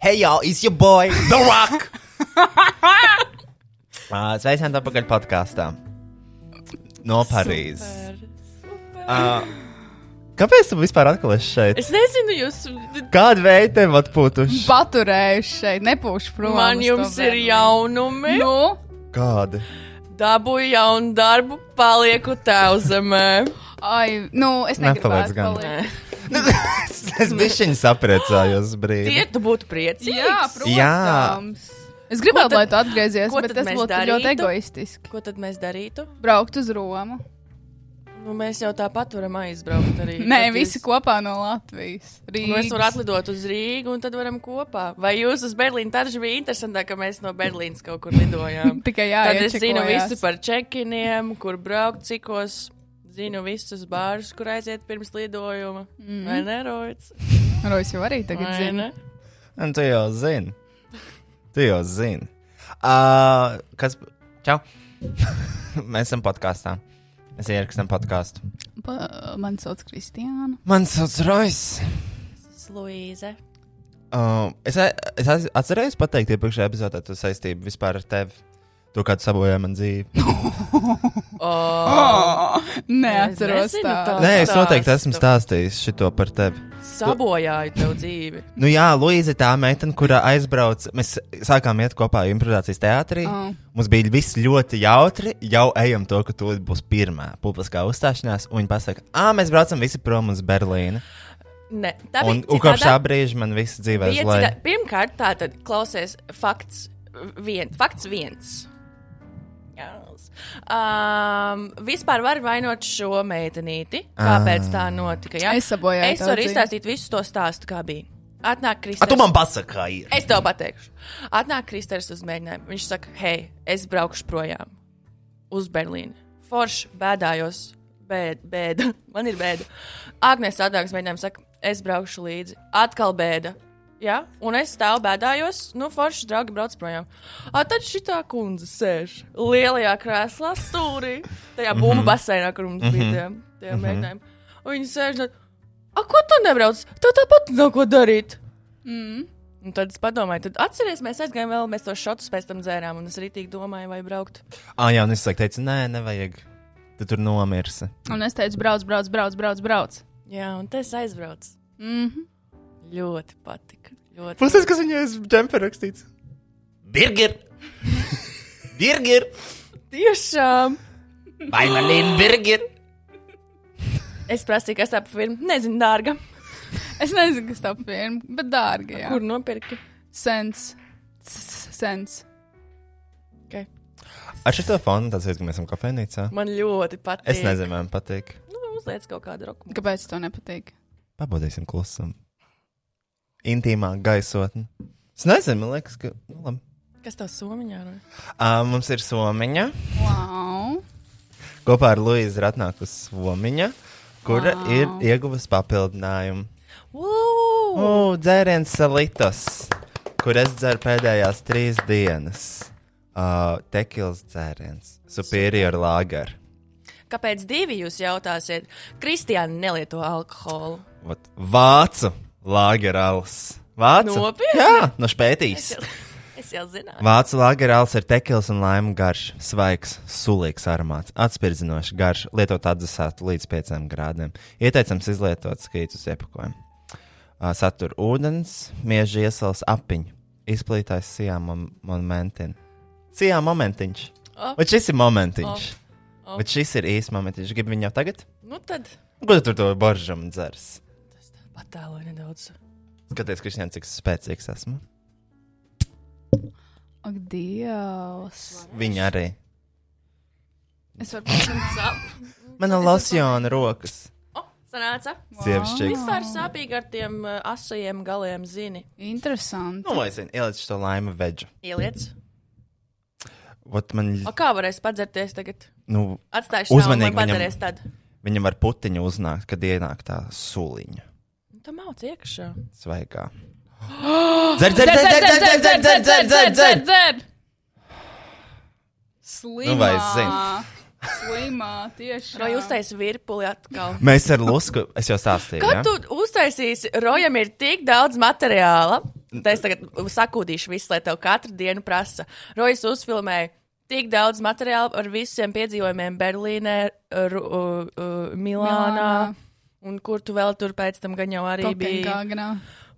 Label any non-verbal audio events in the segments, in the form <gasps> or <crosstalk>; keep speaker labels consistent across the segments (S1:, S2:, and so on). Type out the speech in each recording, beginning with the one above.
S1: Hey, y'all, Oh, it's your boy, The
S2: <laughs>
S1: Rock! Ā, Sveicināti atpakaļ podkāstā. No Parīzes. Ā, Kāpēc tu vispār atkal esi šeit?
S3: Es nezinu, jūs.
S1: Kāda veida tev atpūtuši?
S2: Paturējuši šeit, nepūšu prom.
S3: Man jums ir jaunumi. Nu?
S2: Nu,
S1: Kāda?
S3: Dabūju jaunu darbu, palieku tev zemē.
S2: ai, nu, es
S1: Nepaliec
S2: negribētu
S1: gan.
S2: palikt.
S1: Nu, es es bišķiņu sapriecājos brīdi.
S3: Tie tu būtu priecīgi.
S2: Jā, protams. Es
S3: Ko
S2: gribētu,
S3: tad-
S2: lai tu atgriezies,
S3: ko
S2: bet
S3: tad
S2: tas
S3: mēs
S2: būtu
S3: darītu?
S2: ļoti egoistiski.
S3: Ko tad mēs darītu?
S2: Braukt uz Romu.
S3: Nu, mēs jau tāpat varam aizbraukt arī.
S2: Nē,
S3: Tad
S2: visi
S3: jūs-
S2: kopā no Latvijas.
S3: Nu, mēs
S2: Rīgas.
S3: varam atlidot uz Rīgu un tad varam kopā. Vai jūs uz Berlīnu? Tā taču bija interesantāk, ka mēs no Berlīnas kaut kur lidojām.
S2: <laughs> Tikai jā,
S3: Tad es zinu visu par čekiniem, kur braukt, cikos. Zinu visus bārus, kur aiziet pirms lidojuma. Mm. Vai ne, Rojas?
S2: Rojas Mhm. Nu, jau arī tagad
S3: Vai
S2: <laughs>
S3: ne?
S2: zina.
S1: Un tu jau zini. Tu jau zini. Uh, kas? Čau! <laughs> Mēs esam podkāstā. Mēs ierakstām podkāstu.
S2: Pa, man sauc Kristiāna.
S1: Mans sauc Rojas.
S3: Luīze.
S1: Uh, es a- es aiz- atcerējos pateikt iepriekšējā epizodē to saistību vispār ar tevi. To, kā tu sabojāji man dzīvi.
S3: Oh,
S2: Neatceros
S3: nezinu
S2: tā.
S3: tā.
S1: Nē, es noteikti
S3: Stāstu.
S1: esmu stāstījis šito par tevi.
S3: sabojāju tev dzīvi.
S1: Nu jā, Luīza ir tā meitene, kurā aizbrauca. Mēs sākām iet kopā improvizācijas teātrī.
S2: Oh.
S1: Mums bija viss ļoti jautri. Jau ejam to, ka tūlīt būs pirmā publiskā uzstāšanās. Un viņi pasaka, ah, mēs braucam visi prom uz Berlīnu.
S3: Nē, tā bija
S1: Un, un kopš tā brīža man viss dzīvē
S3: bija
S1: zvaigznes.
S3: cita- Pirmkārt, tā tad klausies fakts, vien, fakts viens. Jāls. Um, vispār var vainot šo meitenīti,
S1: Ah.
S3: kāpēc tā notika. Jā?
S2: Es sabojāju
S3: Es
S2: tavu
S3: varu
S2: dzīvi.
S3: izstāstīt visu to stāstu, kā bija. Atnāk
S1: A, tu
S3: Kristers.
S1: man pasaki,
S3: Es tev pateikšu. Atnāk Kristers uz mēģinājumu. Viņš saka, hei, es braukšu projām uz Berlīnu. Forši bēdājos, bēd, <laughs> bēda. Man ir bēda. Agnēs atnāks mēģinājumu, saka, es braukšu līdzi. Atkal bēda. Ja? Un es stāvu bēdājos, nu, forši draugi brauc projām. A, tad šitā kundze sēž lielajā krēslā stūrī, tajā
S1: Mhm.
S3: bumbu basēnā, kur mums bija tie, tie mēģinājumi. Un viņi sēž, un, a, ko tu nebrauc? Tev tāpat nav ko darīt.
S2: Mm.
S3: Un tad es padomāju, tad atcerieties, mēs aizgājām vēl, mēs tos šotus pēc tam dzērām, un es arī tik domāju, vai braukt.
S1: ah, jā, un es saku, teicu, nē, nevajag. Tu tur nomirsi.
S2: Un es teicu, brauc, brauc, brauc, brauc. brauc.
S3: Jā, un tas aizbrauc.
S2: Mm -hmm.
S3: Ļoti patika. Ļoti.
S1: Protams, kas viņai ir džempē rakstīts. Birger! Birger!
S3: Tiešām!
S1: Vai man ir birger?
S3: Es prasīju, kas tā pa firma. Nezinu, dārga.
S2: Es nezinu, kas tā pirma, bet dārgi. Jā.
S3: Kur nopirki?
S2: Sens. S- Sens.
S3: Okay.
S1: Ar šo fonu tas ir, ka mēs esam kafejnīcā.
S3: Man ļoti patīk.
S1: Es nezinu, man patīk.
S3: Nu, uzliec kaut kādu roku.
S2: Kāpēc tev nepatīk?
S1: Pabodīsim klusam. Intīmā gaisotne. Es nezinu, man liekas, ka. Nu, labi.
S3: Kas tev somiņā ir?
S1: Uh, mums ir somiņa.
S2: Wow.
S1: Kopā ar Luīsu ir atnākusi somiņa, kura wow. ir ieguvusi papildinājumu.
S3: Wow!
S1: Ugh, dzēriens salitas, kur es dzeru pēdējās trīs dienas. Uh, tekils dzēriens, superior lager.
S3: Kāpēc divi jūs jautāsiet? Kristiāna nelieto alkoholu.
S1: Vat, Vācu lagerāls. Vācu?
S3: Nopietni?
S1: Jā, nu, no špētīs.
S3: Es jau zināju.
S1: Vācu lagerāls ir tekils un laima garš, svaigs, sulīgs aromāts, atspirdzinošs garš, lietot atdzesāt līdz 5 grādiem. Ieteicams izlietot skītus iepakojumu. Ā, Satur ūdens, mieži iesals apiņu, izplītājs sijā mom momentiņ. Sijā momentiņš.
S3: O.
S1: Bet šis ir momentiņš.
S3: O.
S1: Bet šis ir īsts momentiņš. Gribu viņu jau tagad?
S3: Nu tad
S1: Ko tu tur to baržam dzers?
S3: patēloju nedaudz.
S1: Skaties, Kristian, cik spēcīgs esmu.
S2: Ak, Dievs.
S1: Viņa arī.
S2: Es varu pateikt,
S3: Sap.
S1: Mana losjona rokas.
S3: O, sanāca.
S1: Sievišķīgs.
S3: Vispār sāpīgi ar tiem uh, asajiem galiem zini.
S2: interesanti.
S1: Nu, vai zini, ieliec to laima veģu.
S3: Ieliec.
S1: Ot, man,
S3: O, kā varēs padzerties tagad?
S1: nu,
S3: Atstājuši
S1: Uzmanīgi
S3: uzmanīgi
S1: viņam.
S3: padzerties tad.
S1: viņam ar putiņu uznākt, kad ienāk tā suliņa
S3: Nu, Tam mauc iekšā. <gasps>
S1: svaigā. <gasps> Dzer, dzer, dzer, dzer, dzer, dzer, dzer, dzer, dzer, dzer.
S2: dzer! Slimā.
S1: Nu, vai es zinu?
S2: Slimā, tieši.
S3: Vai uztaisīs virpuli atkal?
S1: Mēs ar Lusku, es jau stāstīju,
S3: Kad
S1: ja?
S3: tu uztaisīsi, Rojam ir tik daudz materiāla, Tad es tagad sakūdīšu visu, lai tev katru dienu prasa. Rojas uzfilmēja tik daudz materiālu ar visiem piedzīvojumiem Berlīnē, Ru, uh, uh, Milānā.
S2: Milānā.
S3: Un kur tu vēl tur pēc tam gan jau arī biji?
S2: Kopenhāgenā.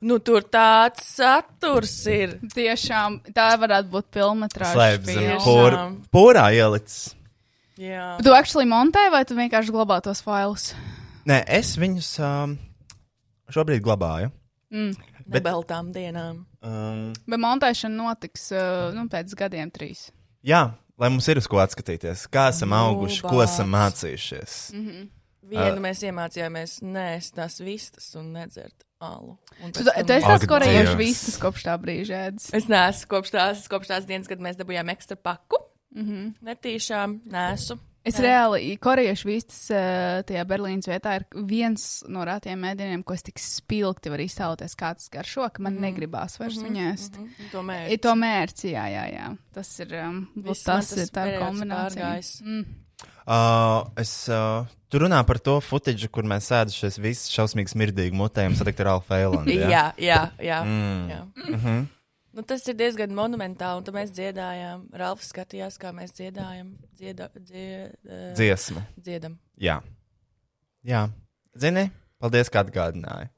S3: Nu, tur tāds saturs ir.
S2: Tiešām tā varētu būt filmatrāža.
S1: Slēpjas zem
S3: filmu.
S2: filma.
S1: pūra, pūrā ielicis.
S3: Jā.
S2: Tu actually montē vai tu vienkārši glabā tos failus?
S1: Nē, es viņus um, šobrīd glabāju. bet-
S3: Nebeltām dienām.
S1: Um,
S2: Mm. Bet montēšana notiks uh, nu, pēc gadiem, trīs.
S1: jā, lai mums ir uz ko atskatīties, kā esam auguši, ko esam
S3: Rūbāts.
S1: mācījušies.
S3: Mhm. Vienu mēs iemācījāmies nēst tās vistas un nedzert alu. Un pēc
S2: Tu, tu
S3: tam-
S2: esi tās
S1: Ak,
S2: korejiešu
S1: Dievs.
S2: vistas kopš tā brīža ēdas.
S3: Es nesu kopš tās, kopš tās dienas, kad mēs dabūjām ekstra paku. Mm -hmm. Netīšām nesu.
S2: Mhm. Es
S3: Nē.
S2: reāli, korejiešu vistas eh, tajā Berlīnas vietā ir viens no rētiem mēdieniem, ko es tik spilgti varu iztēloties, kāds garšo,
S3: Mhm.
S2: ka man negribās vairs viņu ēst.
S3: Un Tomēr
S2: Ir to mērķi, jā, jā, jā. Tas ir, um,
S3: Mhm. viss man
S2: tas ir tā ir
S3: periods
S2: kombinācija. Mm,
S3: pārgājis.
S1: Uh, es uh, tur runāju par to footage, kur mēs sēdušies visi šausmīgi smirdīgi mutējumi satikt ar Alfa
S3: <laughs>
S1: Eilandu. Mhm.
S3: Jā, jā, jā. Mm. jā. Mm -hmm. nu, tas ir diezgan monumentāli, un tad mēs dziedājām. Ralfs skatījās, kā mēs dziedājam. Dzieda, dzied, dzied.
S1: Dziesma.
S3: Dziedam.
S1: Jā. Jā. Zini, paldies, ka atgādināji.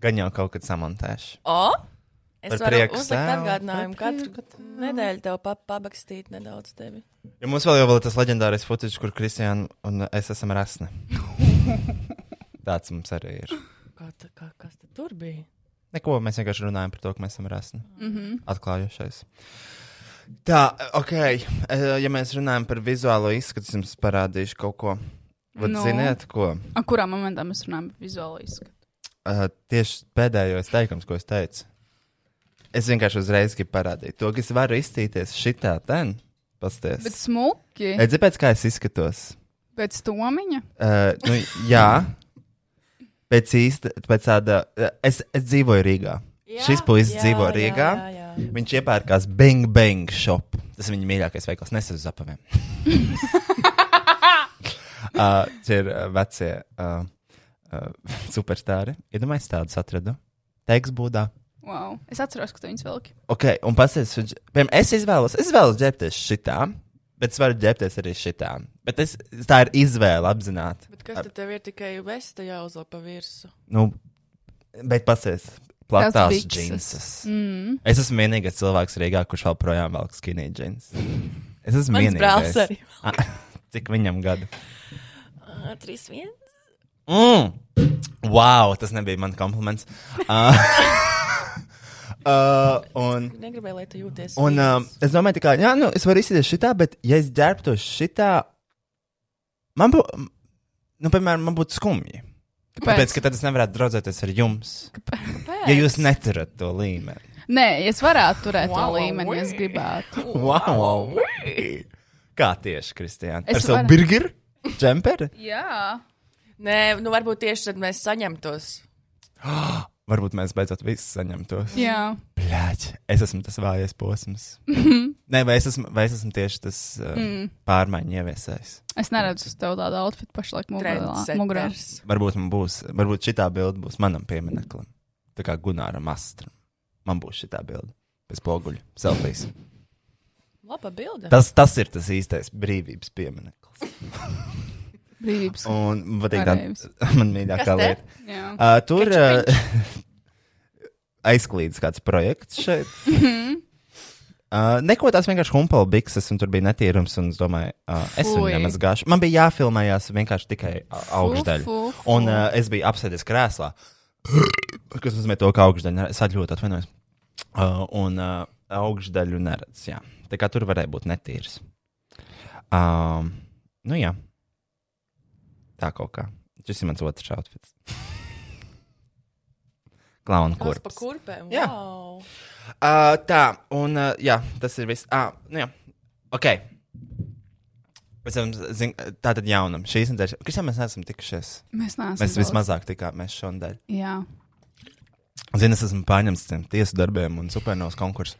S1: Gan jau kaut kad samontēšu.
S3: O! Es
S1: Par
S3: varu
S1: prieku
S3: uzlikt
S1: sev,
S3: atgādinājumu
S1: par
S3: katru nedēļu tev pa pabakstīt nedaudz tevi.
S1: Ja mums vēl jau vēl ir tas leģendārais footage, kur Kristiāna un es esam
S3: <laughs>
S1: rasni. Tāds mums arī ir.
S3: Kā, tā- kā, kas tad tur bija?
S1: Neko, mēs vienkārši runājam par to, ka mēs esam rasni. Mm
S2: Mhm.
S1: -hmm. Atklājušies. Tā, ok. eh, Ja mēs runājam par vizuālo izskatu, es jums parādīšu kaut ko. Vat,
S2: Nu.
S1: no. Ziniet, ko?
S2: A, kurā momentā mēs runājam par vizuālo izskatu?
S1: Uh, tieši pēdējais teikums, ko es teicu. Es vienkārši uzreiz gribu parādīt to, ka es varu izstīties šitā ten. Pasties.
S2: Bet smuki,
S1: Redzi, pēc kā es izskatos.
S2: pēc tomiņa.
S1: Uh, nu, jā, pēc īsta, pēc tāda. Uh, es, es dzīvoju Rīgā. Jā, Šis puisis dzīvo Rīgā.
S3: Jā, jā, jā.
S1: Viņš iepērkās Bing Bang shop. Tas ir viņa mīļākais veikals. Nesu uz
S3: <laughs>
S1: apaviem. uh, tie ir uh, vecie uh, uh, superstarri. Iedomājieties, nu tādus atradu. Teiks būdā.
S2: Wow. Es atceros, ka tu viņus vilki.
S1: Ok, un paskatieties, viņš- piemēram, es izvēlos, es izvēlos ģērbties šitā, bet es varu ģērbties arī šitā. Bet es, tā ir izvēle apzināti.
S3: Bet kas tad tev ir tikai vesta jāuzlapa pa virsmu?
S1: Nu, bet paskatieties, platās
S2: bikses.
S1: džinsas. Mm. Es esmu vienīgais cilvēks Rīgā, kurš vēl projām velk skinny džins. Es esmu
S3: Mans brālis
S1: vienīgais.
S3: arī.
S1: <laughs> Cik viņam gadu?
S3: 3, 1.
S1: Mm. Wow, tas nebija mans kompliments. <laughs> Uh, uh, un,
S3: Negribēju, lai tu jūties.
S1: Un um,
S3: vīrs.
S1: es domāju, tā kā, jā, nu, es varu izsēties šitā, bet, ja es ģērbtos šitā, man būtu, nu, piemēram, man būtu skumji. Tāpēc, ka tad es nevarētu draudzēties ar jums,
S3: Kāpēc?
S1: ja jūs neturat to līmeni.
S2: Nē, es varētu turēt
S3: Wow,
S2: to līmeni, ja es
S3: ui.
S2: gribētu.
S1: Wow! Kā tieši, Kristiāna?
S2: Es
S1: Ar savu
S2: varu.
S1: burgeru? Džemperi?
S2: Jā.
S3: Nē, nu varbūt tieši tad mēs saņemtos.
S1: <gasps> Varbūt mēs beidzot visi saņemtos.
S2: Jā.
S1: Bļāķ, es esmu tas vājais
S2: <laughs>
S1: posms. Nē, vai es esmu, vai es esmu tieši tas uh, mm. pārmaiņu ieviesējis?
S2: Es neredzu uz tevi tādu outfitu pašlaik mugurā- mugurā.
S3: Trendsetters.
S1: varbūt man būs, varbūt šī bilde būs manam piemineklim. Tā kā Gunāram Astram. Man būs šī bilde. Pēc poguļa,
S3: <laughs>
S1: selfijas.
S3: Laba bilde.
S1: Tas, tas ir tas īstais brīvības piemineklis.
S2: Brīvības.
S1: Un man patīk
S2: Pareizi.
S1: tā <laughs> man mīļākā
S3: Kas te?
S1: lieta.
S2: Jā.
S1: Uh, tur uh, <laughs> aizklīdis kāds projekts šeit.
S2: Mhm.
S1: Uh, neko tās vienkārši humpala bikses, un tur bija netīrums. un Es domāju, uh, es viņu
S2: Fui.
S1: nemazgāšu. Man bija jāfilmējās vienkārši tikai uh, augšdaļa.
S2: fu, fu.
S1: Un uh, es biju apsēdies krēslā, <sniffs> kas nozīmē to, ka augšdaļa neredz. Es ļoti atvainojos. Uh, un uh, augšdaļu neredz. Jā. Tā kā tur varēja būt netīrs. Um, nu jā. Tā kaut kā. Šis ir mans otrs outfits. <laughs> Klauna
S3: Tās pa
S1: kurpes.
S3: kurpēm.
S1: Jā.
S3: Wow.
S1: Uh, tā, un uh, jā, tas ir viss. Ah, nu jā, ok. Mēs esam zin, tā tad jaunam. Šīs nedēļas, kas jau mēs neesam tikušies.
S2: Mēs neesam.
S1: Mēs
S2: daudz.
S1: vismazāk tikāmies šonadēļ.
S2: Jā.
S1: Zinu, es esmu pārņemts tiem tiesu darbiem un supernovas konkursu.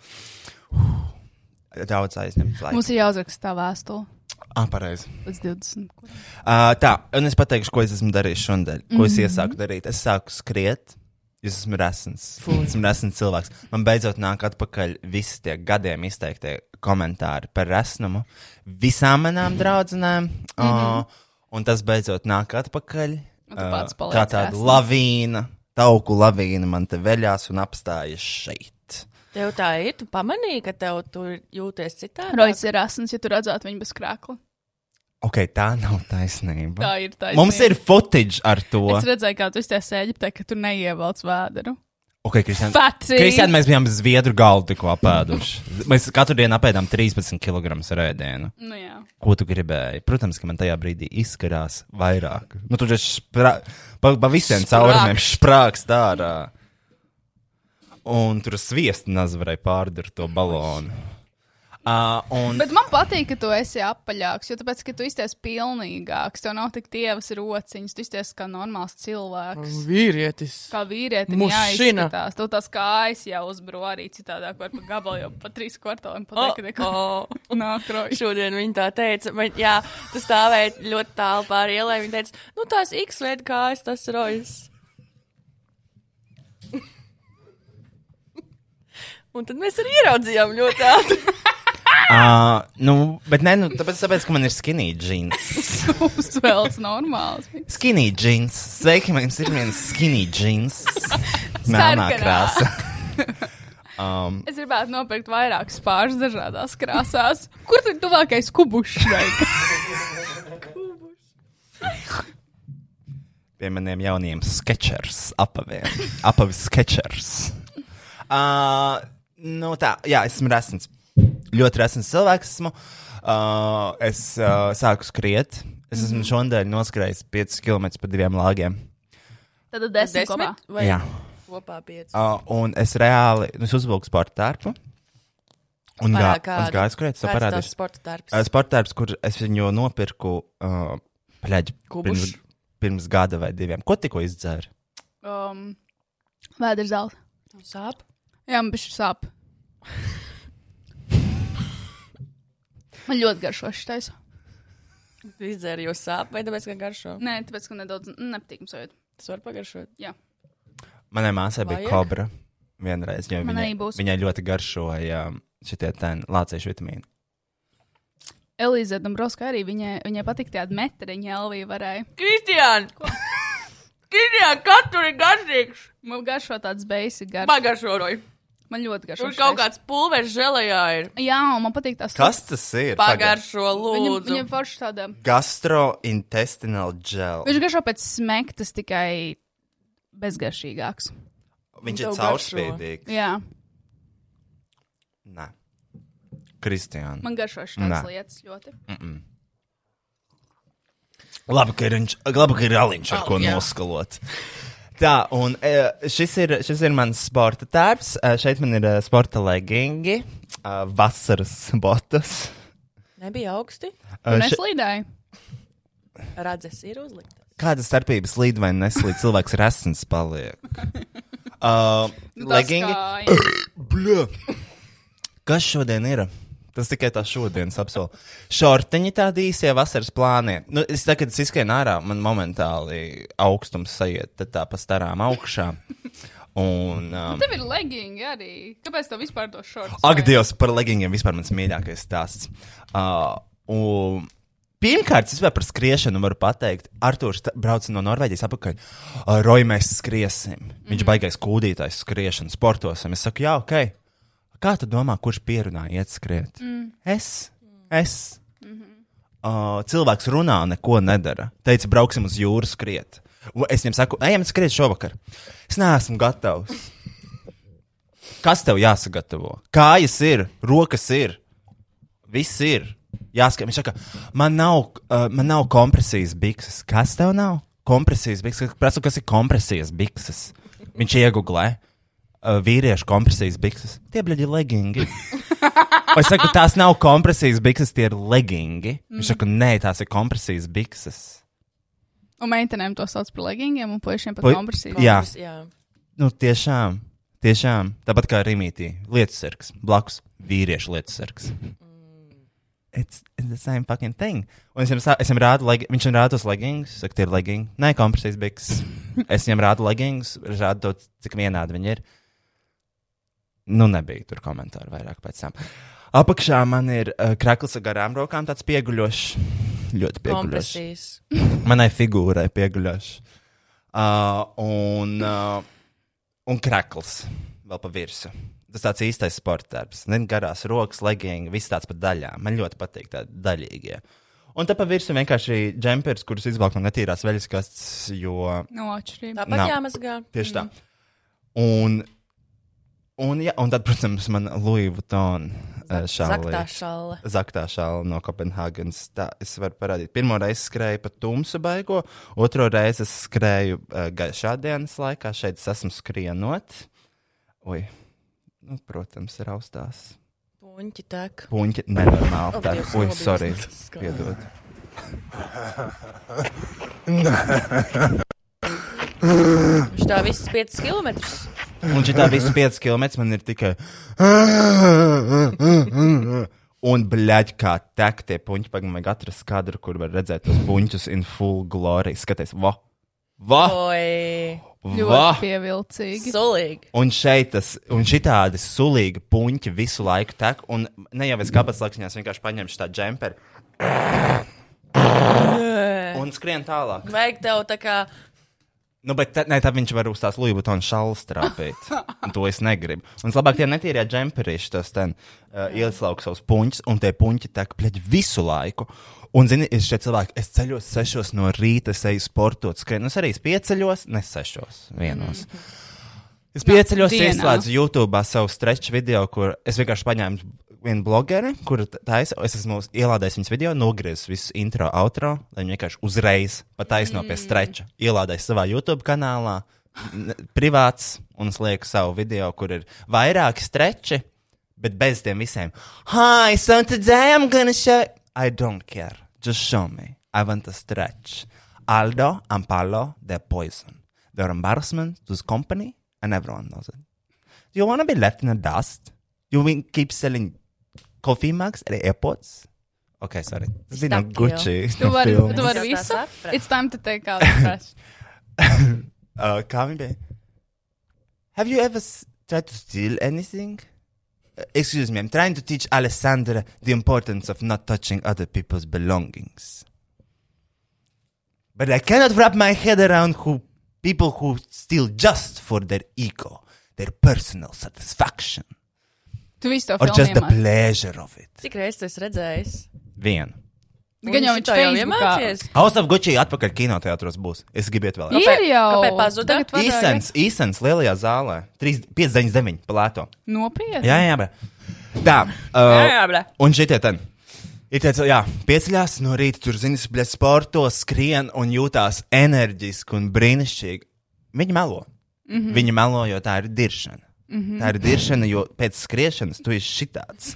S1: Daudz aizņemts laiks.
S2: Mums ir jāuzraksta tā vēstule
S1: Ah, pareizi.
S2: līdz 20.
S1: Ah,
S2: Mhm.
S1: Uh, tā, un es pateikšu, ko es esmu darījis šonadēļ, ko mm -hmm. es iesāku darīt. Es sāku skriet, Es esmu resns. Esmu resns cilvēks. Man beidzot nāk atpakaļ visi tie gadiem izteiktie komentāri par resnumu visām
S2: Mhm.
S1: manām draudzenēm. Mm -hmm. Un tas beidzot nāk atpakaļ.
S2: Un tu pats
S1: ā,
S2: paliec
S1: kā tāda
S2: resns.
S1: lavīna, tauku lavīna man te veļās un apstājas šeit.
S3: Tev tā ir, tu pamanīji, ka tev tur jūties citādi.
S2: Rojas ir asins, ja tu redzētu viņu bez krākla.
S1: Ok, tā nav taisnība.
S2: Tā ir tā.
S1: Mums ir footage ar to.
S2: Es redzēju, kā tu izties Eģiptē, ka tu neievelc vēderu.
S1: Ok, Kristian.
S2: Fati!
S1: Kristian, mēs bijām zviedru galdu tikko apēduši. Mēs katru dienu apēdām 13 kg rēdienu.
S2: Nu jā.
S1: ko tu gribēji. Protams, ka man tajā brīdī izskarās vairāk. Nu, tur taču sprā... pa, pa visiem caurumiem sprāgst ārā. Un tur sviesta naz varēja pārdurt to balonu. Uh, un,
S2: Bet man patīk, ka tu esi apaļāks, jo tāpēc, ka tu izties pilnīgāks, tev nav tik tievas rociņas, tu izties kā normāls cilvēks.
S3: Mm.
S4: Vīrietis.
S2: Kā vīrietim
S4: Mušina.
S2: jāizskatās, tev tās kājas jau uzbro arī citādāk, var pa gabalu jau pa trīs kvartaliem
S3: Oh,
S2: pateikt, ka
S3: oh.
S2: neko nākroju.
S3: Šodien viņa tā teica, man, jā, tas stāvēja ļoti tālu pāri ielai. Viņa teica, nu tās X lietu kājas, tas rojas. Un tad mēs arī ieraudzījām ļoti ātri.
S1: uh, nu, bet nē, nu, tāpēc, tāpēc, ka man ir skinny jeans.
S2: <laughs> Uzvelc normāls.
S1: Skinny jeans. Sveiki, mums ir viens skinny jeans. Melnā
S2: Sarkanā.
S1: krāsa. um,
S2: Es gribētu nopirkt vairākus pāris dažādās krāsās. Kur tur tuvākais kubušs vajag?
S1: pie maniem jauniem sketčers, apaviem, apavi sketčers. Uh, nu tā, jā, esmu resns. Ļoti resns cilvēks esmu. Uh, es uh, sāku skriet. Es esmu šodien noskrējis 5 km pa diviem lāgiem.
S2: <laughs> Tad desmit kopā.
S3: vai
S1: Jā.
S3: kopā pieci.
S1: Uh, un es reāli, nu, es uzvilku sporta tērpu. Un, gā,
S3: Parādi
S1: un
S3: kādu.
S1: es gāju skriet, es tev
S3: Kāds
S1: parādīšu.
S3: tavs sporta darbs?
S1: Uh, Sporta tērps, kur es viņu nopirku, uh, pļaģi, pirms,
S4: Kubuš.
S1: pirms gada vai diviem. Ko tikko izdzēri?
S2: Um, Vēders zelta.
S3: Sāp.
S2: Jā, man pišķi sāp. <laughs> Man ļoti garšo šitais.
S3: Tu izdzēri jau sāp, vai tāpēc, ka garšo?
S2: Nē, tāpēc, ka nedaudz nepatīkams sajūt.
S3: Tas var pagaršot.
S1: Manai māsai bija
S3: Vajag?
S1: kobra. Vienreiz jau
S2: Man
S1: viņai,
S2: arī būs.
S1: viņai ļoti garšoja šitie ten lāciešu vitamīni.
S2: Elīze Dombrovska arī viņai, viņai patika tāda metriņa Elvija varēja.
S3: Kristiāna! <laughs> Kristiāna, kas tur ir garšīgs?
S2: Man garšo tāds basic garš.
S3: Pagaršoju.
S2: Man ļoti garšo.
S3: Tur kaut
S2: šitais.
S3: kāds pulveris žēlējā ir.
S2: Jā, un man patīk tās.
S1: Kas tas ir?
S3: Pagaršo,
S2: Viņam,
S3: lūdzu.
S2: viņam forši tāda.
S1: Gastrointestinal gel.
S2: Viņš garšo pēc smektas tikai bezgaršīgāks.
S1: Viņš
S3: Tev
S1: ir
S3: garšo.
S1: caurspīdīgs.
S2: Jā,
S1: Nē, Kristiāna.
S2: man garšo
S1: Nē.
S2: šādas lietas ļoti.
S1: Labi, ka ir, viņš, labi, ka ir aliņš, ar ko
S3: jā.
S1: noskalot. Tā, un e, šis ir, šis ir mans sporta tērps. E, Šeit man ir e, sporta legingi, e, vasaras botas.
S3: Nebija augsti.
S1: E,
S2: Un
S1: še-
S2: es slīdēju.
S3: Radzes ir uzliktas.
S1: Kāda starpība slīd vai neslīd? Cilvēks resns
S2: <laughs>
S1: paliek. E, Uh,
S2: Nu,
S1: Legingi. Bļa! Kas šodien ir? Tas tikai tā šodienas apsolījums. Šortiņi tādi īsie vasaras plāni. Nu, es tagad, kad es izskrienu ārā, man momentāli augstums sajiet tad tā pa starām augšā. Un, um,
S2: Tev ir legging arī. Kāpēc tev vispār to šortu?
S1: ak, Dievs, par leggingiem vispār mans mīļākais stāsts. Uh, un, Pirmkārt, es vispār par skriešanu varu pateikt, Arthurs ta- brauc no Norvēģijas atpakaļ. Uh, Roja, mēs skriesim. Viņš mm -hmm. baigais kūdītājs skriešanu, sportosim. Es saku, jā, ok. Kā tu domā, kurš pierunāja iet skriet? Mm. Es. es. Mm -hmm. uh, cilvēks runā, neko nedara. Teica, brauksim uz jūru skriet. U- Es viņam saku, ejam skriet šovakar. Es neesmu gatavs. Kas tev jāsagatavo? Kājas ir, rokas ir. Viss ir. Jāsaka, viņš saka, man nav, uh, man nav kompresijas bikses. Kas tev nav? Kompresijas bikses. Es Prasu, kas ir kompresijas bikses. Viņš iegūlē uh, vīriešu kompresijas bikses. Tie bļaigi ir legingi. Vai saka, tās nav kompresijas bikses, tie ir legingi. Viņš saka, nē, tās ir kompresijas bikses.
S2: Un meitenēm to sauc par leggingiem un puišiem par
S1: Pui-
S2: kompresiju.
S1: Jā.
S3: Kompas, jā.
S1: Nu, tiešām, tiešām. Tāpat kā Rimītī, lietu sargs, blakus vīriešu lietu sargs. It's, it's the same fucking thing. Un es viņam, sā- es viņam rādu, leg, viņš man rāda tos leggings, saka, tie ir leggings. Nē, kompresijas biks. Es viņam rādu leggings, rādu to, cik vienādi viņi ir. Nu, nebija tur komentāru vairāk pēc tam. Apakšā man ir uh, krakls ar garām rokām, tāds pieguļošs. Ļoti pieguļošs
S3: kompresijas.
S1: manai figūrai pieguļošs. Uh, un, uh, un krakls vēl pa virsmu. Tas tāds īstais sports darbs. Nezinu, garās rokas, leggings, viss tāds pa daļām. Man ļoti patīk tādi daļīgie. Un te pa virsmu vienkārši džempers, kurus izvelk no netīrās veļas kastes, jo
S2: No atšķirības.
S3: Tāpat
S1: Nav.
S3: jāmazgā. Mm.
S1: Tieši tā. Un, un, jā, un tad, protams, man Louis Vuitton eh, šāda
S3: Zaktā šalle.
S1: Zaktā šāda no Kopenhāgenes. Tā es varu parādīt. Pirmo reizi skrēju pa tumsu baigo, otro reizi es skrēju uh, gaišā dienas laikā. Šeit es esmu skrienot. Ui, nu, protams, ir austās.
S3: Puņķi tek.
S1: Puņķi nenormāli.
S3: Oh,
S1: Tā,
S3: Dievs,
S1: ui,
S3: nobijos.
S1: sorry.
S3: Skā.
S1: Piedod.
S3: Viņš tā viss 5 kilometrus.
S1: Un šī tā visa 5 km man ir tikai. Un, blēģ, kā tek tie puņķi, pagaidām, vajag atrast kadru, kur var redzēt tos puņķus in full glory. Skaties, va! Va!
S3: Oi,
S1: va.
S2: Ļoti pievilcīgi.
S3: sulīgi.
S1: Un šeit tas, un šitādi sulīgi puņķi visu laiku tek, un ne jau es kāpēc laksiņās vienkārši paņemšu tā džemperi. Un skrien tālāk.
S3: Vajag tev tā kā
S1: Nu, bet tad, ne, tad viņš var uz tās Louis Vuitton šalus trāpīt. Un to es negribu. Un vislabāk tie netīrie džemperīši, tas ten uh, ieslauks savus puņus, un tie puņķi tek pleķi visu laiku. Un, zini, ir šie cilvēki, es ceļos sešos no rīta, es eju sportot, skrienu. Es arī pieceļos, ne sešos, vienos. Mm. Es pieceļos,
S2: dienā.
S1: ieslēdzu YouTube savu stretch video, kur es vienkārši paņēmu vienu blogeri, kur taisa, es esmu ielādējis viņas video, nogriezis visu intro, outro, lai viņi vienkārši uzreiz pataisno mm. pie stretcha. Ielādējis savā YouTube kanālā, n- privāts, un es lieku savu video, kur ir vairāki streči, bet bez tiem visiem. Hi, so today I'm gonna show. I don't care. Just show me. I want a stretch. Aldo and Paolo, they're poison. They're embarrassment to this company, and everyone knows it. Do you want to be left in the dust? You will keep selling coffee mugs at the airports? Okay, sorry. Tas bija no
S3: Stuck
S1: Gucci.
S2: Tu
S1: no
S2: vari,
S1: filmas.
S2: tu vari
S3: Es jau tā
S2: visu.
S3: sapratu.
S2: It's time to take out the trash.
S1: Uh, kā viņa bija? Have you ever s- tried to steal anything? Uh, excuse me, I'm trying to teach Alessandra the importance of not touching other people's belongings. But I cannot wrap my head around who people who steal just for their ego, their personal satisfaction,
S2: Tu visu to
S1: or just the
S2: filmu.
S1: pleasure of it.
S3: cik reizes tu esi redzējis?
S1: Vien.
S2: Gan jau viņš
S3: to jau
S2: Facebookā-
S3: iemācies.
S1: House of Gucci atpakaļ kinoteātros būs. Es gribu iet vēl.
S2: Ir jau.
S3: kāpēc pazuda?
S2: Tagad vadā-
S1: Īsens, īsens, lielajā zālē. 3,599 palēto.
S2: Nopietni.
S1: Jā, jā, bet. Tā.
S3: Jā,
S1: Uh,
S3: jā, blē.
S1: un šitie ten. Ir tie, cil- jā, pieceļās no rīta, tur zinas, bļa, sporto, skrien un jūtās enerģiski un brīnišķīgi. Viņi melo. Mm
S2: Mhm.
S3: Mhm.
S1: -hmm. Viņi melo, jo tā ir diršana. Mm -hmm. Tā ir diršana, jo pēc skriešanas tu esi šitāds.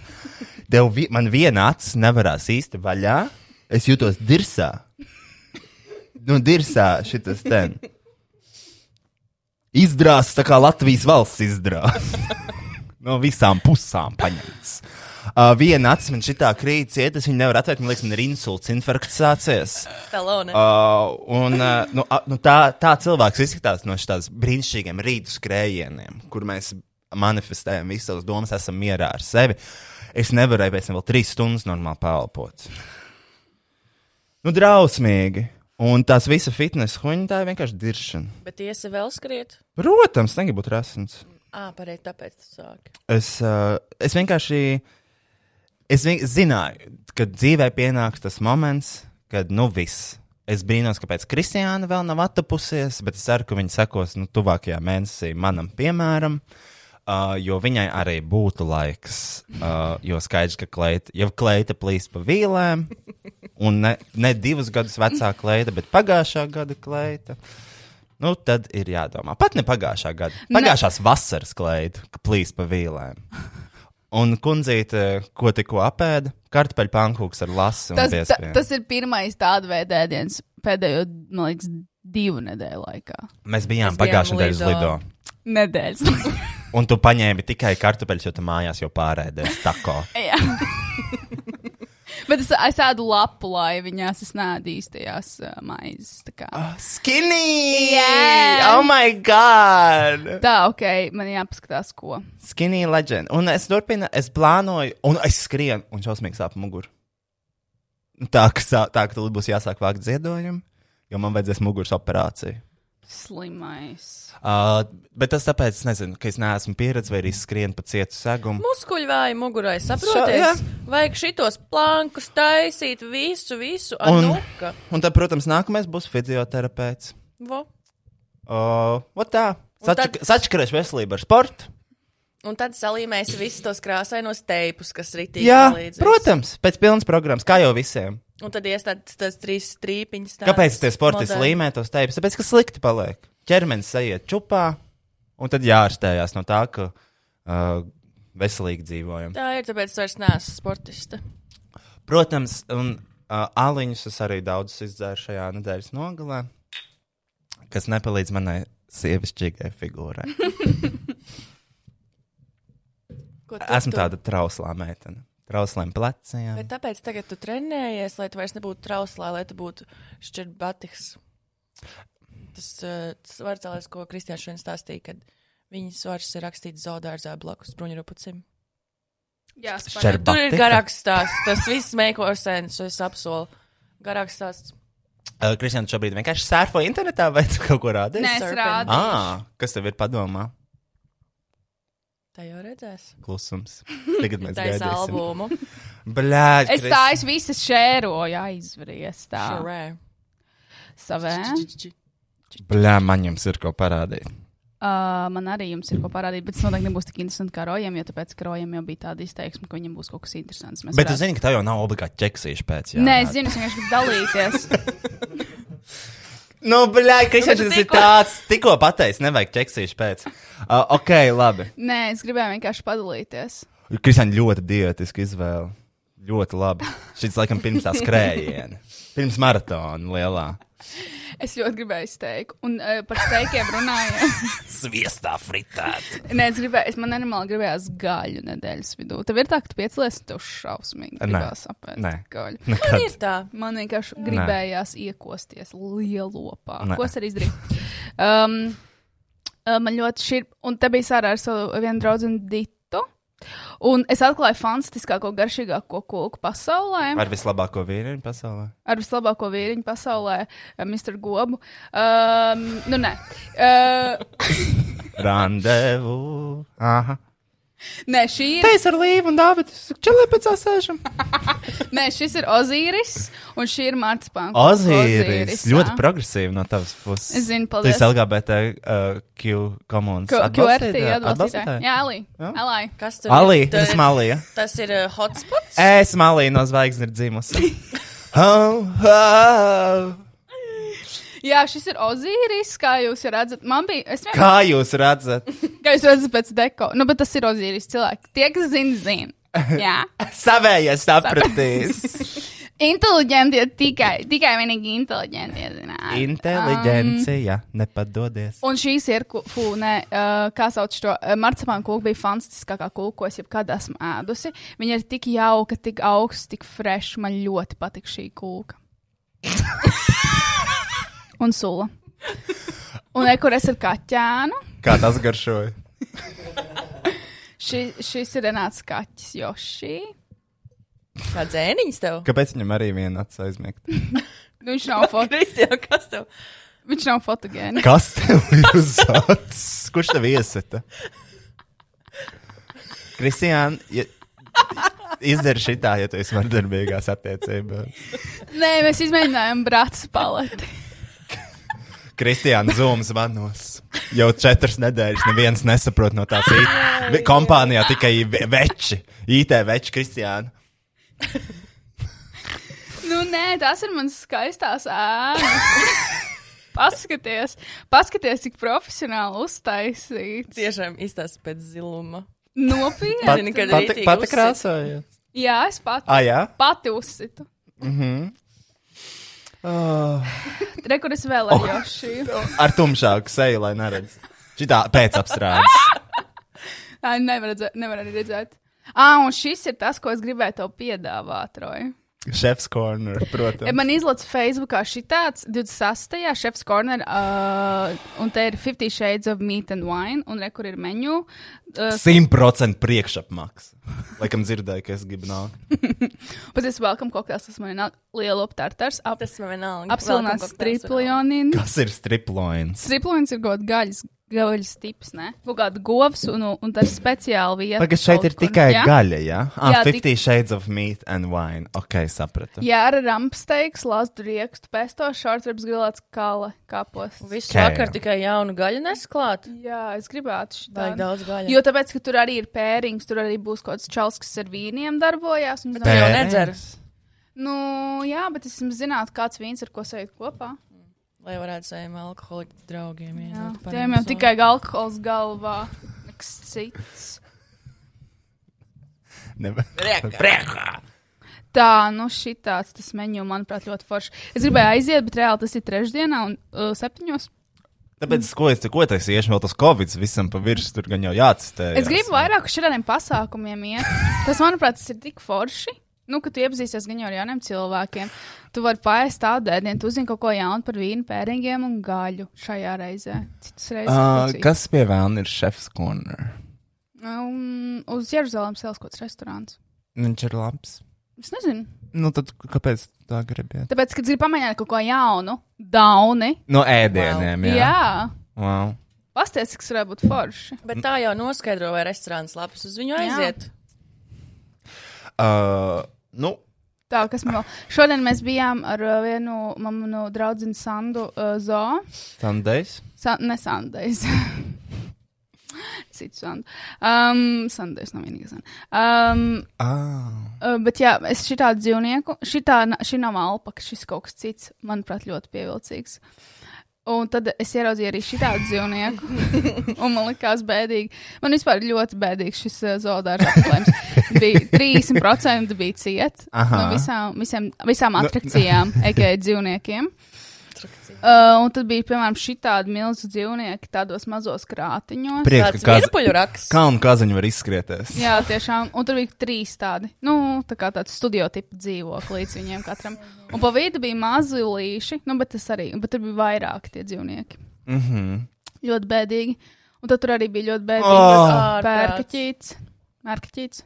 S1: Tev vi man viena acis nevarās īsti vaļā. Es jūtos dirsā. Nu, dirsā šitas ten. Izdrās tā kā Latvijas valsts izdrās <laughs> no visām pusēm paņemts. Uh, viena acis man šitā krīt, ciet, es viņu nevaru atvērt. Man liekas, man ir insults, infarkts sācies.
S3: Stalone.
S1: Uh, un, uh, nu, a, nu tā, tā cilvēks izskatās no šīs brīnišķīgiem rītu skrējieniem, kur mēs manifestējam visas savas domas, esam mierā ar sevi. Es nevarēju pēc tam vēl trīs stundas normāli pelpot. Nu, drausmīgi. Un tās visa fitnesa huņa, tā ir vienkārši diršana.
S3: Bet iesi vēl skriet?
S1: Protams, negribu būt rasns.
S3: Ā, pareizi, tāpēc tu sāki.
S1: Es, uh, es vienkārši es vi zināju, ka dzīvē pienāks tas moments, kad nu viss. Es brīnos, kāpēc Kristiāna vēl nav attapusies, bet es ceru, ka viņa sekos nu, tuvākajā mēnesī manam piemēram. Uh, jo viņai arī būtu laiks, uh, jo skaidrs, ka kleita, jau kleita plīst pa vīlēm, un ne, ne divus gadus vecā kleita, bet pagājušā gada kleita. Nu, tad ir jādomā. Pat ne pagājušā gada.
S2: Ne.
S1: Pagājušās vasaras kleita ka plīs pa vīlēm. Un kundzīte, ko tikko apēda, kartupeļu pankūks ar lasu. un
S2: Tas, ta,
S1: piespienu.
S2: tas ir pirmais tāda veida ēdiens pēdējo, man liekas, divu nedēļu laikā.
S1: Mēs bijām
S3: Mēs bijām
S1: pagājušajā nedēļā uz
S3: Lido.
S1: Lido.
S2: Nedēļas.
S1: <laughs>
S3: <laughs>
S1: Un tu
S2: <laughs>
S1: paņēmi tikai kartupeļus, jo tu mājās jau pārēdies tako.
S2: Jā. Bet es, es ēdu lapu laiviņās, es nēdu īstajās uh, maizes. Tā, kā.
S1: Ah, Skinny!
S2: Jā.
S1: Oh, my God!
S2: tā, ok, man jāpaskatās, ko.
S1: Skinny legend. Un es turpinu, es plānoju, un es skrienu, un šausmīgi sāp mugura. Tā, ka sā- tā, ka tur būs jāsāk vākt ziedojumu, jo man vajadzēs muguras operāciju.
S2: Slimais.
S1: Uh, bet tas tāpēc, es nezinu, ka es neesmu pieredzējis vai arī skrienu pa cietu segumu.
S3: Muskuļi vāji mugurai,
S1: Mm. jā.
S3: saprotiet? Vajag šitos plankus taisīt, visu, visu, anuka.
S1: Un tad, protams, nākamais būs fizioterapeits.
S3: Un...
S1: Uh, tā.
S3: Un tad-
S1: Sačak- Sačakarēs veselību ar sportu.
S3: Un tad salīmēs visus tos krāsainos teipus, kas ritīgi
S1: Jā,
S3: palīdzēs.
S1: protams, pēc pilnas programmas, kā jau visiem.
S3: Un tad iestādes tas trīs strīpiņas. tādas
S1: Kāpēc tie sportisti
S3: modernas.
S1: līmē tos teipus? Tāpēc, ka slikti paliek. Cermenis aiziet čupā, un tad jārastējās no tā, ka uh, veselīgi dzīvojam.
S3: Tā ir, tāpēc es vairs neesmu sportista.
S1: Protams, un uh, aliņus es arī daudz izdzēru šajā nedēļas nogalē, kas nepalīdz manai sievišķīgai
S2: <laughs>
S1: figūrai.
S3: Ko tu-
S1: Esmu
S3: tu-
S1: tāda trauslā meitene. Trausliem pleciem.
S3: Bet tāpēc tagad tu trenējies, lai tu vairs nebūtu trauslā, lai tu būtu šķirbatiks. Tas, eh, tas varcēlēs, ko Kristiāns šodien stāstīja, kad viņas svars ir rakstīts zaudārzā blakus bruņurupucim.
S2: Jā,
S1: Šķerb-
S3: Tur ir
S1: Batika?
S3: garāks stāsts. Tas viss meiko sens, es apsolu. Garāks stāsts.
S1: Uh, Kristians šobrīd vienkārši sērfo internetā vai tu kaut ko rādi?
S2: Nē, es
S3: Serpent.
S2: rādu.
S1: À, kas tev ir padomā?
S3: Tā jau redzēs.
S2: <laughs>
S1: Klusums. Tagad mēs
S3: Tā ir
S1: gaidīsim.
S3: albumu.
S1: Blēģi,
S2: Es tā, es visas šēroju, aizvries tā.
S3: Šurē.
S2: Savē.
S3: Či-či-či-či.
S1: Blē, man jums ir ko parādīt.
S2: Uh, man arī jums ir ko parādīt, bet tas noteikti nebūs tik interesanti kā rojam, jo tāpēc, ka rojam jau bija tāda izteiksme, ka viņam būs kaut kas interesants. Mēs
S1: Bet tu
S2: varētu-
S1: zini, ka tev jau nav obligāti ķeksīši pēc. Jā,
S2: Nē, es zinu, es vienkārši gribu dalīties.
S1: <laughs> Nu, blē, Kristians,
S3: Nu, bet
S1: tas
S3: tu
S1: ir
S3: tikko-
S1: tāds, tikko pateicis, nevajag ķeksīši
S2: <laughs>
S1: pēc. Uh, ok, labi.
S2: Nē, es gribēju vienkārši padalīties.
S1: Kristian, ļoti diētiska izvēle. Ļoti labi. Šis laikam pirms tā skrējiena. Pirms maratona lielā.
S2: Es ļoti gribēju steiku, un uh, par steikiem runājot.
S1: Sviestā fritēta.
S2: <laughs> Nē, es gribēju, es man normāli gribējās gaļu nedēļas vidū. Tev ir tā, ka tu piecelies, un tev šausmīgi
S1: Nē.
S2: gribās apēst
S1: Nē. <laughs>
S2: gaļu.
S3: Man ir tā.
S2: Man vienkārši gribējās Nē. iekosties lielopā.
S1: Nē.
S2: Nē. Ko es arī izdarīju? Um, uh, man ļoti šī ir, un te bija sārā ar savu vienu draugu Ditu. Un es atklāju fantastiskāko, garšīgāko koku pasaulē.
S1: Ar vislabāko vīrieni pasaulē.
S2: ar vislabāko vīriņu pasaulē, eh, Mr. Gobu. Um, nu, nē. Uh,
S1: Randevu. Aha.
S2: nē, šī ir,
S1: Teis ar Līvu un Dāvidu. Čelē pēc sēžam.
S2: nē, šis ir Ozīris, un šī ir Marcipāna.
S1: Ozīris. Ļoti progresīvi no tavas puses.
S2: Es zinu,
S1: Tu
S2: paldies.
S1: esi LGBTQ komunas.
S2: QRT
S1: atbalstītāja-
S2: atbalstītāji.
S1: atbalstītāja?
S2: Jā, Alī.
S1: Jā.
S2: Alī.
S3: Kas tur
S1: Alī,
S3: ir? Tur
S1: tas
S3: ir-
S1: malīja.
S3: Tas ir eh, hotspots.
S1: Es malīju no zvaigznes ir dzimusi. Oh, oh.
S2: Jā, šis ir Ozīris, kā jūs jau redzat. Man bija, es vienkārši,
S1: Kā jūs redzat?
S2: kā jūs redzat pēc deko. Nu, bet tas ir Ozīris cilvēks. Tie, kas zina, zina. Jā.
S1: Savējais sapratīs.
S2: Inteliģentie tikai, tikai vienīgi Um, inteliģentie zinās.
S1: Inteliģencija. Nepadodies.
S2: Un šīs ir, ku- fū, nē, uh, kā sauc to uh, marcipānu kūku, bija fantastiskākā kūka, ko es jebkad esmu ēdusi. Viņa ir tik jauka, tik augsta, tik freša. Man ļoti patīk šī
S1: <laughs>
S2: kūka. Un sula. Un e, ekures ir kaķēnu.
S1: Kā tas garšoja?
S2: Ši, šis ir Renāts Kaķis, jo šī.
S3: Kā dzēniņš tev?
S1: Kāpēc viņam arī viena acis aizmiegt?
S2: Nu, viņš nav, fo
S3: Kristija, kas tev?
S2: viņš nav fotogēns.
S1: Kas tev ir uz acis? Kurš tev iesita? Kristiāna, ja... izdari šitā, ja tu esi vardarbīgās attiecībās.
S2: Nē, mēs izmēģinājām brāļa paleti.
S1: Kristiāna zūms vanos. Jau četras nedēļas neviens nesaprot no tās I... vi- kompānijā tikai ve- veči. IT veči, Kristiāna.
S2: Nu, nē, tās ir manas skaistās ēnas. <laughs> Paskaties, paskaties, cik profesionāli uztaisīts.
S3: Tiešām izstāsta pēc ziluma.
S2: Nopietni.
S3: Zini, kad
S1: pati,
S3: rītīgi
S1: pati
S3: uzsit.
S1: krāsoja.
S2: Jā, es pat,
S1: Ah, jā.
S2: pati uzsitu. <laughs>
S1: Mhm. Oh.
S2: Rekur es vēlējos
S3: <laughs>
S2: šī.
S3: Oh.
S1: Ar tumšāku seju, lai neredz. Šitā pēcapstrādes.
S2: Tā nevar redzēt. Nevar arī redzēt. Ah, un šis ir tas, ko es gribēju tev piedāvāt, Roja.
S1: Šefs corner, protams.
S2: Man izlaiž Facebookā šī tāds 26. šefs corner, uh, un te ir 50 shades of meat and wine, un re, kur ir menu. Uh,
S1: Simtprocentīgi priekšapmaksa. Laikam dzirdēju, ka es gribu nākt.
S2: Patiesībā, welcome kokteils, tas man ir nāk- liela optārtars, ap,
S3: Tas man vienalga.
S2: apsilināts triplionin.
S1: Kas ir striplojums?
S2: Triplionis ir kaut gaļas. Gaļas tips, ne? Kaut kāda govs un, un tas speciāli vieta.
S1: Pagaidā, šeit ir
S2: kaut kur.
S1: tikai
S2: Jā?
S1: gaļa, jā? Ah,
S2: Jā, tik-
S1: 50 shades of meat and wine. Ok, sapratu.
S2: Jā, ar rampsteiks, lāstu riekstu, pesto, šārtribs grilēts kāla kāpos.
S3: Visu
S1: Kē.
S3: vakaru tikai jaunu gaļu nesklāt.
S2: Jā, es gribētu šo
S3: Vajag daudz gaļas.
S2: Jo tāpēc, ka tur arī ir pērings, tur arī būs kaut kāds čels, kas ar vīniem darbojās. un es
S3: tu jau
S2: domāju,
S1: Pērēns?
S3: nedzer.
S2: Nu, jā, bet es jums zinātu, kāds vīns ar ko sajūt kopā.
S3: Lai varētu saviem alkoholiķiem draugiem
S2: Jā,
S3: iedot.
S2: tiem jau tikai alkohols galvā. Nekas cits.
S1: Priekšā!
S2: Tā, nu šitāds tas menu, manuprāt, ļoti forši. Es gribēju aiziet, bet reāli tas ir trešdienā un uh, septiņos.
S1: Tāpēc, ko es ko teicu, iešu vēl tas covid visam pa virsmu, tur gan jau jāatstē.
S2: Es gribu vairāk uz šādiem pasākumiem iet. Tas, manuprāt, tas ir tik forši. Nu, ka tu iepazīsies gan jau ar jauniem cilvēkiem. Tu vari paēst tādu dēdienu, tu zini kaut ko jaunu par vīnu, pēringiem un gaļu šajā reizē. Citas reizes.
S1: Uh,
S2: pacīt.
S1: kas pie vēlna ir šefs corner?
S2: Um, uz Jeruzalemes ielas kaut kāds restorāns.
S1: Viņš ir labs.
S2: Es nezinu.
S1: Nu, tad kāpēc tā gribiet?
S2: Tāpēc, kad gribu pamēģināt kaut ko jaunu, dauni.
S1: No ēdieniem,
S2: Jā.
S1: jā.
S2: jā.
S1: Wow.
S2: Pasties, kas varētu būt forši.
S3: Bet tā jau noskaidro, vai restorāns labs uz viņu
S2: Jā.
S3: aiziet.
S1: Uh, nu,
S2: Tā, kas man vēl. Šodien mēs bijām ar uh, vienu manu draugu Sandu uh, Zoo.
S1: Sundays.
S2: Sa ne <laughs> Sandais. Citu Sandu. Um, Sandais nav vienīgais. Sanda. Um,
S1: Ah.
S2: uh, bet jā, es šitādu dzīvnieku, šitā, na- šī nav alpaka, šis kaut kas cits, manuprāt, ļoti pievilcīgs. Un tad es ieraudzīju arī šitādu dzīvnieku,
S1: <laughs>
S2: un man likās bēdīgi. Man vispār ļoti bēdīgs šis uh, zoodārs apmeklējums.
S1: <laughs>
S2: Bija 30% bija ciet
S1: Aha. Nu,
S2: no visām, visiem, visām
S1: <laughs>
S2: atrakcijām, ekai dzīvniekiem.
S3: Trakcija.
S2: Uh, un tad bija, piemēram, šī tāda milzu dzīvnieki tādos mazos krātiņos. Prie...
S1: Prieks,
S3: Tāds
S1: ka kāz...
S3: virpuļu raksts.
S1: kalnu kazaņu var izskrieties.
S2: Jā, tiešām. Un tur bija trīs tādi, nu, tā kā tāds studio tipa dzīvokli līdz viņiem katram. Un pa vidu bija mazi līši, nu, bet tas arī, bet tur bija vairāk tie dzīvnieki.
S1: Mm -hmm.
S2: Ļoti bēdīgi. Un tad tur arī bija ļoti bēdīgi.
S1: Oh!
S2: Oh,
S3: Ārprāts.
S2: pērkaķīts. Mērkaķīts.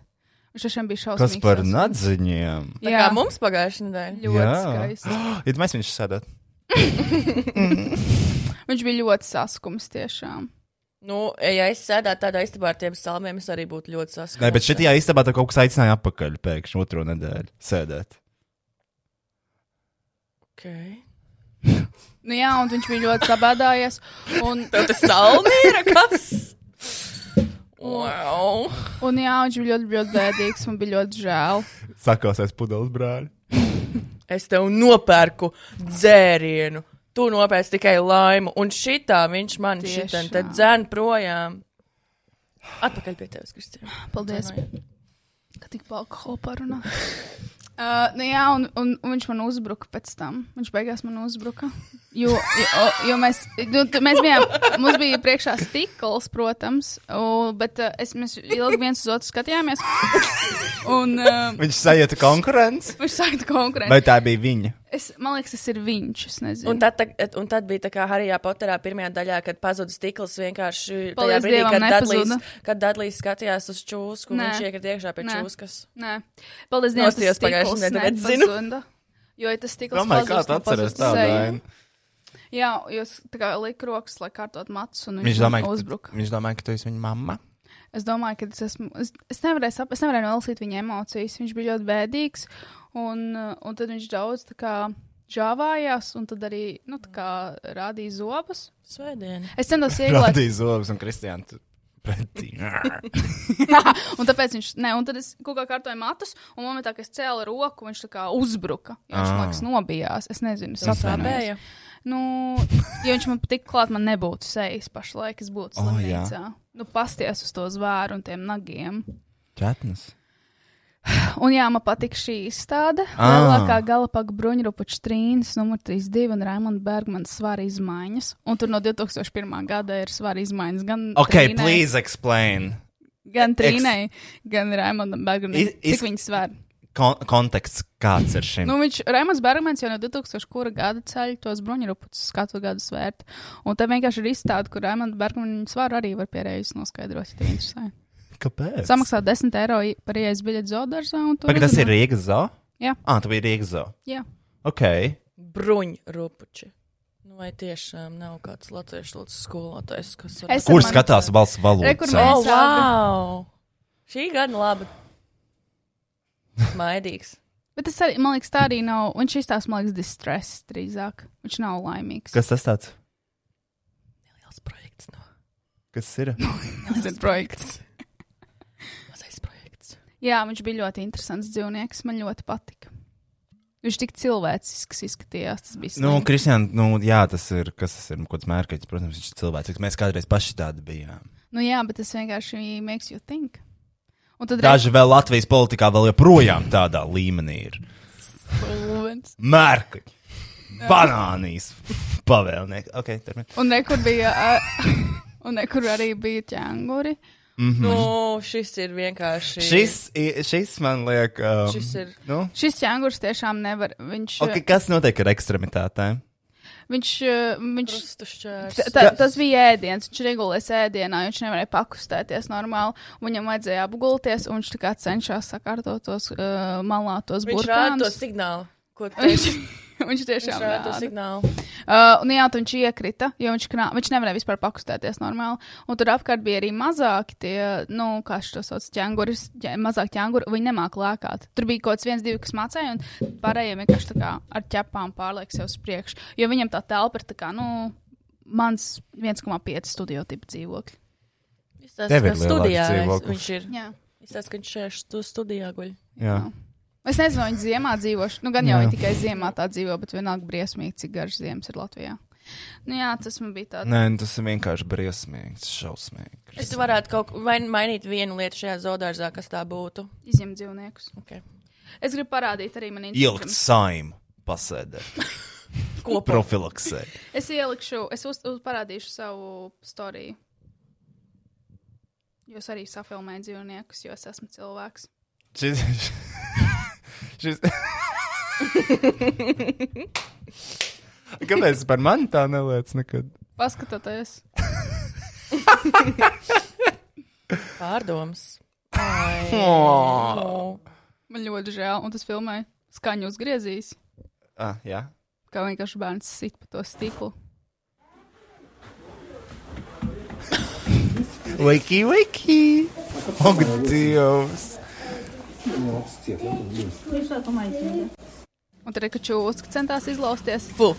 S2: Un šešiem bija šausmīgs.
S1: Kas par
S2: sasniegums.
S1: nadziņiem?
S3: Tā
S2: Jā,
S3: kā mums pagājušajā nedēļā.
S2: ļoti skaisti.
S1: <gasps> Ir mēs viņš sēdēt.
S2: Viņš bija ļoti saskums tiešām.
S3: Nu, ja es sēdētu tādā istabā ar tiem salmiem, es arī būtu ļoti saskaitīts.
S1: Nē, bet šitajā istabā tā kaut kas aicināja apakaļ pēkšņi otro nedēļu sēdēt.
S3: Okay.
S2: Nu, jā, un viņš bija ļoti sabēdājies. Un,
S3: Tev tas salmi ir kas? Wow.
S2: Un jā, viņš bija ļoti, ļoti bēdīgs. Man bija ļoti žēl.
S1: Sakāsies pudeles brāļi.
S3: Es tev nopērku dzērienu. Tu nopērci tikai laimu, un šitā viņš man
S2: Tiešām.
S3: šitā te dzēna projām. Atpakaļ pie tevis, Kristīna.
S2: Paldies, ka tik par alkoholu <laughs> parunā. Uh, nu jā, un, un, un viņš man uzbruka pēc tam. Viņš beigās man uzbruka. Jo, jo, jo mēs, nu, t- mēs bijām, mums bija priekšā stikls, protams, u, bet uh, es, mēs ilgi viens uz otru skatījāmies. Un uh,
S1: Viņš sajūta konkurence.
S2: viņš sāka konkurēt.
S1: Vai tā bija viņa?
S2: Es, man liekas, tas ir viņš. Es nezinu.
S3: Un tad, tag- un tad bija tā kā Harijā Poterā pirmajā daļā, kad pazuda stikls vienkārši tajā
S2: Paldies
S3: brīdī,
S2: Dievam,
S3: kad
S2: nepazuda.
S3: Dadlīs, kad Dadlīs skatījās uz čūsku, un
S2: Nē.
S3: viņš iekrita iekšā pie
S2: Nē.
S3: čūskas.
S2: Nē, paldies Dievam,
S3: Nostājos
S2: tas
S3: pagājušajā
S2: stikls
S3: nedēļā, zinu.
S2: nepazunda. Jo, ja tas stikls
S1: Domāju, kā
S2: pazūst,
S1: tu
S2: nu
S1: atceries
S2: pazūst
S1: tādu
S2: seja.
S1: ainu?
S2: Jā, jūs tā kā likat rokas, lai kārtot matus, un viņš,
S1: Viņš domāja,
S2: man
S1: ka,
S2: uzbruka.
S1: viņš domāja, ka tu esi viņa mamma.
S2: Es domāju, ka tas esmu. Es, es nevarēju saprast, es nevarēju nolasīt viņa emocijas. Viņš bija ļoti bēdīgs, un, uh, un tad viņš daudz tā kā žāvājās, un tad arī, nu, tā kā rādīja zobus.
S3: Svētdien.
S2: Es centos ieglēt
S1: Radīja zobus un Kristiāna tu- <laughs> pretī.
S2: <laughs> Un tāpēc viņš, nē, un tad es kaut kā kārtoju matus, un momentā, kad es cēlu roku, viņš tā kā uzbruka. Jo Viņš, man
S1: Ā.
S2: liekas, nobijās. Es nezinu, es atvainojos.
S3: Sāpēja.
S2: Nu, ja viņš man tik klāt, man nebūtu sejas pašlaik, es būtu
S1: O, jā.
S2: slimnīcā. Oh, nu, pasties uz to zvēru un tiem nagiem.
S1: Četnes.
S2: Un jā, man patīk šī izstāde.
S1: Ā.
S2: Lielākā Galapagu bruņurupuča trīnis, numur 32 un Raimond Bergmans svara izmaiņas. Un tur no 2001. gada ir svara izmaiņas gan
S1: Ok,
S2: trīnai,
S1: please explain.
S2: gan
S1: ex-
S2: trīnai, gan Raimondam Bergmanam.
S1: Iz- iz-
S2: Cik viņi svar?
S1: kon konteksts kāds ir šim?
S2: Nu, viņš Raimunds Bergmans jau no 2000 gada ceļ tos bruņurupus katru gadu svērt. Un te vienkārši ir izstāde, kur Raimunds Bergmans svaru arī var pierējas noskaidrot, ja tev interesē.
S1: Kāpēc?
S2: Samaksā 10 eiro i- par ieejas biļeti zoodārzā un tur.
S1: Pagaid, tas ir Rīgas zoo?
S2: Jā.
S1: Ah, tu biji Rīgas zoo.
S2: Jā.
S1: Ok.
S3: bruņurupuči. Nu, vai tiešām nav kāds latviešu lūdzu skolotājs, kas var...
S2: Es-
S1: Kur
S2: man-
S1: skatās valsts
S2: Re, kur
S1: valoda?
S2: mēs-
S3: Oh, wow! Šī gada laba. Maidīgs.
S2: Bet tas arī, man liekas, tā arī nav. Viņš izstāsta, man liekas, distress drīzāk. Viņš nav laimīgs.
S1: Kas tas tāds?
S3: Liels projekts no.
S1: Kas
S2: <laughs>
S1: ir?
S2: tas ir
S1: <laughs>
S2: projekts?
S3: Mazais projekts.
S2: Jā, viņš bija ļoti interesants dzīvnieks. Man ļoti patika. Viņš tik cilvēcisks izskatījās. Tas bija
S1: Nu,
S2: slikti.
S1: Kristian, nu, jā, tas ir, kas tas ir, kaut kāds mērķis, protams, viņš ir cilvēks. Mēs kādreiz paši tādi bijām.
S2: nu, jā, bet tas vienkārši makes you think. Un tad reizē
S1: Daži vēl Latvijas politikā vēl joprojām tādā līmenī ir.
S2: Lūvens.
S1: Mērķi, banānijas, pavēlnieki. Ok, turpiniet.
S2: Un nekur bija. ā, <laughs> Un nekur arī bija ķēnguri.
S3: Nu, šis ir vienkārši.
S1: Mhm. Šis, i- šis man liekas, um,
S3: Šis ir-
S1: Nu,
S2: Šis ķēngurs tiešām nevar. Viņš.
S1: okay,
S2: Okay.
S1: kas notiek ar ekstremitātēm?
S2: viņš, ā, viņš
S3: Krustušķērs.
S2: T- Tā, tas bija ēdiens. Viņš regulēs ēdienā, viņš nevarēja pakustēties normāli. un Viņam vajadzēja apgulties, un viņš tā kā cenšas sakārtot tos uh, malātos
S3: Viņš rāda to
S2: burbuļus.
S3: signālu. Ko tu
S2: Viņš,
S3: teici?
S2: <laughs> viņš
S3: Viņš
S2: tiešām
S3: rāda to
S2: rāda.
S3: signālu.
S2: Uh, un jā, tad viņš iekrita, jo viņš, knā, viņš nevarēja vispār pakustēties normāli. Un tur apkārt bija arī mazāki tie, nu, kā šo sauc, ķēnguris, ķē, mazāk ķēnguri, viņi nemāca lēkāt. Tur bija kaut kāds viens, divi, kas mācīja, un pārējiem vienkārši tā kā ar ķepām pārliek sev uz priekšu. Jo viņam tā telpa ir tā kā, nu, mans 1,5 studio tipa dzīvokļi.
S3: Viņš tāds,
S1: Tev ir
S3: ka
S1: lielāks
S3: studijā
S1: dzīvoklis.
S3: viņš ir.
S2: Jā.
S3: Viņš tāds, ka viņš šeit tu studijā guļ.
S1: Jā.
S2: Es nezinu, vai viņi ziemā dzīvošu. Nu, gan jau
S1: Jā.
S2: viņi tikai ziemā tā dzīvo, bet vienalga briesmīgi, cik garš ziemas ir Latvijā. Nu, jā, tas man bija tāds.
S1: Nē, nu tas ir vienkārši briesmīgi, šausmīgi.
S3: Es varētu kaut ko mainīt vienu lietu šajā zoodārzā, kas tā būtu.
S2: Izņem dzīvniekus.
S3: Okay.
S2: Es gribu parādīt arī man
S1: Ielikt
S2: Instagram.
S1: saimu, pasēdēt,
S3: Kopā.
S1: profilaksēt.
S2: Es ielikšu, es uz, uz parādīšu savu storiju. Jūs arī safilmējat dzīvniekus, jo es esmu cilvēks.
S1: Šis, <laughs> šis... Kāpēc par mani tā neliec nekad?
S2: Paskatoties,
S3: <laughs> Pārdoms.
S1: Oh.
S2: man ļoti žēl, un tas filmē skaņu uzgriezīs,
S1: Ah, jā.
S2: kā vienkārši bērns sit pa to stiklu.
S1: <laughs> Wiki, wiki! Ak, Dievs!
S2: Un tur ir kačūska centās izlausties,
S3: Fu,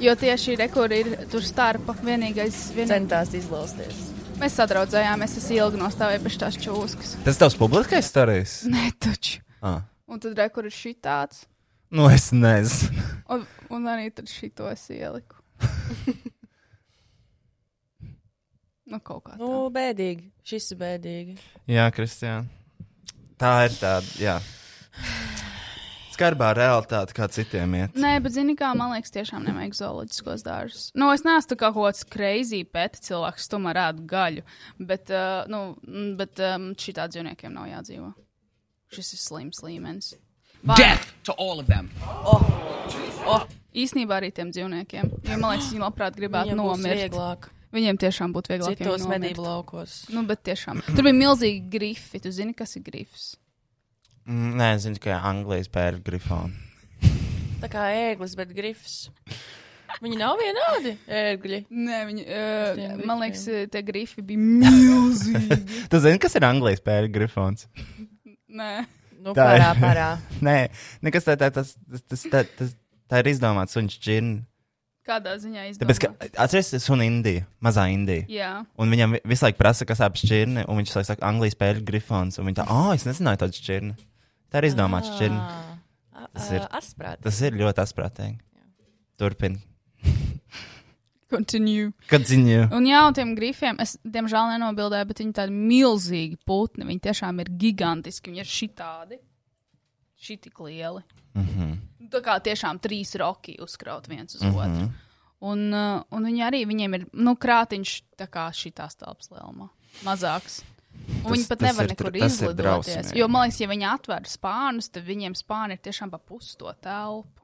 S2: jo tieši rekur ir tur starpa vienīgais. Vien...
S3: centās izlausties.
S2: Mēs sadraudzējāmies, es ilgi nostāvēju pēc tās čūskas.
S1: Tas tavs publiskais starījis?
S2: Nē, taču.
S1: Ah.
S2: Un tad rekur ir šī tāds.
S1: Nu, es nezinu.
S2: Un, un arī tur šito es ieliku. <laughs> nu, kaut kā tāda.
S3: Nu, bēdīgi. Šis ir bēdīgi.
S1: Jā, Kristija. Tā ir tāda, jā. Skarbā realitāte, kā citiem iet.
S2: Nē, bet zini, kā man liekas, tiešām nevajag zooloģiskos dārzus. Nu, es neesmu tā kā kaut kāds crazy pēta cilvēks, tu man rādi gaļu. Bet, uh, nu, mm, bet um, šī tā dzīvniekiem nav jādzīvo. Šis ir slims līmenis. Oh,
S4: Death to all of them.
S2: Īsnībā arī tiem dzīvniekiem. Jo man liekas, viņi labprāt gribētu
S3: Viņam būs
S2: nomirt.
S3: vieglāk.
S2: Viņiem tiešām būtu vieglāk. ja viņi
S3: Citos
S2: nomirtu.
S3: medību laukos.
S2: Nu, bet tiešām. Tur bija milzīgi grifi. Tu zini, kas ir grifs?
S1: Mm, Nē, zinu, ka Anglijas pērta grifona.
S3: Tā kā ēglis, bet grifs. Viņi nav vienādi ēgļi.
S2: Nē, viņi, uh,
S3: Tiem grifiem.
S2: man liekas, eh, tie grifi bija milzīgi.
S1: <laughs> Tu zini, kas ir Anglijas pērta grifons?
S2: Nē,
S3: Nu,
S1: Tā ir.
S3: parā, parā.
S1: <laughs> Nē, nekas tā, tā, tas, tas, tā, tas, tā ir izdomāts suns džina.
S2: kādā ziņā izdomāts.
S1: Tāpēc, ka atceries, es sunu Indiju, mazā Indija.
S2: Jā,
S1: Un viņam vi- visu laiku prasa, kas ap šķirni, un viņš visu laiku saka, Anglijas pērta grifons. Un viņi tā, ah, es nezināju tādu šķirni. Tā ir izdomāts šķirni.
S3: Ah.
S1: Tas ir-
S3: Asprāt.
S1: Tas ir ļoti asprātīgi. Turpini.
S2: <laughs> continue.
S1: Kad ziņu?
S2: Un jā, un tiem grifiem es diemžēl nenobildēju, bet viņi tādi milzīgi putni. Viņi tiešām ir gigantiski. Viņi ir šitādi. Šitik lieli.
S1: Mhm.
S2: Mm -hmm. Tā kā tiešām trīs roki uzkraut viens uz mm -hmm. otru. Un, uh, un viņi arī, viņiem ir, nu, krātiņš tā kā šitās telpas lielumā. Mazāks. Un Viņi pat
S1: tas
S2: nevar
S1: ir tr-
S2: nekur
S1: tas ir
S2: izlidoties.
S1: drausmīgi.
S2: Jo, man liekas, ja viņi atver spānus, tad viņiem spāni ir tiešām pa pusi to telpu.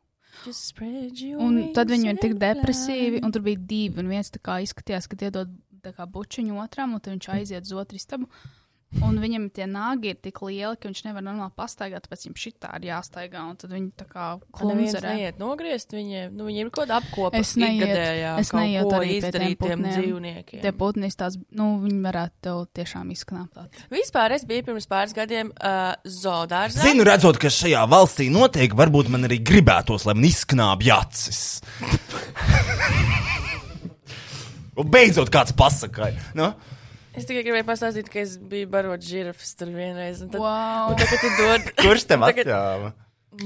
S2: Un tad viņi ir tik depresīvi, un tur bija divi. Un viens tā kā izskatījās, ka iedod tā kā bučiņu otram, un tad viņš aiziet uz otru istabu. Un viņam tie nāgi ir tik lieli, ka viņš nevar normāli pastaigāt, tāpēc viņam šitā ir jāstaigā. Un tad viņi tā kā
S3: Neviens
S2: klūzerē.
S3: neiet nogriezt viņiem. Nu, viņiem ir kaut kāda apkopa.
S2: Es neietu-
S3: ikgadējā,
S2: es
S3: kaut
S2: neietu
S3: ko
S2: arī pie tiem
S3: izdarīt tiem
S2: putniem.
S3: dzīvniekiem.
S2: Tie putni tāds, nu, viņi varētu tev tiešām izknāpt.
S3: Vispār es biju pirms pāris gadiem uh, zoodārzā.
S5: Zinu, redzot, kas šajā valstī notiek, varbūt man arī gribētos, lai man izsnābj acis. <laughs> Un beidzot, kāds pasakāja. Nu?
S3: Es tikai gribēju pastāstīt, ka es biju barot žirafas tur vienreiz. un Tad,
S2: Wow!
S3: un tagad tu dod.
S1: Kurš tev
S3: Tagad-
S1: atļāva?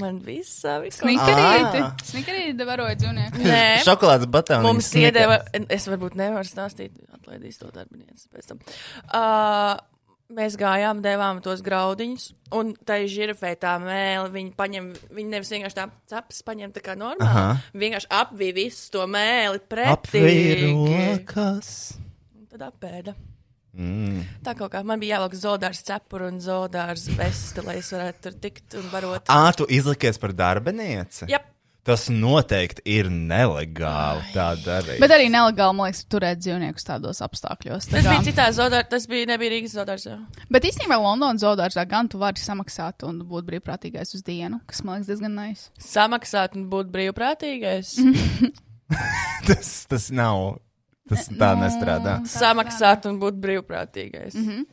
S3: Man viss savi.
S2: Snikarīti!
S3: Ah.
S1: Ā.
S2: Snikarīti varoja dzīvnieku.
S3: Nē.
S1: Šokolādes batons.
S3: Mums iedeva, es varbūt nevaru stāstīt, atlaidīs to darbinieci pēc tam. Uh, mēs gājām, devām tos graudiņus, un tai žirafē tā mēlē, viņi paņem, viņi nevis vienkārši tā capas paņem tā kā normāli, Aha.
S1: Aha.
S3: vienkārši apvī visu to mēli
S1: apvīra
S3: pretī.
S1: rokas.
S3: Tad apēda.
S1: Mm.
S3: Tā kaut kā man bija jāvelk zodārs cepura un zodārs vesta, lai es varētu tur tikt un varot.
S1: Ā, tu izlikies par darbinieci?
S3: Jep,
S1: Tas noteikti ir nelegāli tā darīt.
S2: Bet arī nelegāli, man liekas, turēt dzīvniekus tādos apstākļos. Tā
S3: tas <laughs>
S2: kā-
S3: bija citā zodārs, tas bija, nebija Rīgas zodārs. Jā.
S2: Bet īstenībā Londonas zoodārzā gan tu vari samaksāt un būt brīvprātīgais uz dienu, kas man liekas diezgan nais.
S3: Samaksāt un būt brīvprātīgais.
S1: <laughs>
S2: Mhm.
S1: tas, tas nav. Tas tā
S2: nu,
S1: nestrādā.
S3: samaksāt un būt brīvprātīgais. Mm
S2: Mhm.
S3: -hmm.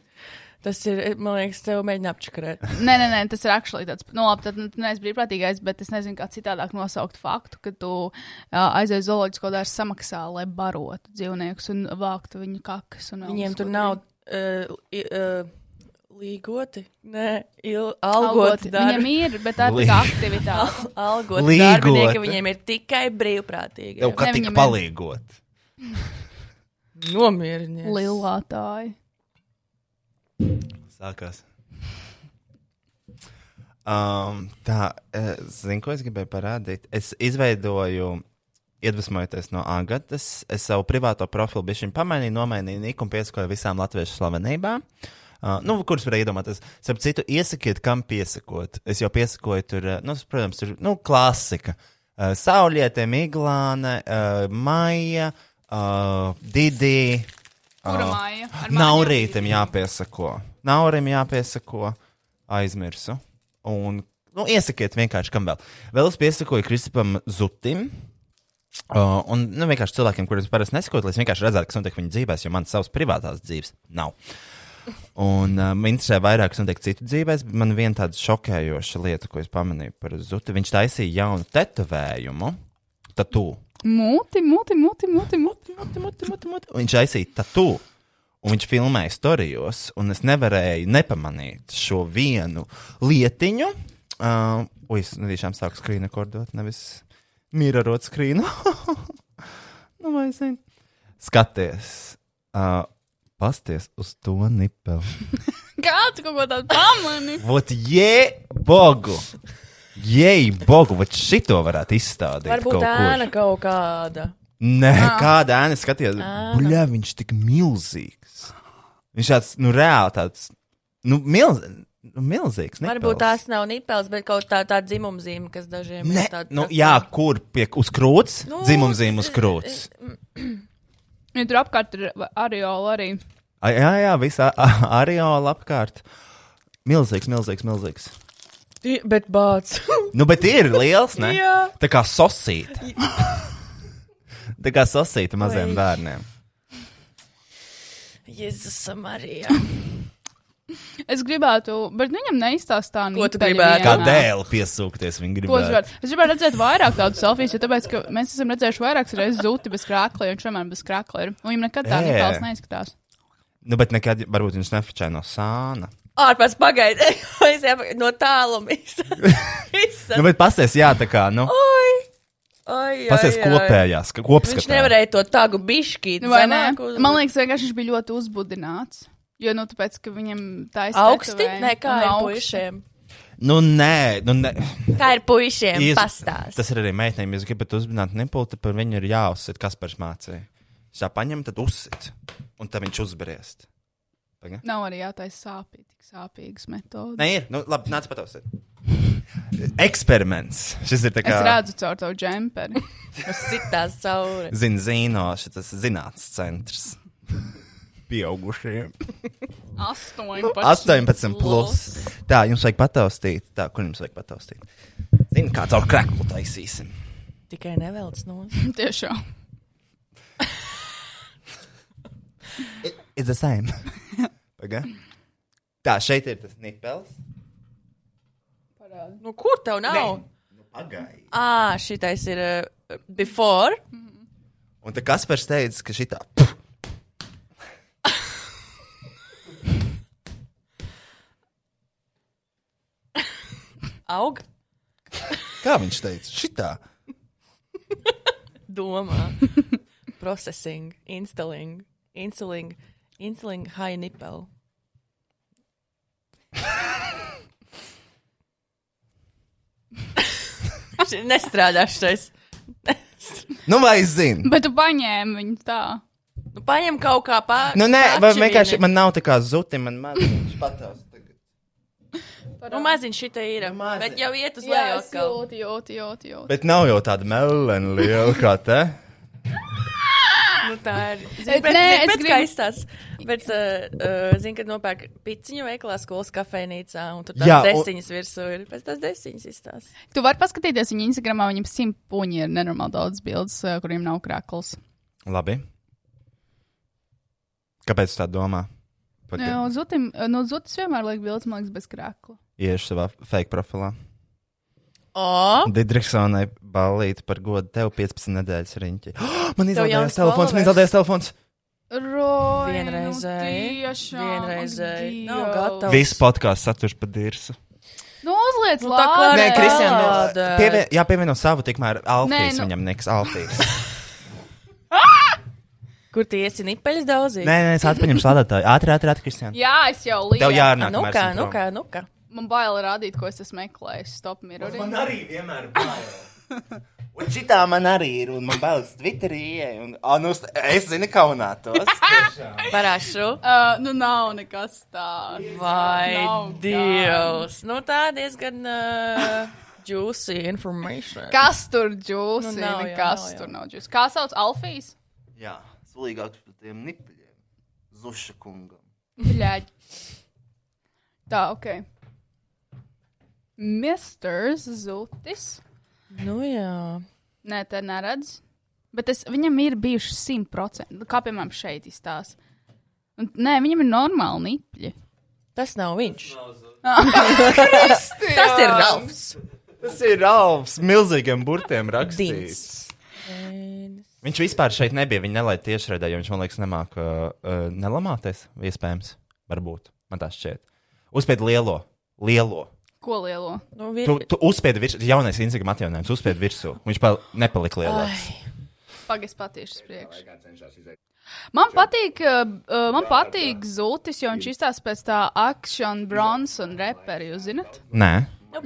S3: Tas ir, man liekas, tev mēģina apčakarēt.
S2: Nē, nē, nē, tas ir akšlī tāds, nu labi, tad neesmu brīvprātīgais, bet es nezinu, kā citādāk nosaukt faktu, ka tu uh, aizies zooloģisko dārstu samaksā, lai barotu dzīvniekus un vāktu viņu kakas. Un vēl
S3: Viņiem
S2: visu
S3: tur
S2: ko
S3: nav
S2: citu.
S3: uh, uh, līgoti, nē, il, algoti.
S2: Algoti.
S3: Dar,
S2: Viņiem ir, bet tā ir tā kā aktivitāte.
S3: <laughs> algoti
S1: Līgoti.
S3: darbinieki, viņiem ir tikai
S1: Tev
S3: brīvprātīgi.
S1: kā
S2: Ne,
S1: tik
S2: viņam ir-
S1: palīgot.
S3: Nomierinies.
S2: Lilātāji.
S1: Sākās. Um, tā, eh, zini, ko es gribēju parādīt? Es izveidoju, iedvesmojoties no Agatas, es savu privāto profilu bišķiņu pamainīju, nomainīju Niku un piesakoju visām latviešu slavenībām. Uh, nu, kuras var iedomāties? Starp citu, iesakiet, kam piesakot. Es jau piesakoju tur, eh, nu, protams, tur, nu, klasika. Uh, Saulietē, Miglāne, uh, Maija, uh, Didi.
S2: Kura
S1: ā,
S2: māja? Ar
S1: Nav
S2: mājām?
S1: rītam jāpiesako. Nav rītam jāpiesako. Aizmirsu. Un, nu, iesakiet vienkārši, kam vēl. Vēl es piesakoju Kristupam Zutim. Uh, un nu, vienkārši cilvēkiem, kuriem parasti nesakoju, lai es vienkārši redzētu, kas notiek viņu dzīvēm, jo man savas privātās dzīves nav. Un uh, man interesē vairāk, kas notiek citu dzīvēm. Man viena tāda šokējoša lieta, ko es pamanīju par Zutu, viņš taisīja jaunu tetovējumu. Tatū.
S2: Muti, muti, muti, muti, muti.
S1: Muti, muti, muti, muti. Un Viņš aizsīja tatū. Un viņš filmēja storijos, un es nevarēju nepamanīt šo vienu lietiņu. Uh, Ui, es tiešām sāku skrīnu rekordot, nevis mirrorot skrīnu. nu, vai zini? <laughs> Skaties, uh, pasties uz to nipeli.
S2: Kāds kaut ko tādu pamani?
S1: Vot, jē, bogu! Jē, bogu! Vot šito varētu izstādīt.
S3: Varbūt
S1: kaut kur.
S3: ēna kaut kāda.
S1: Nē,
S3: Ah.
S1: kāda ēna skatījās.
S3: Ēna.
S1: Buļļā viņš tik milzīgs. Viņš tāds, nu, reāli tāds, nu, milz, nu milzīgs.
S3: Varbūt tās nav nipels, bet kaut tā, tā dzimumzīme, kas dažiem
S1: Ne,
S3: ir tāda.
S1: nu, jā, kur pie uz krūts?
S3: Nu,
S1: Nu, Dzimumzīm uz
S3: e,
S1: krūts. <clears throat>
S3: <clears throat>
S2: Ja tur apkārt ir ariola
S3: <laughs>
S2: arī.
S1: A, Jā, jā, visā areāla apkārt. Milzīgs, milzīgs, milzīgs.
S3: Ti- Bet bāts.
S1: Nu, bet ir liels, ne?
S3: Jā.
S1: Tā kā sosīta. Tā kā sosīta maziem
S3: Oi.
S1: bērniem.
S3: <laughs> Jēzus, Marija.
S2: Es gribētu, bet viņam neizstāstā
S3: Ko tu
S2: nipeļu
S3: gribētu?
S2: vienā.
S1: Kādēļ piesūkties viņa
S2: Ko es
S1: gribētu?
S2: gribētu? Es gribētu redzēt vairāk tādu selfijas, jo tāpēc, ka mēs esam redzējuši vairākas reizes zuti bez krāklī, un viņš vienmēr bez krāklī ir. Un Viņam nekad tā
S1: Ē.
S2: nipels neizskatās.
S1: Nu, bet nekad, varbūt viņš nefičē no sāna.
S3: Ārpus pagaidi, <laughs> es jau no tālumi.
S1: <laughs>
S3: Viss.
S1: Nu, bet pasties, jā, tā kā, nu.
S3: Oi! Oi, oi,
S1: Pasies
S3: oi.
S1: kopējās, ka
S3: Viņš
S1: kopskatā.
S3: nevarēja to tagu bišķīt.
S2: Nu, vai ne? Man liekas, vienkārši viņš bija ļoti uzbudināts. Jo, nu, tāpēc, ka viņam tā ir
S3: augsti. Nē, kā ir puišiem?
S1: Nu, nē, nu, nē.
S3: Kā ir puišiem?
S1: Jūs-
S3: Pastāst.
S1: Tas ir arī meitenēm. Jūs gribat uzzināt nipulti, par viņu ir jāuzsit, kas par mācīja. Viņš tā paņem, tad uzsit, un tad viņš uzbriest. Tagad?
S2: Nav arī jātaisa sāpīgi, tik sāpīgas metodas.
S1: Nē, ir. Nu, labi, nāc patausiet. Eksperiments. Šis ir tā
S2: Es
S1: kā
S2: redzu caur tavu
S3: <laughs>
S2: džemperi.
S3: Sitās cauri.
S1: zinzino, šis zinātnes centrs. Pieaugušiem.
S2: 18.
S1: 18 plus. Tā, jums vajag pataustīt. Tā, kur jums vajag pataustīt? Zini, kā caur kreklu taisīsim.
S3: Tikai nevelc no.
S2: <laughs> Tiešām.
S1: It's the same. Paga. Tā, šeit ir tas nipels.
S3: Nu, kur tev nav?
S1: Pagai.
S3: Ā, šitais ir uh, before.
S2: Mhm.
S1: Un tad Kaspars teica, ka šitā.
S3: Aug.
S1: Kā viņš teica? Šitā.
S3: Domā. <laughs> Processing. Installing. Installing. Installing high
S2: <laughs>
S3: nipple. Šī Nestrādā šitais.
S1: Nu, vai es zinu?
S2: Bet tu paņēmi viņu tā.
S3: Nu, paņem kaut kā pāri.
S1: Nu, nē, vai vienkārši man nav tā kā zuti, man maziņš
S2: <laughs>
S1: pataust. tagad.
S3: Nu, maziņš šitā ir.
S1: Nu, maziņ.
S3: Bet jau iet uz
S2: Jā,
S3: leju
S2: es
S3: atkal.
S2: jūtu, jūtu, jūtu. jūtu.
S1: Bet nav jau tāda melna liela kā te.
S3: <laughs> Nu, tā ir. Zini,
S2: Bet
S3: bet,
S2: nē,
S3: nē,
S2: es
S3: bet
S2: gribu-
S3: skaistās. Bet, uh, uh, zinu, kad nopērk piciņu veikalā skolas kafejnīcā, un tur tās
S1: Jā,
S3: Jā,
S1: un-
S3: desiņas virsū ir. Pēc tās desiņas izstās.
S2: Tu vari paskatīties viņa Instagramā, viņam simt puņi ir nenormāli daudz bildes, eh, kuriem nav krāklis.
S1: Labi. Kāpēc tu tā domā? Pagaid.
S2: No zutim, no zutis vienmēr liek bildes, man liekas, bez krākla.
S1: Iešu savā fake profilā.
S3: O,
S1: Digitālai balīti par godu tev 15 nedēļas riņķi. <gasps> man
S3: Tev
S1: izlaidās
S3: jauns
S1: telefons, man
S3: followers.
S1: izlaidās telefons.
S2: Roj,
S3: Vienreizēji.
S2: Nu tiešām,
S3: Vienreizēji.
S2: ak,
S3: Nav
S2: Dievs.
S3: gatava. Tavs.
S1: Viss podkāsts saturs pa dirsu.
S2: Nu, uzliec
S3: Nu,
S2: nu,
S3: tā kā
S1: Nē,
S3: Nē,
S1: Kristian,
S3: Tāda.
S1: vēl- pievien, jā, pievieno savu, tikmēr Alfīs
S2: Nē, nu-
S1: viņam niks, Alfīs.
S3: kur tie iesi nipeļas daudzi?
S1: Nē, nē, es atpaņemu slādātāju. Ātri, ātri, ātri, Kristian.
S2: Jā, es jau lieku.
S1: Tev jārunā.
S3: nu
S1: kamēr
S3: kā,
S1: esam
S3: nu
S1: prom.
S3: kā, nu kā.
S2: Man bail rādīt, ko es esmu meklējis. Stop mirrorī.
S1: arī vienmēr bail.
S2: <laughs>
S1: Un šitā man arī ir, un man bailes Twitterī, ieeja, un oh, nu, es zinu,
S3: <laughs>
S1: kaunātos. tiešām.
S3: Parāšu.
S2: Uh, nu, nav nekas tāds.
S3: <laughs> Vai
S2: Nav
S3: Dievs. Nu, tā diezgan uh, juicy information.
S2: Kas tur džūsi?
S3: Nu,
S2: Nu,
S3: nav jau, nav
S2: nekas
S3: jau.
S2: tur nav džūsi. Kā sauc Alfijas?
S5: Jā, slīgāks par tiem nipļiem. Zuša kungam.
S2: Bļaģ. Tā, ok. Mr. Zutis.
S3: Nu, jā.
S2: Nē, tā neredz. Bet es, viņam ir bijuši 100%. Kā piemēram šeit izstāsta. Un, nē, viņam ir normāli nipļi. Ah,
S3: Tas nav viņš.
S2: <laughs> Kristi!
S3: Tas ir Ralfs.
S1: Tas ir Ralfs, milzīgiem burtiem rakstīts.
S3: Dins. Dins.
S1: Viņš vispār šeit nebija. Viņa nelaida tiešraidē, jo viņš man liekas, nemāk uh, uh, nelamāties. Iespējams, varbūt. Man tā šķiet. Uzspied lielo, lielo.
S2: Ko lielo?
S3: Nu, vi...
S1: Tu, tu uzspied virsū, jaunais Instagram atjauninājums, uzspied virsū. Viņš pal nepalika lielāks.
S2: Pagaidiet, patiešu uz priekšu. Man patīk, uh, uh, man patīk Zultis, jo viņš izstāsta pēc tā Action Bronson reperi, jūs zinat?
S1: Nē,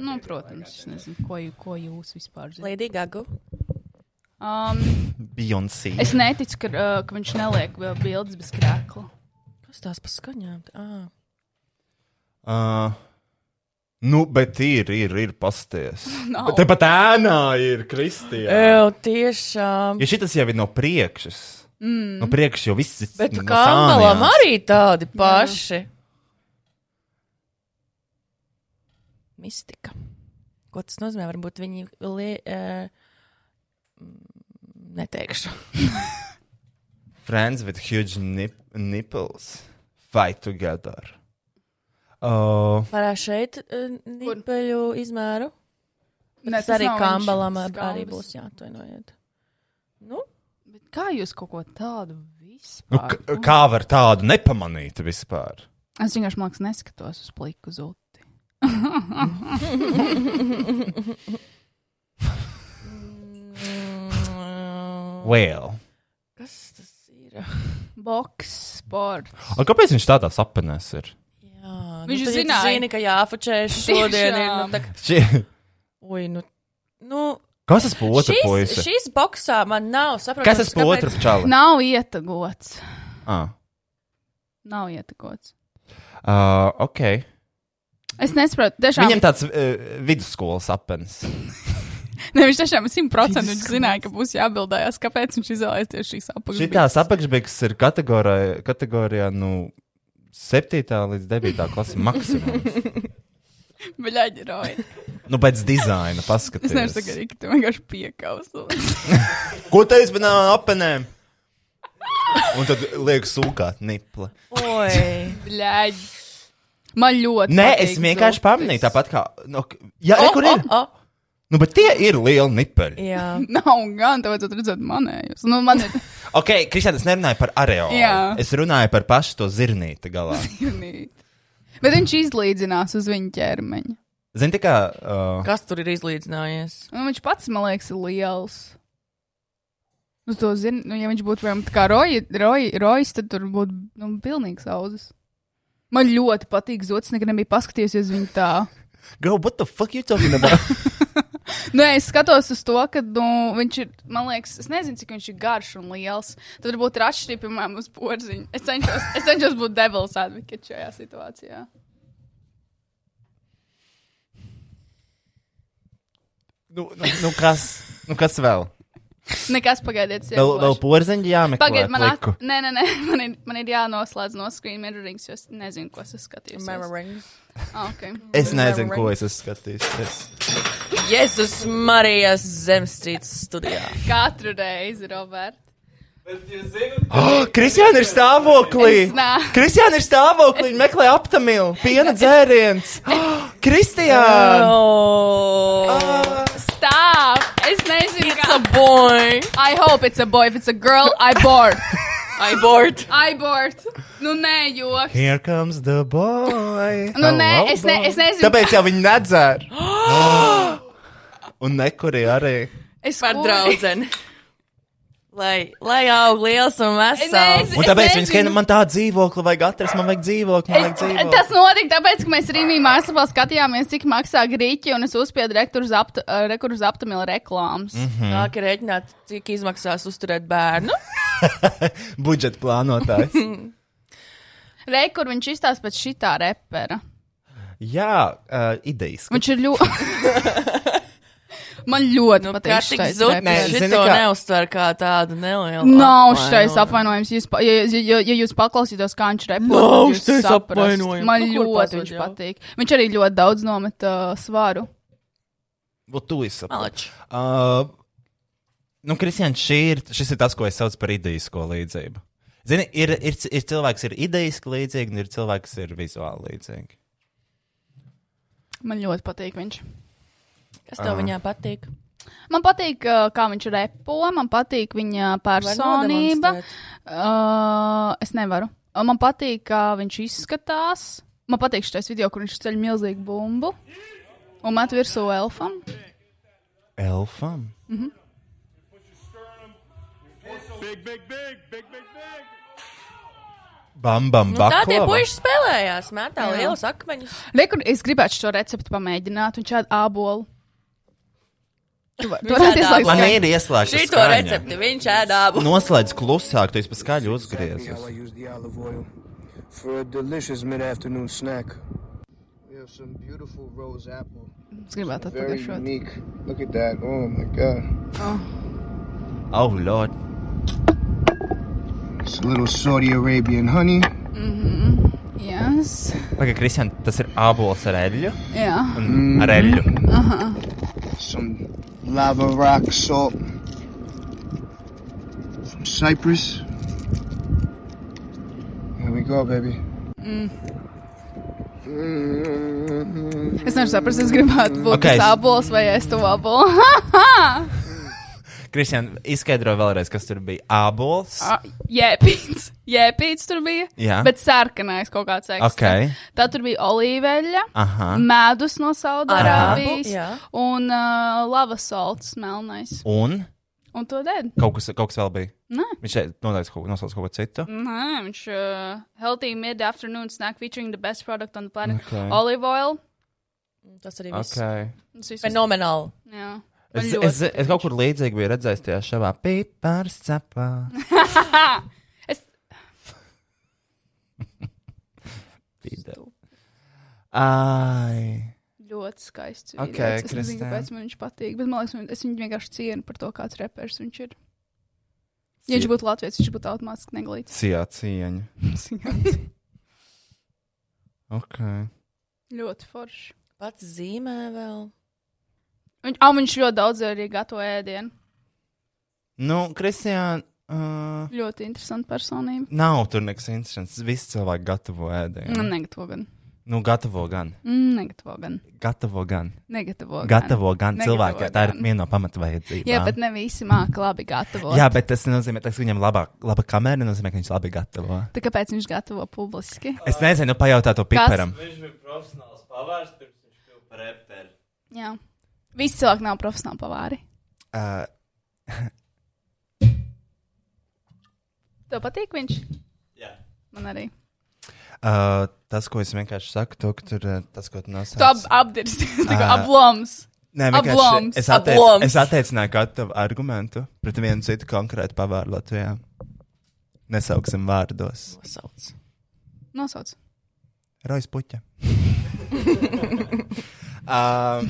S2: Nu, protams, es nezinu, ko, jū- ko jūs vispār zinat.
S3: Lady Gaga.
S2: Um,
S1: Beyoncé.
S2: es neticu, ka, uh, ka viņš neliek vēl bildes bez krēkla.
S3: Kas tās pa skaņām? Ah.
S1: Uh, nu, bet ir, ir, ir pasties.
S2: Nav.
S1: Bet Tepat ēnā ir Kristija.
S3: Ew, tiešām.
S1: Jo šitas jau ir no priekšas. Mm. No priekšas jau viss ir.
S3: Bet
S1: no
S3: kanālam
S1: sānijās.
S3: arī tādi paši. Mistika. Ko tas nozīmē? Varbūt viņi lie, uh, <laughs> neteikšu.
S1: Friends with huge nip nipples fight together. Uh,
S3: Varētu šeit uh, nipeļu izmēru.
S2: Nē,
S3: Tas arī
S2: nav viņš.
S3: kambalam ar,
S2: Skambas.
S3: arī būs jāatvainojiet. Nu,
S2: Bet kā jūs kaut ko tādu vispār?
S1: nu, k- kā var tādu nepamanīt vispār?
S2: Es vienkārši mākslinieks neskatos uz pliku zuti.
S1: Well.
S3: <laughs> kas tas ir?
S2: Boks, sports.
S1: A, kāpēc viņš tādā sapnēs ir?
S3: Jā,
S2: Viņš
S3: nu, tad, ja tu
S2: zināja.
S3: zini, ka jāfučēš šodien. Ir, nu,
S2: Tiešām.
S3: tā, kā-
S1: Šie-
S3: ui, nu, nu,
S1: Kas tas par otru
S3: šis,
S1: puisi?
S3: šis boxā man nav saprotams.
S1: Kas tas par otru čalu?
S2: Nav ietegots.
S1: Ah.
S2: Nav ietegots.
S1: Uh, ok.
S2: Es nesaprotu, tiešām.
S1: Viņam tāds uh, vidusskolas apgabals.
S2: Ne, viņš tiešām simt procentu viņš zināja, ka būs jābildējās, kāpēc viņš izvēlējās tieši šīs apakšas.
S1: Šitās apakšbeigas ir kategorijā, kategorijā nu, 7. līdz 9. klasa maksimums.
S2: Baļaģiroji.
S1: <gasps> nu, pēc dizaina
S2: Es nevaru
S1: paskatās.
S2: sakarīt, ka tu vienkārši piekausu.
S1: Ko teiks par apenēm? Un tad liekas, sūkāt nipli.
S3: Oi,
S2: <laughs> Bļaģ. Man ļoti.
S1: Nē,
S2: patīk
S1: es vienkārši
S2: zūtis.
S1: pamanīju, tāpat kā. Nu, k- jā,
S3: O,
S1: oh, kur
S3: o,
S1: ir? Oh, oh.
S3: o.
S1: Nu, bet tie ir lieli nipeļi.
S3: Jā,
S2: <laughs> Nav gan, tev vajadzētu redzēt manējus. Nu, man ir
S1: Ok, Kristija, es nerunāju par areālu.
S2: Jā.
S1: Es runāju par pašu to zirnīti
S2: <laughs>
S1: galā.
S2: zīmīti. Bet viņš izlīdzinās uz viņa ķermeņa.
S1: Zini, tā kā. Uh,
S3: kas tur ir izlīdzinājies?
S2: Nu, viņš pats, man liekas, ir liels. Nu, to zinu, nu, ja viņš būtu, piemēram, tā kā roji, roji, rojas, tad tur būtu, nu, pilnīgs auzas. Man ļoti patīk zots, nekad nebija paskatījusies viņa tā.
S1: <laughs> Girl, what the fuck you talking about?
S2: <laughs> Nu, es skatos uz to, ka, nu, viņš ir, man liekas, es nezinu, cik viņš ir garš un liels. Tad varbūt ir atšķirība, piemēram, uz porziņa. Es cenšos, es cenšos būt devils advocate šajā situācijā.
S1: nu, nu, nu, kas? Nu, kas vēl?
S2: Nekas pagaidiet,
S1: Vēl, vēl porziņģi jāmeklē.
S2: Pagaidiet, man, at...
S1: pliku.
S2: nē, nē, nē. <laughs> Man, ir, man ir jānoslēdz no screen mirrorings, jo es nezinu, ko es Ah, skatīju.
S3: Memories. <laughs>
S2: Okay.
S1: Es nezinu, ko es esmu skatījis.
S3: Jēzus Marijas Zemstrīts studijā.
S2: Katru reizi, Robert.
S1: Oh, Kristiāna ir stāvoklī!
S2: Es nā.
S1: Kristiāna ir stāvoklī! Viņa meklē aptamīlu, piena dzēriens! Oh, Kristiāna!
S3: Oh,
S2: Stāv! Es nezinu,
S3: it's a
S2: kā.
S3: boy.
S2: I hope it's a boy. If it's a girl, I board.
S3: <laughs> I bored.
S2: I board. Nu, nē, joks.
S1: Here comes the boy!
S2: Nu, nē, es, ne, es nezinu.
S1: Tāpēc jau viņa
S2: <gasps>
S1: nedzēra! Un nekuri arī.
S2: es
S3: Par
S2: kur-
S3: draudzeni. Lai, lai aug liels un vesels.
S2: nezinu.
S1: Un
S2: Es
S1: tāpēc viņa
S2: nezinu.
S1: skrien, man tā dzīvokli vajag atrast, man vajag dzīvokli, man vajag
S2: Es, tas
S1: dzīvokli.
S2: notika tāpēc, ka mēs Rīgā mākslā skatījāmies, cik maksā grīķi, un es uzspiedu rekurs aptamila reklāmas. Mm
S1: Mhm.
S2: -hmm.
S3: Nāk ir rēķināt, cik izmaksās uzturēt bērnu.
S1: Budžeta
S2: <laughs>
S1: plānotājs.
S2: Rekur viņš izstāsta pēc šitā repera.
S1: Jā, uh, idejas.
S2: Viņš ir ļoti. <laughs> Man ļoti
S3: Nu,
S2: nu,
S3: kā
S2: patīk.
S3: tik
S2: šitais
S3: zudni,
S1: Nē,
S2: reperis.
S1: zini,
S3: šito
S1: kā-
S3: neuztver kā tādu nelielu.
S2: Nav
S3: apvainojumu.
S2: šais apvainojums. Jūs, pa- ja, ja, ja- ja jūs paklausītos, kā viņš repo,
S3: Nav
S2: tad jūs
S3: šitais
S2: saprastu.
S3: apvainojums.
S2: Man
S3: Nu, kur
S2: ļoti
S3: pazūd
S2: viņš
S3: jau?
S2: patīk. Viņš arī ļoti daudz nomet uh, svāru.
S1: Vot tu esi.
S3: Malači.
S1: Uh, nu, Kristian, šī ir, šis ir tas, ko es saucu par idejisko līdzību. Zini, ir, ir, c- ir cilvēks, ir idejiski līdzīgi, un ir cilvēks, ir vizuāli līdzīgi.
S2: Man ļoti patīk viņš.
S3: Kas tev viņā patīk?
S2: Man patīk, uh, kā viņš repo, man patīk viņa personība. Uh, es nevaru. Uh, Man patīk, kā viņš izskatās. Man patīk šis video, kur viņš ceļ milzīgu bumbu un met virsū elfam. Mhm.
S1: Elfam.
S6: Big, big, big, big, big, big.
S1: Bam, bam,
S3: Nu,
S1: bam.
S3: tā tie puiši spēlējās, mētā
S2: Jā.
S3: lielus akmeņus.
S2: Rekur, es gribētu šo recepti pamēģināt, un šādu ābolu. Tu va- tu
S3: Viņš
S2: varētu
S3: ēd
S2: ieslēgt
S1: Man
S2: skaņu.
S1: ir ieslēgta
S3: Šito recepti viņš ēdā.
S1: Noslēdz klusāk, tu esi pa
S7: Exactly
S1: skaļu
S7: how I
S1: uzgriezies.
S7: use the olive oil for a delicious mid-afternoon snack. We have some beautiful rose apple,
S2: Es gribētu
S7: very
S2: atpakaļ.
S7: unique. Look at that! Oh my god,
S1: Oh, lord.
S7: it's a little Saudi Arabian honey.
S2: Mhm. Yes.
S1: Pagaid, Kristian, tas ir abols ar eļļu.
S2: Jā.
S1: Mm. Ar eļļu.
S7: Mm-hmm. some lava rock salt, some cypress. Here we go, baby. Mm.
S2: Es nevaru saprast, es gribētu būt
S1: Ok,
S2: okay.
S1: es-
S2: sābols vai es to
S1: <laughs>
S2: ābolu.
S1: Kristian, izskaidro vēlreiz, kas tur bija. Abols.
S2: Ah, Jēpīts. Jēpīts tur bija.
S1: Jā.
S2: Bet sarkanais kaut kāds ekstra.
S1: Ok.
S2: Tā tur bija olīveļa.
S1: Aha.
S2: Medus no Saudārābijas
S3: Aha.
S2: un uh, lava salts melnais.
S1: Un
S2: Un to dēļ?
S1: kaut kas, kaut kas vēl bija.
S2: Nē.
S1: Viņš šeit nodeiz kaut, nosauc kaut ko citu.
S2: Nē, viņš uh, healthy mid-afternoon snack featuring the best product on the planet.
S1: Okay.
S2: Okay. Olive oil.
S3: Tas arī viss.
S1: Okay.
S2: Tas viss-
S3: Fenomenāli.
S2: Jā. Man
S1: Es,
S2: ļoti
S1: es,
S2: <laughs>
S1: es kaut kur līdzīgi biju redzējis tajā šāvā pīpārs
S2: <laughs>
S1: cepā.
S2: Es-
S1: Stupida. Ai.
S2: Ļoti skaists.
S1: Ok,
S2: vīrietis. es nezinu,
S1: Kristēn.
S2: kāpēc man viņš patīk. Bet man liekas, man- es viņu vienkārši cienu par to, kāds reperis viņš ir. Ja viņš būtu Latvijas, viņš būtu automātiski neglīts.
S1: Cijā cieņa. Ok.
S2: <laughs> ļoti forši.
S3: Pats zīmē vēl.
S2: Viņ, oh, viņš ļoti daudz arī gatavo ēdienu.
S1: Nu, Kristiāna, uh,
S2: Ļoti interesanta personība.
S1: nav tur nekas interesants. Visi cilvēki gatavo
S2: Nu,
S1: ēdienu.
S2: negatavo gan.
S1: Nu, gatavo gan.
S2: Mm, negatavo gan.
S1: Gatavo gan.
S2: Negatavo. gan.
S1: Gatavo gan
S2: Negatavo
S1: cilvēki, jo tā ir
S2: gan.
S1: viena no pamatvajadzībām.
S2: Jā, bet ne visi māca labi gatavot.
S1: Jā, bet tas nenozīmē, ka viņam labāk, laba kamera nenozīmē, ka viņš labi gatavo.
S2: Tā kāpēc viņš gatavo publiski?
S1: Es nezinu, pajautā to Piperam.
S8: Viņš bija profesionāls pavārs, pirms viņš kļuva par reperu.
S2: Jā. Visi cilvēki nav profesionāli pavāri.
S1: Uh,
S2: Tev patīk viņš?
S8: Jā.
S2: Man arī.
S1: uh, tas, ko es vienkārši saku, to, ka tur, uh, tas, ko tu
S2: Tu ab,
S1: nosauc.
S2: apdirsi, <laughs> tā kā
S1: Ā.
S2: aploms.
S1: Nē, vienkārši
S2: abloms,
S1: es, atteic,
S3: abloms.
S1: es atteicināju gatavu argumentu pret vienu citu konkrētu pavāru Latvijā. Nesauksim vārdos.
S3: Nosauc.
S2: Nosauc.
S1: Rojas puķa.
S2: <coughs>
S1: um,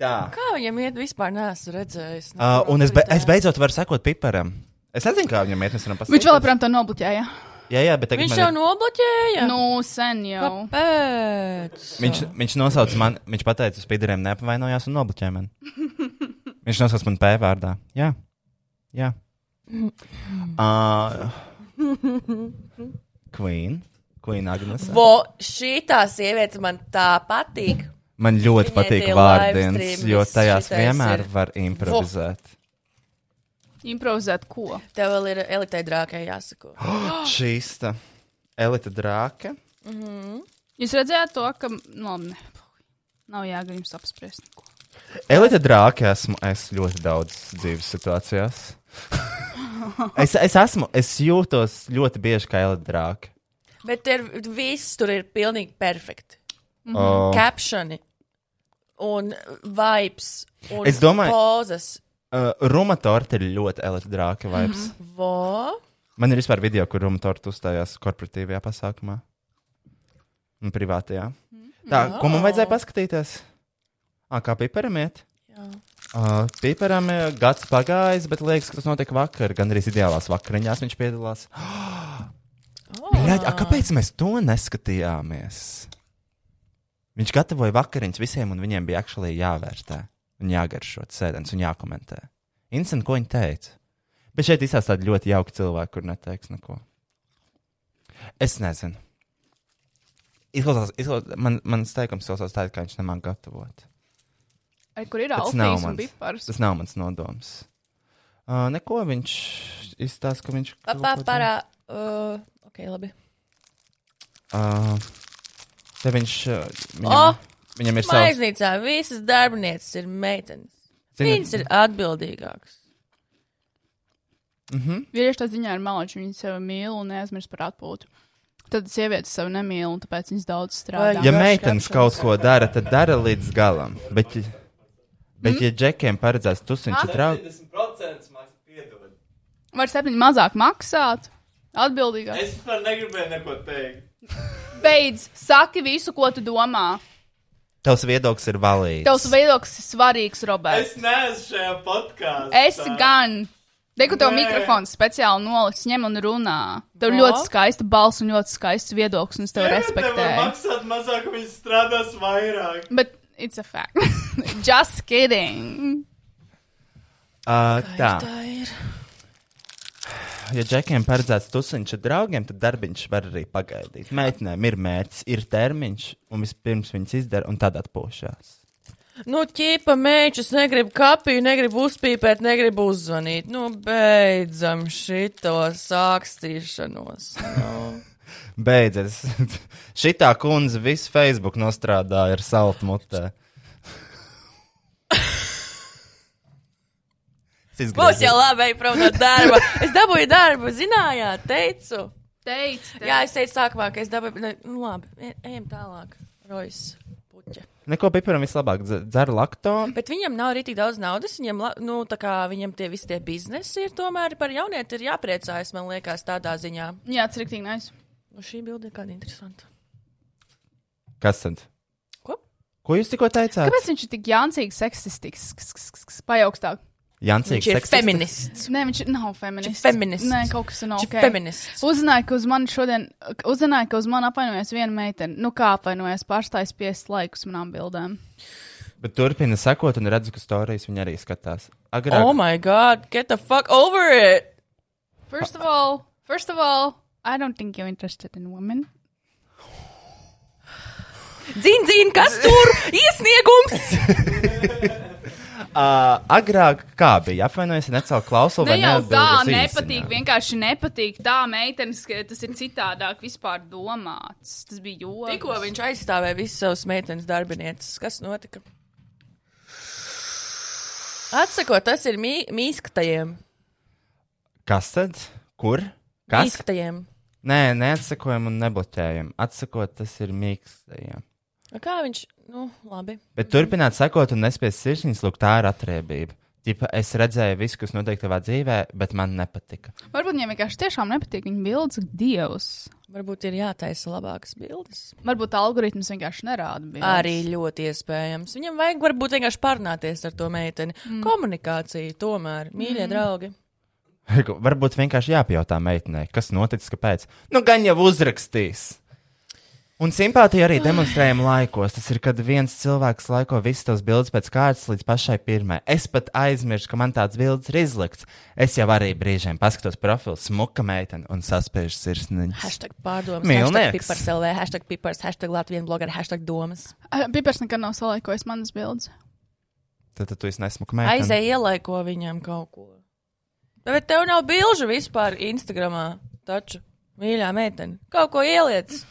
S1: tā.
S3: Kā viņam iet vispār? nu. Nē, es redzēju.
S2: <laughs>
S1: Uh, un es, be, es beidzot varu sekot Piperam. Es nezinu, kā viņam iet, mēs varam pasakāt.
S2: Viņš vēl joprojām to nobloķēja.
S1: Jā, jā, bet tagad
S3: Viņš
S1: man
S3: jau
S1: ir-
S3: nobloķēja.
S2: Nu, sen jau.
S3: Kāpēc?
S1: Viņš, viņš nosauca man, viņš pateica, uz pīdāriem neapvainojās un nobloķēja mani. Viņš nosauca man P vārdā. Jā, jā.
S3: Mm.
S1: Uh, Queen, Queen Agnes.
S3: Vo, šī tā sieviete man tā patīk.
S1: Man ļoti
S3: Viņai
S1: patīk
S3: tie
S1: vārdienas,
S3: livestream
S1: jo
S3: viss
S1: tajās
S3: šitais
S1: vienmēr
S3: ir.
S1: var improvizēt.
S2: Improvizēt ko?
S3: Tev vēl ir elitei drākai
S2: <gasps>
S3: jāsako. <gasps>
S1: <gasps> Šīsta elita drāke.
S3: Mhm.
S2: Jūs redzējāt to, ka. Nu, labi, ne. Nav jāgrib jums apspriest. neko.
S1: Elita drāke esmu es ļoti daudz dzīves situācijās.
S3: <laughs>
S1: es, es esmu, es jūtos ļoti bieži kā elita drāke.
S3: Bet tur viss tur ir pilnīgi perfekti.
S1: Mm
S2: Mhm.
S1: -hmm.
S3: Captioni un vibes un
S1: Es domāju-
S3: pozas.
S1: Uh, Runa torta ir ļoti elektrāka vibes. Mm -hmm.
S3: Mhm. Vo?
S1: Man ir vispār video, kur Runa torta uzstājās korporatīvajā pasākumā. Un privātajā.
S3: Mhm.
S1: Tā, ko man vajadzēja paskatīties? À, kā piperam iet?
S3: Jā.
S1: Uh, piperam ir gads pagājis, bet liekas, ka tas notika vakar. Gan arī ideālās vakariņās viņš piedalās. <gasps> Bļaļ, a, kāpēc mēs to neskatījāmies? Viņš gatavoja vakariņas visiem, un viņiem bija actually jāvērtē, un jāgaršo sēdes un jākomentē. Incent, ko viņa teica? Bet šeit izsaka tādi ļoti jauki cilvēki, kur neteiks neko. Es nezinu. Izklausās, izklausās man, mans teikums klausās tā, it kā viņš nemāķi gatavot.
S2: Ai, Kur ir
S1: Tas nav
S2: Alfons un
S1: mans.
S2: Bipars?
S1: Tas nav mans nodoms. Uh, neko viņš izstāsta, ka viņš. kaut ko
S3: Papā
S1: dara.
S3: parā. Uh, ok, labi.
S1: Ā, Te viņš. ā, Viņam,
S3: O!
S1: oh, viņam ir savs.
S3: Maiznīcā visas darbinieces ir meitenes.
S1: Zini-
S3: Viņas ir atbildīgākas.
S2: Vīrieši tā ziņā ir maloči, viņi sevi mīl un neaizmirst par atpūtu. Tad sievietes sevi nemīl, un tāpēc viņas daudz strādā.
S3: Vai-
S1: Ja
S3: Garš
S1: meitenes
S3: kapšanas.
S1: kaut ko dara, tad dara līdz galam. Bet, ja-
S2: Mm?
S1: bet ja džekiem paredzēts tusiņš, tad draugs.
S8: 50% maksā piedod.
S2: Var septiņi mazāk maksāt, atbildīgāk.
S8: Es vispār negribēju neko teikt.
S2: Beidz, saki visu, ko tu domā.
S1: Tavs viedoklis ir valīts.
S2: Tavs viedoklis ir svarīgs, Roberts.
S8: Es neesmu šajā podkāstā.
S2: Es gan. Deku tev
S8: Nē.
S2: mikrofons speciāli noliks, ņem un runā. Tev
S3: No.
S2: ļoti skaista balss un ļoti skaists viedoklis, un es tevi respektēju.
S8: Maksāt mazāk, viņi strādās vairāk.
S2: Bet it's a fact. <laughs> Just kidding.
S1: Uh, tā.
S3: Tā ir.
S1: Ja džekiem paredzēts tusiņš ar draugiem, tad darbiņš var arī pagaidīt. Meitenēm ir mērķis, ir termiņš, un vispirms viņas izdara un tad atpūšās.
S3: Nu, ķīpa mēģis, negribu kapiju, negribu uzpīpēt, negribu uzzvanīt. Nu, beidzam šito sākstīšanos. Nu.
S1: <laughs> Beidzies. Šitā kundze visu Facebook nostrādāja ar saltu mutē. Es
S3: Būs jau
S1: izgriezu.
S3: labi, ej prom no darba. Es dabūju darbu, zinājāt, teicu.
S2: Teic, teic.
S3: Jā, es teicu sākumā, ka es dabūju, ne, nu labi, e- ejam tālāk. Rojas puķa.
S1: Neko piparam vislabāk dze- dzer lakto.
S3: Bet viņam nav arī tik daudz naudas, viņam, la- nu, tā kā viņam tie visi tie biznesi ir tomēr par jaunieti ir jāpriecājas, man liekas, tādā ziņā.
S2: Jā, tas ir rīktīgi nice.
S3: Nu, šī bilde ir kāda interesanta.
S1: Kas tad?
S3: Ko?
S1: Ko jūs tikko teicāt?
S2: Kāpēc viņš ir tik jāncīgs, seksistisks, pajaukstāk?
S1: Jansīgs
S3: Viņš ir
S1: seksists?
S3: feminists.
S2: Nē, viņš nav feminists.
S3: Viņš ir feminists.
S2: Nē, kaut kas nav
S3: Viņš ir
S2: okay.
S3: feminists.
S2: Uzzināju, ka uz mani šodien, uzzināju, ka uz mani apvainojas viena meitene. Nu, kā apvainojas, pārstājas piest laikus manām bildēm.
S1: Bet turpina sekot, un redzu, ka stāstījis viņa arī skatās. Agrāk,
S3: Oh my god, get the fuck over it!
S2: First of all, first of all, I don't think you're interested in women.
S3: Zin, zin, kas tur iesniegums?
S1: uh, agrāk kā bija? Apvainojos, ja necēlu klausuli.
S2: Ne
S1: vai
S2: jau tā
S1: neatbildu uz
S2: nepatīk,
S1: īsiņām.
S2: vienkārši nepatīk tā meitenes, ka tas ir citādāk vispār domāts. Tas bija joks.
S3: Tikko viņš aizstāvēja visus savus meitenes darbinieces. Kas notika? Atsakot, tas ir mī, mīskatajiem.
S1: Kas tad? Kur? Kas?
S3: Mīskatajiem.
S1: Nē, neatsakojam un nebloķējam. Atsakot, tas ir mīkstajiem.
S3: Nu, Kā viņš? Nu, labi.
S1: Bet turpināt sekot un nespiest sirsniņas, lūk, tā ir atriebība. Tipa, es redzēju visu, kas notiek tavā dzīvē, bet man nepatika.
S2: Varbūt viņam vienkārši tiešām nepatīk viņa bildes, ka dievs.
S3: Varbūt ir jātaisa labākas bildes.
S2: Varbūt algoritms vienkārši nerāda bildes.
S3: Arī ļoti iespējams. Viņam vajag varbūt vienkārši parunāties ar to meiteni. Mm. Komunikācija tomēr, mīļie mm. draugi.
S1: Varbūt vienkārši jāpajautā meitenei, kas noticis, kāpēc. Nu, gan jau uzrakstīs. Un simpātija arī demonstrējama laikos. Tas ir, kad viens cilvēks laiko visas tās bildes pēc kārtas līdz pašai pirmajai. Es pat aizmirsu, ka man tāds bildes ir izlikts. Es jau arī brīžiem paskatos profilu, smuka meitene un saspiežu sirsniņu.
S3: Hashtag pārdomas,
S1: Mīlnieks.
S3: hashtag pipars LV, hashtag pipars, hashtag Latvijas blogeri, hashtag domas.
S2: Pipers Eh, nekad nav salaikojis manas bildes.
S1: Tad, tad tu esi nesmuka meitene.
S3: Aizēja ielaiko viņam kaut ko. Bet tev nav bilžu vispār Instagramā. Taču, mīļā meitene, kaut ko ieliec.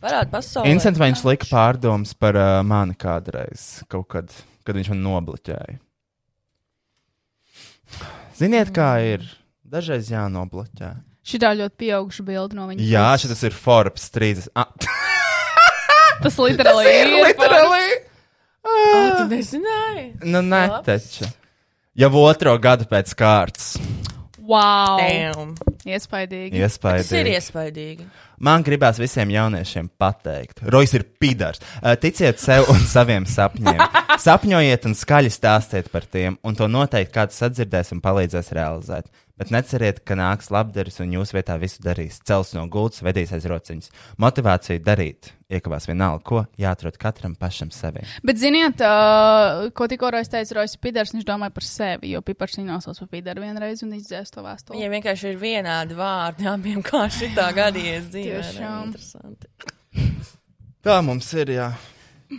S3: Parādi pasaulē.
S1: Incents vai viņš lika pārdomas par uh, mani kādreiz, kaut kad, kad viņš man nobloķēja. Ziniet, kā ir? Dažreiz jānobloķē.
S2: Šī tā ļoti pieauguša bilde no viņa.
S1: Jā, šis ir Forbes 30. Ah, <laughs>
S2: Tas literāli ir. Ah,
S1: literally!
S3: Ā, Tu nezināji?
S1: Nu, nē,
S3: Labs.
S1: taču. Jau otro gadu pēc kārtas.
S2: Wow!
S3: Damn.
S2: Iespaidīgi.
S3: Tas ir
S1: Iespējams.
S3: iespaidīgi.
S1: Man gribās visiem jauniešiem pateikt, Rojas ir pidars. Uh, Ticiet sev un <laughs> saviem sapņiem. Sapņojiet un skaļi stāstiet par tiem, un to noteikti kāds sadzirdēs un palīdzēs realizēt. Bet neceriet, ka nāks labdaris un jūs vietā visu darīs. Cels no gultas, vedīs aiz rociņas. Motivācija darīt, iekavās vienalga, ko jāatrod katram pašam sevim.
S2: Bet, ziniet, uh, ko tikko Rojas teica, Rojas ir pidars, viņš domāja par sevi, jo Pipars viņu nosauc par pidaru vienreiz un izdzēs to vēstuli.
S3: Viņiem vienkārši ir vienādi vārdi abiem, kā šitā gadījies dzīvē.
S2: Tiešām.
S3: Interesanti.
S1: Tā mums ir, jā.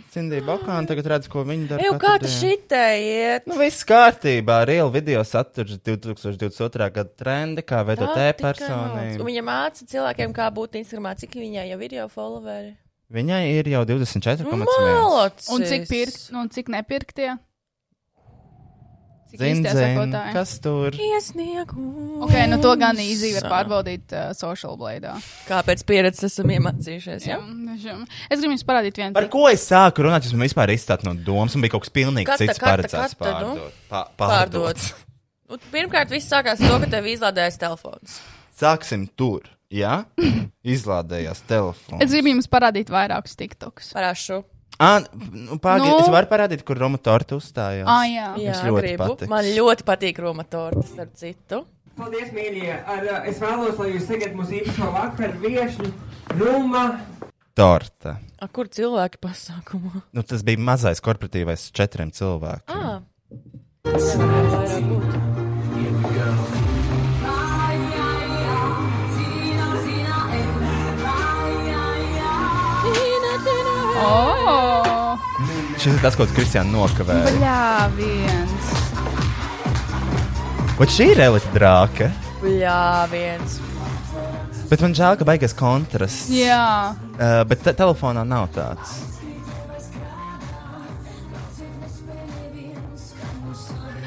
S1: Cindija Bakāna tagad redz, ko viņa dara.
S3: Eju,
S1: katru
S3: kā tu
S1: dienu.
S3: šitā iet?
S1: Nu, viss kārtībā. Real video saturs 2022. gada trendi, kā veidot
S3: Un
S1: e-personību.
S3: viņa māca cilvēkiem, kā būt Instagramā, cik viņai jau ir jau followeri.
S1: Viņai ir jau 24,5.
S3: Malots!
S2: Un cik pirkt, nu, un cik nepirktie? Cik
S1: Zin,
S2: īstie
S1: zin,
S2: sekotāji?
S1: kas tur?
S3: Iesniegums.
S2: Ok, nu to gan īzīgi var pārbaudīt uh, social bladā.
S3: Kāpēc pieredzes esam iemācījušies? Ja?
S2: Es gribu jums parādīt vienu
S1: Par ko es sāku runāt? Jūs man vispār izstāt no domas, un bija kaut kas pilnīgi
S3: Kata,
S1: cits
S3: kata,
S1: paredzēts.
S3: kata, nu.
S1: Pārdot. Pa, pārdot.
S3: Pārdots. Nu, pirmkārt, viss sākās ar to, ka tev izlādējas telefons.
S1: Sāksim tur. Jā, izlādējās
S2: Es
S1: telefons.
S2: gribu jums parādīt vairākus tiktokus.
S3: Parāšu.
S1: Ah, nu, Pagaidiet, nu...
S2: Nu.
S1: es varu parādīt, kur Roma torta uzstājās.
S2: Ah, jā.
S3: Jā,
S1: ļoti
S3: gribu.
S1: patiks.
S3: Man ļoti patīk Roma torta, starp citu.
S9: Paldies, mīļie! Ar, uh, es vēlos, lai jūs sagatavot mūsu īpašo vakaru viesi, Ruma.
S1: Torta.
S3: A, kur cilvēki pasākumā?
S1: Nu, tas bija mazais korporatīvais četriem cilvēkiem.
S3: Ah,
S2: Oh,
S1: Šis ir tas, ko tu, Kristiāna nokavēji.
S2: jā, viens.
S1: Vai šī ir relika drāka?
S3: jā, viens.
S1: Bet man žēl, ka beigas kontrasts.
S2: Jā,
S1: Uh, bet te telefonā nav tāds.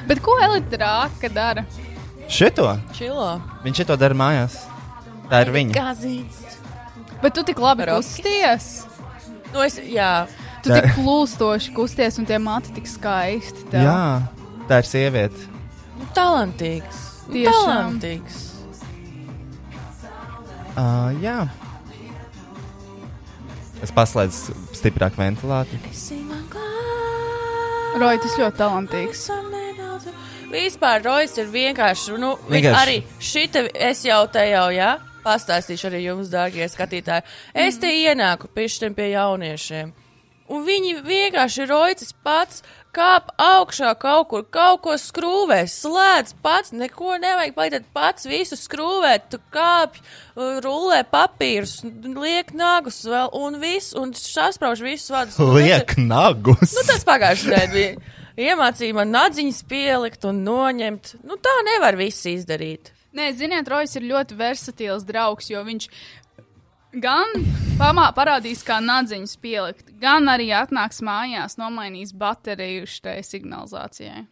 S2: bet ko Elita Rāka dara?
S1: Šito?
S3: Čilo.
S1: Viņš šito dara mājās. Tā ir viņa.
S3: Gazīts.
S2: Bet tu tik labi
S3: Rokis.
S2: kusties.
S3: Nu, es, jā.
S2: Tu
S1: Tā-
S2: tik plūstoši kusties, un tie mati tik skaisti. tev.
S1: Jā, tā ir sieviete.
S3: Nu, talantīgs. Nu,
S2: Tiešām.
S3: Talantīgs.
S1: Uh, Ah, jā, Es paslēdzu stiprāk ventilātu.
S2: Roja, tas ļoti talantīgs.
S3: Vispār Rojas ir vienkārši. Nu, vienkārši.
S1: Vienkārši.
S3: Arī šita es jau te jau, jā, pastāstīšu arī jums, dārgie skatītāji. Es te ienāku pišķiņ pie jauniešiem. Un viņi vienkārši rojas pats, kāp augšā kaut kur, kaut ko skrūvē, slēdz pats, neko nevajag palīdzēt pats, visu skrūvē, tu kāpj, uh, rullē papīrus, liek nagus vēl un viss, un sasprauž visus vārdus. Un tas ir-
S1: Liek nagus!
S3: Nu, tas pagājušajā gadā bija. Iemācīja man nadziņas pielikt un noņemt. Nu, tā nevar viss izdarīt.
S2: Nē, ziniet, Rojas ir ļoti versatīvs draugs, jo viņš gan pamā, parādīs, kā nadziņas pielikt, gan arī atnāks mājās, nomainīs bateriju šai signalizācijai.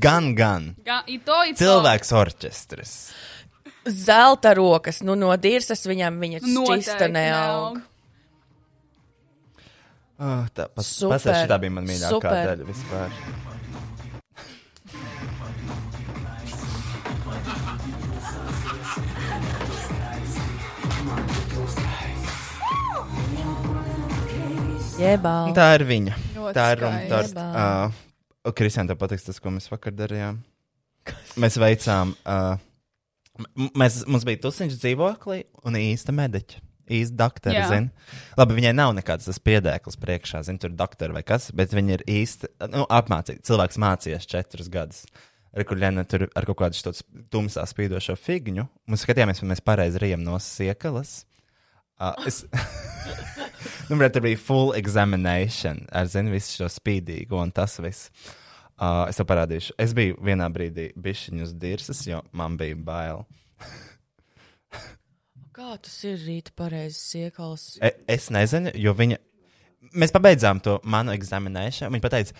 S1: Gan, gan.
S2: Gan, i to, i to.
S1: Cilvēks orķestris.
S3: Zelta rokas, nu, no dirzas viņam viņa čista
S2: Noteikti
S3: neaug.
S1: Oh, tā pas,
S3: Super.
S1: pasēž, šitā bija mana mīļākā
S3: Super.
S1: daļa vispār. Un
S3: Jebal.
S1: Tā ir viņa.
S2: Ļoti
S1: tā ir runa. Tā ir.
S3: skaisti.
S1: Uh, Kristian, tev patiks tas, ko mēs vakar darījām. Mēs veicām. Uh, m- mēs, mums bija tusiņš dzīvoklī un īsta mediķa. Īsta doktora,
S2: Jā.
S1: zina. Labi, viņai nav nekāds tas piedēklis priekšā, zina, tur doktora vai kas, bet viņa ir īsta, nu, apmācīta. Cilvēks mācījās četrus gadus. Rekuļēna tur ar kaut kādu šo tumsā spīdošo figņu. Mēs skatījāmies, vai mēs pareizi rījām no siekalas. Uh, es... <laughs> nu, bet tur bija full examination ar, zinu, visu šo spīdīgo un tas viss. Uh, es tev parādīšu. Es biju vienā brīdī bišķiņu uz dirzas, jo man bija bail.
S3: Kā tas ir rīta pareizes iekals?
S1: E es nezinu, jo viņa. Mēs pabeidzām to manu examinēšanu. Viņa teica,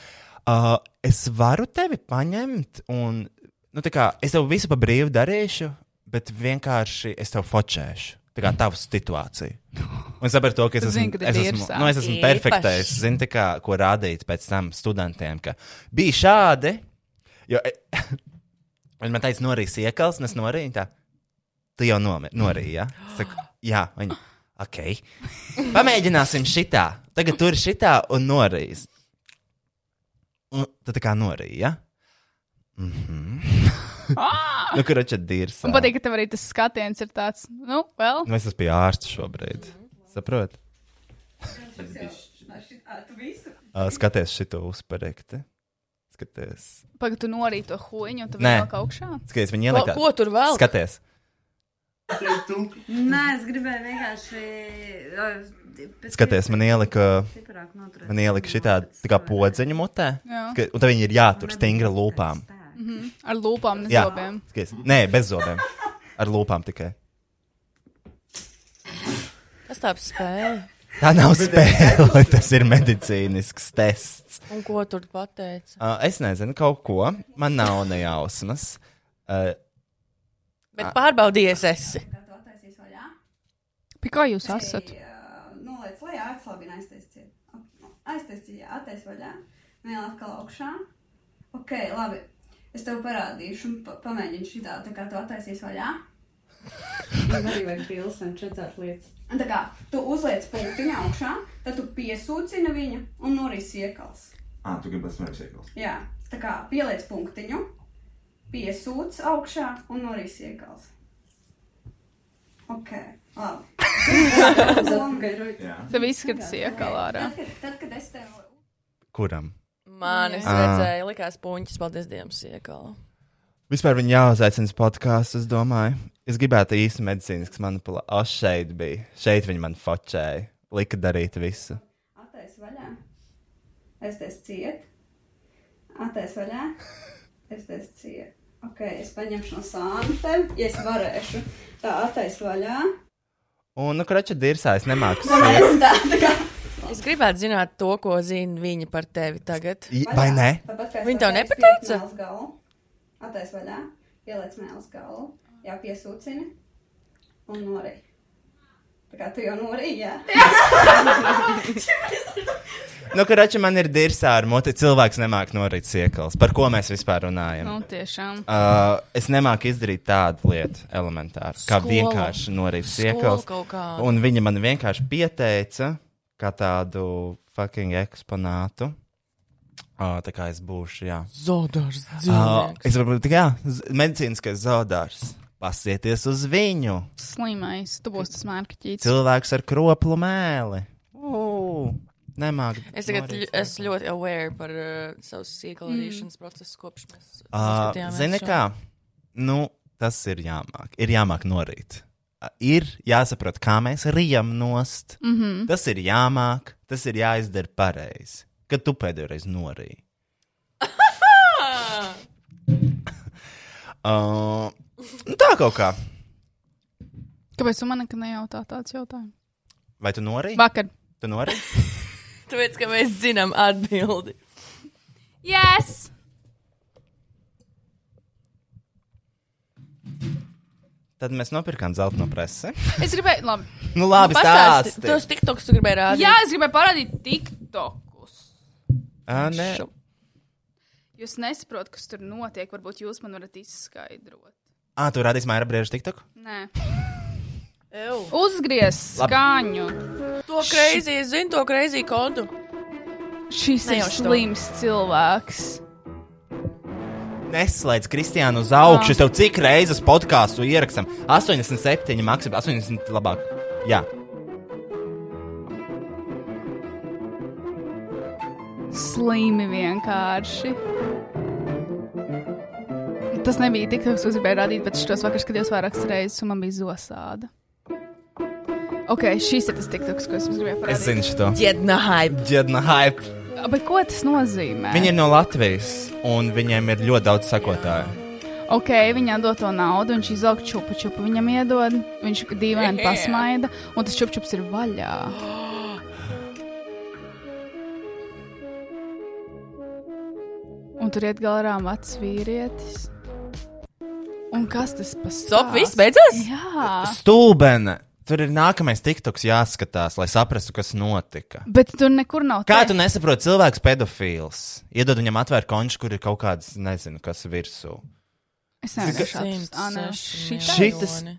S1: uh, es varu tevi paņemt, un nu, tā kā, es tev visu pa brīvu darīšu, bet vienkārši es tev fočēšu. Tā kā tavu situāciju. Un es saprotu, to, ka es
S2: Tu zini,
S1: esmu,
S2: ka tev
S1: es
S2: ir
S1: esmu,
S2: sāp.
S1: nu, es esmu
S3: Īpaši.
S1: perfektais. Zinu, tā kā, ko rādīt pēc tam studentiem, ka bija šādi. Jo, e, <laughs> un man teica, norīs iekals, nes norīja. Viņa tā, tu jau nomi- norīji. Ja? Es Saku, jā, viņa. Ok. Pamēģināsim šitā. Tagad tur ir šitā un norīs. Un tad tā kā norīja. Ja? Mhm. <laughs> nu, kur atšķirt dīrs?
S2: Man patīk, ka tev arī tas skatiens ir tāds, nu, vēl.
S1: Nu, es esmu pie ārsta šobrīd. Saprotiet? Ā, Skaties šo uzparekti. Skaties,
S2: Pagaidu, tu norīji to huīņu, un tu
S1: Nē.
S2: vēl kaut kā augšā.
S1: skaties viņa
S3: Ko,
S1: ieliktā.
S3: ko tur vēl?
S1: Skaties.
S10: Nē, es gribēju vienkārši.
S1: Skaties, man ielika, man
S10: Man
S1: ielika šitā tā kā podziņa mutē.
S2: Jā.
S1: Ka- Un tad viņi ir jātur stingra lūpām.
S2: Mhm. Ar lūpām, ne
S1: Jā,
S2: zobiem.
S1: skaties. Nē, bez zobiem. Ar lūpām tikai.
S3: Tas tāds spēle.
S1: Tā nav spēle, <laughs> tas ir medicīnisks tests.
S3: Un ko tur pateica?
S1: Uh, es nezinu kaut ko, man nav nejausmas. Uh,
S3: Bet pārbaudies esi.
S2: Pie kā jūs esat?
S10: Noliec lejā, atslābina aiztaisiet. Aiztaisiet, attais vaļā. Vēl atkal augšā. Ok, labi. Es tev parādīšu, un pa pamēģini šitā, tā kā tu attaisies vaļā.
S11: Arī vajag pils un četrās lietas.
S10: Un tā kā tu uzliec punktiņu augšā, tad tu piesūcini viņu un norīs iekals.
S5: Ah, tu gribi smēķēt iekals.
S10: Jā, tā kā pieliec punktiņu, piesūc augšā un norīs iekals. Ok, labi.
S5: Jā.
S2: Tev izskatās iekalā. ārā.
S10: Tad, kad, tad, kad es tev
S1: kuram?
S3: Manis
S1: Jā.
S3: redzēja, likās puņķis, paldies Dievam, iekala.
S1: Vispār viņa jāuzaicina uz podkāstu, es domāju. Es gribētu īsti medicīnisks manipulēt. O, šeit bija. Šeit viņa man fočēja. Lika darīt visu.
S10: attaisu vaļā, es teicu ciet, attaisu vaļā, es teicu ciet. Ok, es paņemšu no sāna tev, ja es varēšu. Tā, attaisu vaļā.
S1: Un, nu, krača dirsā es nemāku. sēst.
S10: Tā, tā kā.
S3: <laughs> Es gribētu zināt to, ko zina viņa par tevi tagad.
S1: I- Vai ne?
S10: Tāpat kā es
S3: Viņa tev
S10: attaisu
S3: nepateica?
S10: pie mēles galu. Attais vaļā, ieliec mēles galu, jā, piesūcini un norī.
S3: <laughs>
S10: <laughs> Tā kā tu jau norī, jā.
S1: Nu, kurāķi man ir dirsā ar muti, cilvēks nemāk norīt siekals. Par ko mēs vispār runājam?
S2: Nu, tiešām.
S1: Uh, es nemāku izdarīt tādu lietu elementāru, kā
S2: Skolu.
S1: vienkārši norīt
S2: Skolu
S1: siekals.
S2: kaut kādu.
S1: Un viņa man vienkārši pieteica, kā tādu fucking eksponātu. Uh, tā kā es būšu, jā.
S3: Zodārs
S1: Uh,
S3: dzīvnieks.
S1: es varu teikt, jā, z- medicīniskais zaudārs. Pasieties uz viņu.
S2: Slimais, tu būsi tas mērķis.
S1: Cilvēks ar kroplu mēli. Nemāku.
S3: Es tagad ļu, es ļoti aware par uh, savas siekalīšanas mm. procesu kopš mēs
S1: Uh, Zini, kā? Nu, tas ir jāmāk. Ir jāmāk norīt. Ā, Ir jāsaprot, kā mēs rijam nost.
S2: Mhm.
S1: Tas ir jāmāk, tas ir jāizdara pareizi. Kad tu pēdējo reizi
S2: <laughs>
S1: norīji. Uh, nu tā kaut kā.
S2: Kāpēc tu man nekad nejautā tāds jautājums?
S1: Vai tu norīji?
S2: Vakar.
S1: Tu norīji?
S3: Tāpēc, ka mēs zinām atbildi.
S2: Yes!
S1: Tad mēs nopirkām zelta no preses.
S2: Es gribēju, labi.
S1: Nu, labi,
S3: pastāsti,
S1: stāsti.
S3: Tos tiktoks tu gribēji rādīt.
S2: Jā, es gribēju parādīt TikTokus.
S1: Ā, nē.
S2: Jūs nesaprotat, kas tur notiek. Varbūt jūs man varat izskaidrot.
S1: Ā, tu rādīsi Maira Brieža TikTok?
S2: Nē.
S3: Ew.
S2: Uzgriez
S1: Labi.
S2: skaņu.
S3: To kreizī, es zinu to kreizī kontu.
S2: Šis ir
S3: Nejauši to.
S2: slims cilvēks.
S1: Neslēdz Kristiānu uz augšu.
S2: Jā.
S1: Es tev cik reizes podkāstu ierakstam? 87, maksimums 80 labāk. Jā.
S2: Slimi vienkārši. Tas nebija tik tas, kas gribēja rādīt, bet šos vakar skatījos vairākas reizes, un man bija zosāda. Ok, šis ir tas tiktoks, ko es jums gribēju parādīt.
S1: Es zinu šo.
S3: Jedna hype.
S1: Džedna hype.
S2: Bet ko tas nozīmē?
S1: Viņi ir no Latvijas, un viņiem ir ļoti daudz sekotāju.
S2: Ok, viņam dod to naudu, viņš izaug čupu čupu, viņam iedod, viņš
S3: Yeah.
S2: dīvaini yeah. pasmaida, un tas čupu čups ir vaļā. Un tur iet galā vecs vīrietis. Un kas tas par
S3: Stop,
S2: stāstu?
S3: viss beidzās?
S2: Jā.
S1: Stulbena! Tur ir nākamais tiktoks jāskatās, lai saprastu, kas notika.
S2: Bet tur nekur nav
S1: Kā
S2: te-
S1: tu nesaproti, cilvēks pedofils? Iedod viņam atvērt konču, kur ir kaut kāds, nezinu, kas virsū.
S2: Es nezinu,
S1: Zika-
S2: kas tas ir. Nē, šitais.
S1: Šitas-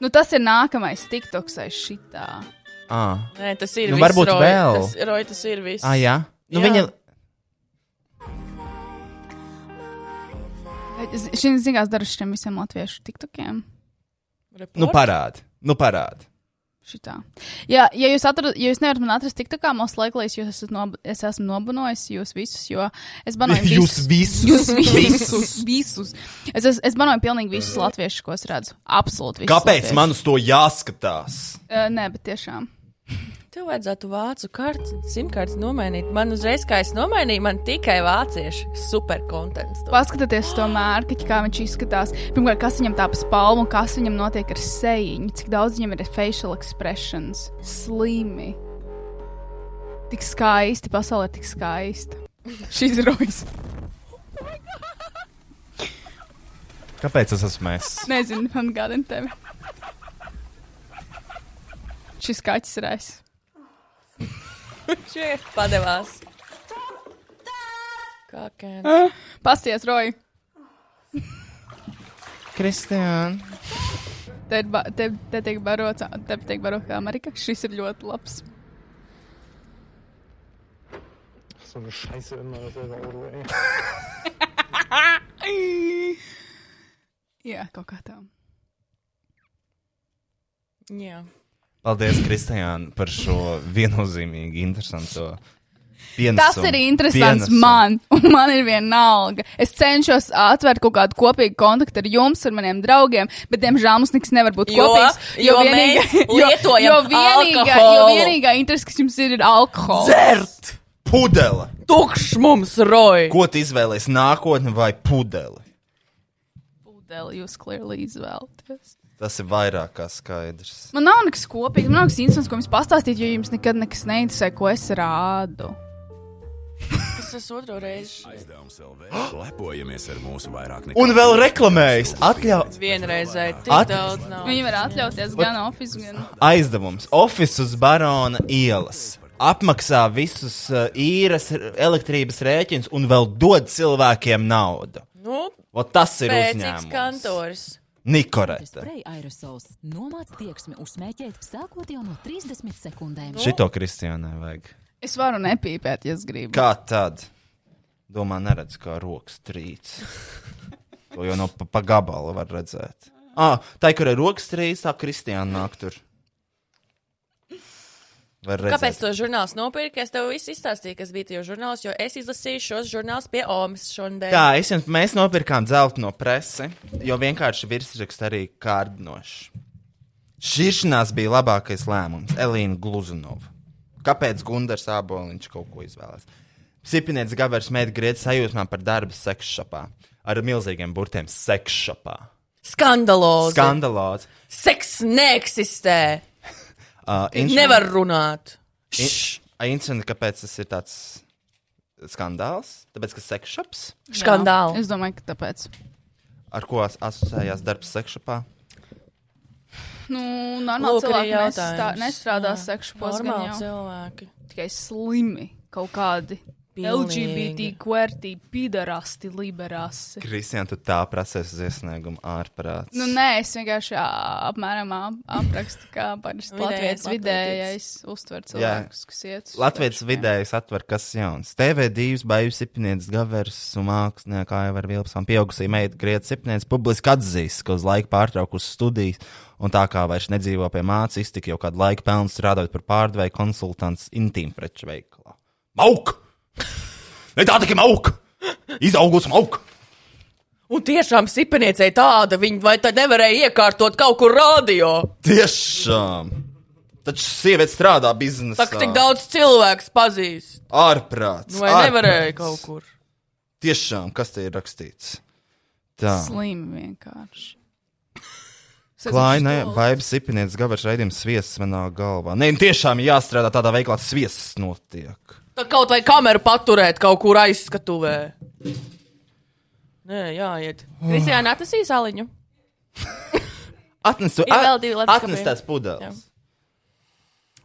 S2: Nu, tas ir nākamais tiktoks aiz šitā.
S1: Ah.
S3: Nē, tas ir
S1: Nu,
S3: viss,
S1: varbūt
S3: Roy.
S1: vēl.
S3: Tas, Roy, tas ir viss.
S1: Ah, jā. Nu,
S3: Jā.
S1: viņa-
S2: Šis zināms darbs šiem visiem latviešu tiktokiem.
S1: Nu, parādi. Nu, parādi.
S2: Šitā. Jā, ja jūs, atrad, ja jūs nevarat mani atrast TikTokā, most likely es, jūs esat nob es esmu nobanojis jūs visus, jo es banoju
S1: <laughs> Jūs
S2: visus.
S1: visus? <laughs>
S2: Jūs visus! visus. Es, es, es banoju pilnīgi visus latviešus, ko es redzu. Absolūti visus.
S5: Kāpēc man uz to jāskatās?
S2: Uh, nē, bet tiešām.
S3: <laughs> Tev vajadzētu vācu karti, simtkarti nomainīt. Man uzreiz, kā es nomainīju, man tikai vācieši. Super kontents. <laughs>
S2: Paskatieties to mērķi, kā viņš izskatās. Pirmkārt, kas viņam tā pa spalvu un kas viņam notiek ar sejiņu, cik daudz viņam ir facial expressions. Slimi. Tik skaisti, pasaule ir tik
S3: <laughs>
S2: skaista. Šis ir rojas.
S1: Kāpēc tas esmu mēs?
S2: Nezinu, man gādina tevi. Šis kaķis ir es.
S3: Viņš vienkārši padevās. Kā kēns.
S2: Ah. Pasties, Roja.
S1: Kristiāna.
S2: Te, ir ba- te, te tiek barots, te tiek barots kā Amerika. Šis ir ļoti
S3: <laughs>
S2: labs.
S6: So eine Scheiße immer dasselbe Auto, ey.
S2: Jā, kaut kā tā.
S3: Jā.
S1: Paldies, Kristiāna, par šo viennozīmīgi interesantu. Pienesumu.
S2: Tas ir interesants
S1: Pienesumu.
S2: man, <laughs> un man ir viena alga. Es cenšos atvērt kaut kādu kopīgu kontaktu ar jums, ar maniem draugiem, bet, diemžēl, mums nekas nevar būt
S3: Jo-
S2: kopīgs.
S3: jo mēs lietojam
S2: <laughs> jo vienīgā, jo
S3: alkoholu.
S2: vienīgā interese, kas jums ir, ir alkohols.
S1: Dzert pudele.
S3: Tukšs mums, Roy!
S1: Ko tu izvēlēsies nākotnē vai pudeli?
S2: Pudeli jūs clearly izvēlaties.
S1: Tas ir vairāk kā skaidrs.
S2: Man nav nekas kopīgs, man nav nekas interesants, ko jums pastāstīt, jo jums nekad nekas neinteresē, ko es rādu.
S3: Tas es otro reizi.
S12: Aizdevums LV. Lepojamies ar mūsu vairāk nekā.
S1: Un vēl reklāmējas atļauts.
S3: Vienreizēji tik
S1: At-
S3: At... daudz nav.
S2: Viņi var atļauties gan oficiāli, gan
S1: Aizdevums. Office uz Barona ielas. apmaksā visus uh, īres, elektrības rēķinus un vēl dod cilvēkiem naudu.
S3: <gasps> Nu,
S1: Vot tas ir
S3: spēcīgs
S1: uzņēmums.
S3: kantors.
S1: Nikoreta.
S13: Spray aerosols nomāca tieksmi uzsmēķēt sākot jau no 30 sekundēm.
S1: Šito Kristiānai vajag.
S2: Es varu nepīpēt, ja es gribu.
S1: Kā tad? Domā, neredz, kā rokas trīc. To jau no pa, pa gabala var redzēt. Ah, tā, kur ir rokas trīc, tā Kristiāna nāk tur. Var redzēt.
S3: Kāpēc to žurnāls nopirka? Es tev visu izstāstīju, kas bija tajos žurnālos, jo es izlasīju šos žurnālus pie Omas šodien.
S1: Tā, es jums, mēs nopirkām zelta no presi, jo vienkārši virsraksts arī kārdinošs. Šķiršanās bija labākais lēmums Elīna Gluzunova. Kāpēc Gunārs Aboliņš kaut ko izvēlējās? Sipinietis Gavers mēģināja griezt sajūsmā par darbu sekšapā ar milzīgiem burtiem sekšapā.
S3: Skandalozi.
S1: Skandalozi.
S3: Seks neeksistē.
S1: Uh,
S3: Inš... Nevar runāt.
S1: Interesanti, kāpēc tas ir tāds skandāls? Tāpēc, ka sekšaps,
S3: Skandāli.
S2: Jā, Es domāju, ka tāpēc.
S1: ar ko as- asociējās darbs sekšapā,
S2: Nu, normāli
S3: Lūk, arī
S2: cilvēki
S3: jautājums.
S2: nestā- nestrādā
S3: Jā,
S2: sekšu posmā.
S3: normāli cilvēki.
S2: Tikai slimi kaut kādi.
S3: Pilnīgi.
S2: LGBT, QRT, pidarasti, liberāsi.
S1: Kristian, tu tā prasēs uz iesniegumu ārprāts.
S2: Nu, nē, es vienkārši ā, apmēram ā, aprakstu, kā parasti
S3: Vidējais
S2: Latvijas vidējais
S3: latvietis.
S2: uztver
S1: Jā.
S2: cilvēkus, kas iet. uz
S1: Latvijas vidējais atver kas jauns. TV2, Bāļus Sipnietis, Gavers un mākslinieks Aivar Vilps un pieaugusī meita Grieta Sipnietis publiski atzīst, ka uz laiku pārtraukusi studijas un tā kā vairs nedzīvo pie mācas, iztika jau kādu laiku pelnu strādājot par pārdevēju konsultants intīmpreču veikalā. Mauk! Ne tā tikai mauk! Izaugus mauk!
S3: Un tiešām sipeniecei tāda, viņa vai tad nevarēja iekārtot kaut kur radio.
S1: Tiešām! Taču sieviete strādā biznesā.
S3: Tā kā tik daudz cilvēku pazīst.
S2: Nu,
S1: Ārprāts!
S3: Vai
S1: ārprāts.
S3: nevarēja kaut kur?
S1: Tiešām, kas te ir rakstīts? Tā.
S2: Slimi
S1: <laughs>
S2: vienkārši. Es esmu
S1: Klaina,
S2: stulba.
S1: vai sipinies gabars raidījums sviests manā galvā? Nē, nu tiešām jāstrādā tādā veiklā sviests notiek.
S3: Tad kaut vai kameru paturēt kaut kur aizskatuvē. Nē, jāiet.
S1: Oh.
S3: Visā natasīs aliņu.
S1: Atnesu,
S3: Ir vēl divi labi
S1: atnes
S3: skati.
S1: tās pudeles.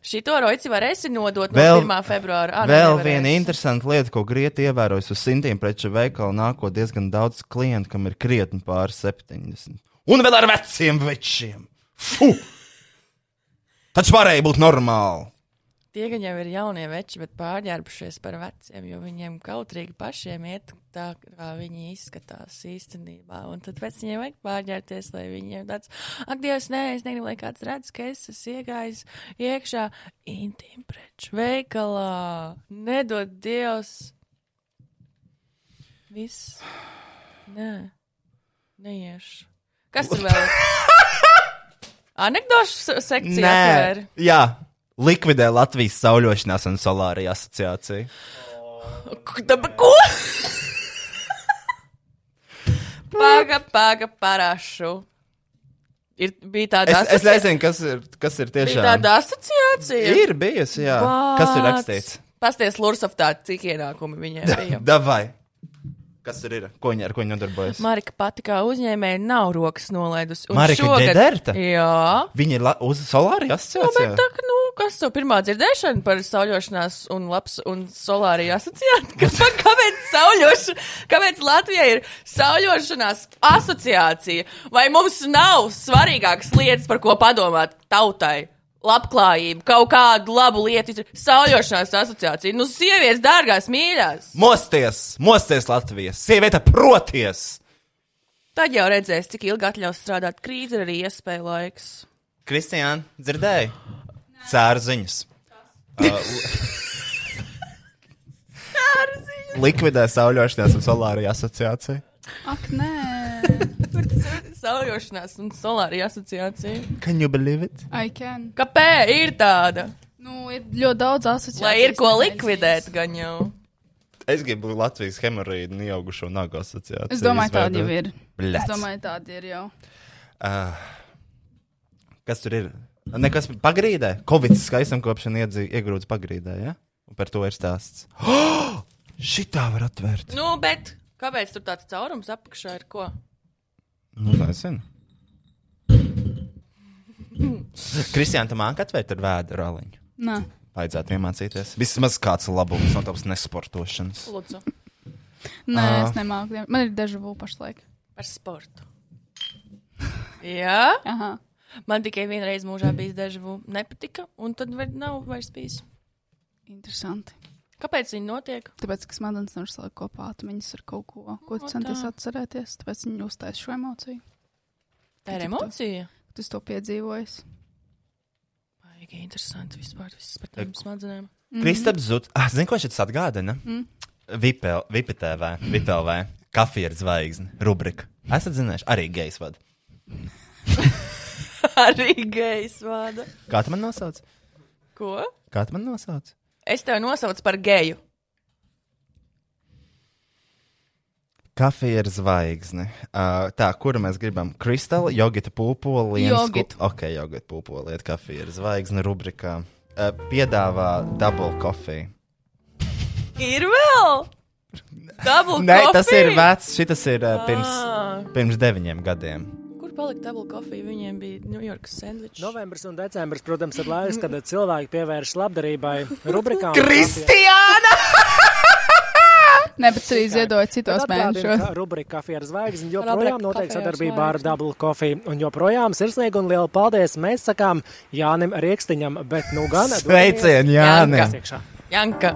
S3: Šito roci varēsi nodot vēl,
S1: Vēl-
S3: no 1. februāra. Ā, nē,
S1: Vēl
S3: nevarēs.
S1: viena interesanta lieta, ko Grieta ievērojas uz simtiem preču veikalu, nākot diezgan daudz klientu, kam ir krietni pār 70. Un vēl ar veciem večiem! Fu! Taču varēja būt normāli!
S3: Tie gan jau ir jaunie veči, bet pārģērbušies par veciem, jo viņiem kautrīgi pašiem iet tā, kā viņi izskatās īstenībā. Un tad pēc viņiem vajag pārģērties, lai viņiem tāds, ak, Dievs, nē, es negribu, lai kāds redz, ka es esmu iegājis iekšā intīmu preču veikalā. Nedod Dievs! Viss. Nē, neiešu. Kas tur vēl? Anekdošu sekcija. atver?
S1: jā, likvidē Latvijas sauļošanās un solārija asociācija.
S3: K- da- ba- Ko? Paga, paga, parašu. Ir, bija tāda
S1: Es, es
S3: asoci-
S1: nezinu, kas ir, kas ir
S3: bija
S1: tiešām
S3: tāda asociācija.
S1: Ir bijusi, jā. Kas ir rakstīts?
S3: Pasties Lursaftā, cik ienākumi
S1: <laughs>
S3: viņiem bija.
S1: Davai. Kas tur ir? Ko viņa, ar ko viņa nodarbojas?
S3: Marika pati kā uzņēmēja nav rokas nolaidus.
S1: Marika Dederta?
S3: Jā.
S1: Viņa ir la... uz
S3: Nu,
S1: solārija
S3: bet
S1: asociācijā.
S3: tā, kā, nu, kas tev pirmā dzirdēšana par sauļošanās un, labs, un solāriju asociāciju? <laughs> Kas man kāpēc sauļoša, kāpēc Latvijai ir sauļošanās asociācija? Vai mums nav svarīgākas lietas, par ko padomāt tautai? Labklājību, kaut kādu labu lietu, izra- sauļošanās asociācija. Nu, sievietes, dārgās, mīļās.
S1: Mosties, mosties Latvijas. Sieviete proties.
S3: Tad jau redzēs, cik ilgi atļaus strādāt krīze, ir arī iespēja laiks.
S1: Kristiāna, dzirdēji? Cērziņas. Uh, likvidē sauļošanās un solārija asociācija.
S2: Ak,
S3: <laughs>
S2: nē.
S3: Sauļošanās un solāriju asociācija.
S1: Can you believe it?
S2: I can.
S3: Kāpēc ir tāda?
S2: Nu, ir ļoti daudz asociāciju.
S3: Lai ir ko likvidēt, gan jau.
S1: Es gribu Latvijas hemorīdu un ieaugušo nagu asociāciju.
S2: Es domāju, tāda jau
S1: izveidot.
S2: ir.
S1: Bļets.
S2: Es domāju, tāda ir jau.
S1: Ah, kas tur ir? Nekas pagrīdē. Covid skaistam kopšana iedzī- iegrūdz pagrīdē, ja? Un par to ir stāsts. <gasps> Oh! Šitā var atvērt.
S3: Nu, bet kāpēc tur tāds caurums apakšā ir ko?
S1: Nu, nezinu. Kristiāna, tu māki atvērt ar vēdu roliņu?
S2: Nā.
S1: vajadzētu iemācīties. Vismaz kāds labums no tavas nesportošanas.
S3: Lūdzu,
S2: Nē,
S1: Ā.
S2: es nemāku. diem- Man ir daži vūpa pašlaik.
S3: par sportu. Jā, Aha. man tikai viena reize mūžā bija dažu nepatika, un tad var, nav vairs bijis.
S2: Interesanti.
S3: Kāpēc viņi notiek?
S2: Tāpēc, ka smadzenes nevar salikt kopā, tu viņas ar kaut ko, ko tu
S3: No
S2: centies
S3: tā.
S2: atcerēties, tāpēc viņi uztais šo emociju.
S3: Tā ir
S2: Kad tu-
S3: emocija.
S2: kad Tu esi to piedzīvojis.
S3: Baigi interesanti vispār viss par tām smadzenēm.
S2: Mhm.
S1: Kristaps Zud, ah, zini, ko šis atgādina?
S3: Mm.
S1: Vipel- Vipitēvē, Vipelvē, kafija ir zvaigzne, rubrika. Esat zinājuši, arī gejs vada.
S3: <laughs> Arī gejs vada.
S1: Kā tu man nosauc?
S3: Ko?
S1: Kā tu man nosauc?
S3: Es tevi nosaucu par geju.
S1: Kafija ir zvaigzne. Uh, tā, kuru mēs gribam? Kristāla, jogita pūpoli.
S2: Jogitu.
S1: Ok, jogita pūpoli, kafija ir zvaigzne rubrikā. Uh, piedāvā double coffee.
S3: Ir vēl!
S1: <laughs>
S3: Double
S1: Nē,
S3: coffee!
S1: tas ir vecs, šis ir uh,
S3: Ah.
S1: pirms, pirms deviņiem gadiem.
S3: Kur palika double coffee? Viņiem bija New York sandvičs.
S14: Novembris un decembris, protams, ir laiks, kad cilvēki pievēršas labdarībai. Rubrikām
S2: <laughs>
S3: Kristiāna!
S2: Nē, bet es arī ziedoju citos mēnešos.
S14: Rubrika kafija ar zvaigzni
S2: Rubrika
S14: joprojām notiek
S2: Kafija ar
S14: sadarbībā ar Double Coffee. Un joprojām sirsnīgi un lielu paldies mēs sakām Jānim Riekstiņam, bet nu gan. dodamies-
S1: Sveicien, Jānim!
S14: Jānis iekšā.
S3: Janka.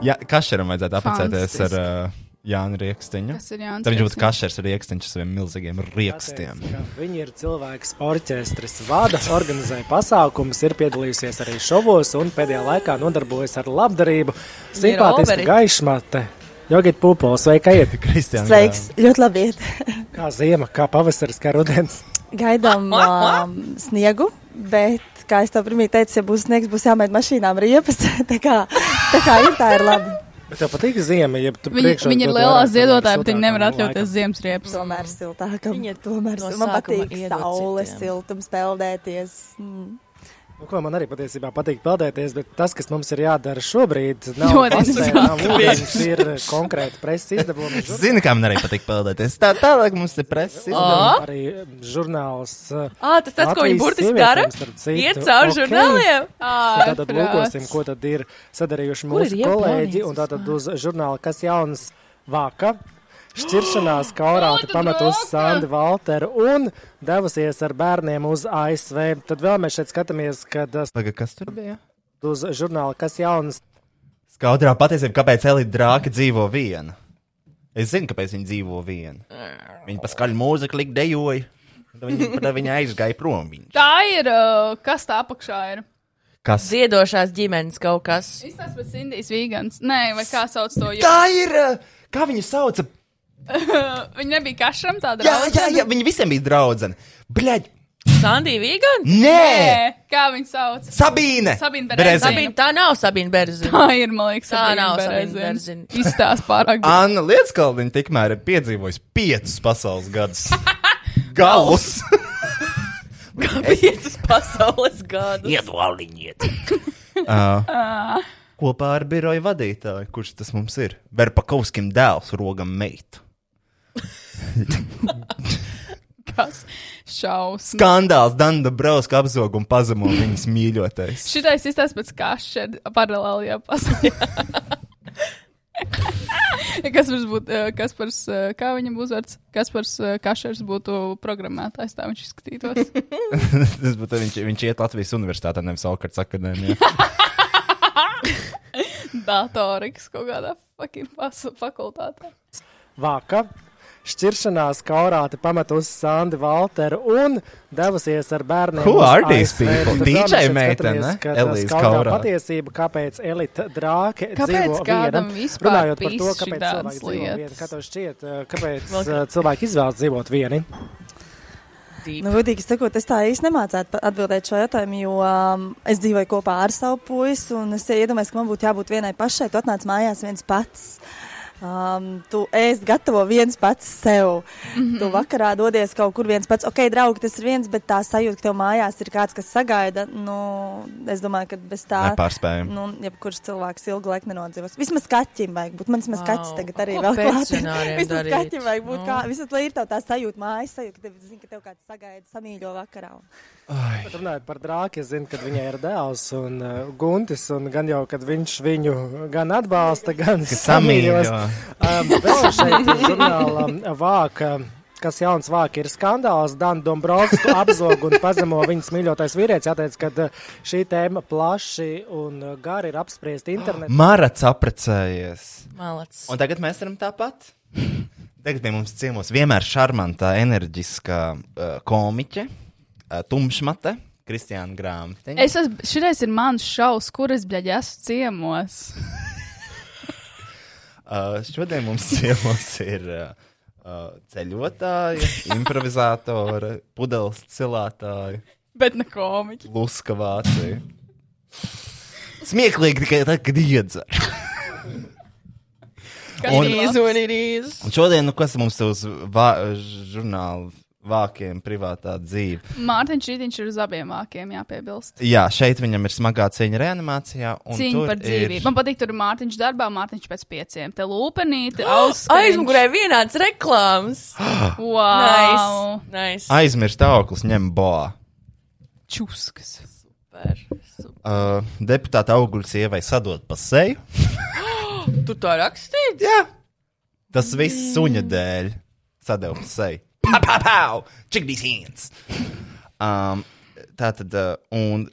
S1: Jā, kašeram vajadzētu apcēties ar uh, Jānu Rieksniņu.
S2: Kas ir Jānis
S1: Tad viņš būtu
S2: Riekstiņš?
S1: kašers ar rieksniņu ar saviem milzīgiem riekstiem.
S14: Pateica, ka Viņi ir cilvēks, orķestris, vada, organizē pasākumus, ir piedalījusies arī šovos un pēdējā laikā nodarbojas ar labdarību.
S15: Viņi ir
S14: Simpātiski
S15: oberi.
S14: gaišmate. Jogit Pūpols, vai kā iet?
S1: Kristiāna.
S15: Sveiks, ļoti labi iet. <laughs>
S14: Kā ziema, kā pavasaris, kā rudens.
S15: Gaidām
S2: Ah,
S15: um, sniegu, bet, kā es tev pirmie teicu, ja būs sniegs, būs jāmet mašīnām riepas. <laughs> tā, kā, tā kā ir, tā ir labi.
S14: Bet tev patīk ziema, ja tu
S2: Viņi,
S14: priekšā
S2: viņi ir
S14: dod
S2: lielā
S14: vairāk,
S2: ziedotāja, bet viņi
S14: siltākam
S2: nevar
S14: laikam.
S2: atļauties ziemas riepas.
S15: Tomēr siltākam.
S3: Viņa
S15: Tomēr
S3: no
S15: no man
S3: sākuma
S15: patīk
S3: iedod
S15: saule,
S3: citiem.
S15: siltums, peldēties. Mm.
S14: Nu, ko man arī patiesībā patīk peldēties, bet tas, kas mums ir jādara šobrīd, nav
S15: Ļoti
S14: pasē, nav
S15: interesanti.
S14: ūdens, ir konkrēti preses izdevumi.
S1: Zini, kā man arī patīk peldēties. Tā, tālāk mums ir preses
S14: Oh.
S1: izdevumi.
S14: Arī žurnāls.
S3: Ā, tas tas, ko viņi burtiski dara? Iet cauri žurnāliem? Ā,
S14: Tad
S3: prāts.
S14: lūkosim, ko tad ir sadarījuši
S3: Kur ir
S14: mūsu
S3: jeb
S14: kolēģi.
S3: plānīts
S14: Un tātad uz žurnāla, kas jauns vāka.
S3: <gasps>
S14: Šķiršanās kaurāte pamet uz Sandu Valteru un devusies ar bērniem uz ASV. Tad vēl mēs šeit skatāmies, kad uh,
S1: Pagaid, kas tur bija?
S14: uz žurnāla, kas jauns
S1: Skaudrā patiesība, kāpēc Elīte Drāka dzīvo viena. Es zinu, kāpēc viņa dzīvo viena. Viņa paskaļ mūziku likt dejoja. tad Viņa, <laughs> tad viņa aizgāja prom. Viņa.
S2: Tā ir, uh, kas tā apakšā ir?
S1: Kas?
S3: Ziedošās ģimenes kaut kas.
S2: Izstāsts pēc Indijas vīgans. Nē, vai kā sauc to?
S1: Tā ir, uh, kā viņu sauca?
S2: <laughs> Viņa nebija kašram tāda.
S1: Jā, jā, jā, viņa visiem bija draudzene. Bļaļ,
S3: Sandija Vīgan?
S1: Nē!
S2: Kā viņu sauc?
S1: Sabīne!
S2: Sabīne
S1: Berezina.
S2: Berezina.
S3: Tā nav Sabīna Berzina.
S2: Tā ir, man liekas,
S3: tā
S2: Sabīne
S3: nav
S2: Berezina.
S3: Sabīna Berzina.
S2: Izstāsts pārāk.
S1: Anna Lietskaldiņa tikmēr ir piedzīvojusi piecus pasaules gadus.
S2: <laughs>
S1: Galus! <laughs>
S3: Piecas pasaules gadus. <laughs>
S1: Iedoliniet! uh,
S2: Ā.
S1: kopā ar biroju vadītāju, kurš tas mums ir? Verpakauskim dēls, rogam
S2: <laughs>
S1: meitu.
S2: Kas šausmas.
S1: Skandāls Danda Brauska apzog un pazemo viņas mīļotais.
S2: Šitais izstāsta pēc kaša paralēlajā pasaulē. kas mums būtu, eh, kas par, kā viņam uzvārds, kas par kašers būtu programmētājs, tā viņš izskatītos.
S1: <laughs> Tas būtu viņš, viņš iet Latvijas universitātē, nevis Alkarts <laughs> akadēmijā.
S2: Datoriks kaut kādā fucking pasu- fakultātē.
S14: Vāka. Šķiršanās kaurāte pamet uz Sandu Valteru un devusies ar bērniem.
S1: Who
S14: uz
S1: are these
S14: ASV.
S1: people?
S14: Tad
S1: DJ
S14: vēl mēs šeit
S1: meitene,
S14: skatāmies, ka
S1: Elīze
S14: skaudrā
S1: Kaurāte.
S14: Patiesība, kāpēc Elīte drāke
S2: Kāpēc
S14: dzīvo
S2: kādam
S14: viena?
S2: vispār
S14: Runājot par to,
S2: pīš
S14: kāpēc
S2: šitās
S14: cilvēki dzīvo viena,
S2: lietas?
S14: kā tev šķiet, eh, kāpēc
S15: Vēl kā-
S14: eh, cilvēki izvēlas dzīvot vieni?
S15: Nu, godīgi sakot, es tā īsti nemācētu pa- atbildēt šo jautājumu, jo um, es dzīvoju kopā ar savu puisi, un es iedomājos, ka man būtu jābūt vienai pašai. Tu atnāc mājās viens pats. Um, tu ēst, gatavo viens pats sev. Mm -hmm. Tu vakarā dodies kaut kur viens pats. Ok, draugi, tas ir viens, bet tā sajūta, ka tev mājās ir kāds, kas sagaida. Nu, es domāju, ka bez tā
S1: Nepārspējami.
S15: Nu, jebkurš cilvēks ilgu laiku nenodzīvos. Vismaz kaķim vajag būt. Man vismaz
S3: Vau,
S15: wow. kaķis tagad
S3: a
S15: arī
S3: ko
S15: vēl klāt.
S3: pensionāriem
S15: Vismaz
S3: darīt?
S15: kaķim vajag būt.
S3: Nu.
S15: Nu. Kā, vismaz, lai ir tev tā sajūta, mājas sajūta, ka tev, zini, ka tev kāds sagaida samīļo vakarā. Un...
S14: Bet Runājot par drāku, es zinu, ka viņai ir dēls un uh, guntis, un gan jau, kad viņš viņu gan atbalsta, gan
S1: Ka samīļo.
S14: samīļos. Um, vēl šeit žurnālam vāka, um, kas jauns vāka ir skandāls, Dan Dombrovskis apzog un pazemo viņas mīļotais vīrietis, jāteic, ka uh, šī tēma plaši un uh, gari ir apspriest
S1: <gasps>
S14: internetā.
S1: Marats apprecējies.
S3: Malacis.
S1: Un tagad mēs varam tāpat. Tagad pie mums ciemos vienmēr šarmantā, enerģiskā uh, komiķe, uh, tumšmate, Kristiāna Grāmte.
S2: Es esmu, šitais ir mans šaus, kur es, bļaļ, esmu ciemos.
S1: Uh, šodien mums <laughs> ciemos ir uh, uh, ceļotāja, improvizātora, pudeles cilātāja,
S2: Bet ne komiķi.
S1: luska vācija. Smieklīgi tikai tad, kad iedzer.
S3: Kad
S1: Un-
S3: ir īzi un ir īzi.
S1: Un šodien, nu, kas mums uz vā, žurnāla vākiem privātā dzīve?
S2: Mārtiņš Rītiņš ir uz abiem vākiem, jāpiebilst.
S1: Jā, šeit viņam ir smagā cīņa reanimācijā. un
S2: Cīņa
S1: tur
S2: par dzīvību.
S1: ir-
S2: Man patīk, tur ir Mārtiņš darbā, Mārtiņš pēc pieciem. Te lūpenīte, auss.
S3: Aizmugurē vienāds
S2: <gasps>
S3: reklāmas.
S2: Wow.
S3: Nice, nice.
S1: Aizmirst auklis, ņem boā.
S3: Čuskas. Super.
S1: Uh, deputāta augļu sievai sadod pa seju. <laughs>
S3: Tu tā rakstīji? Jā.
S1: Tas viss suņa dēļ sadeva pa seju. Pau, pau, pau! Check these hands! Um, tā tad, uh, un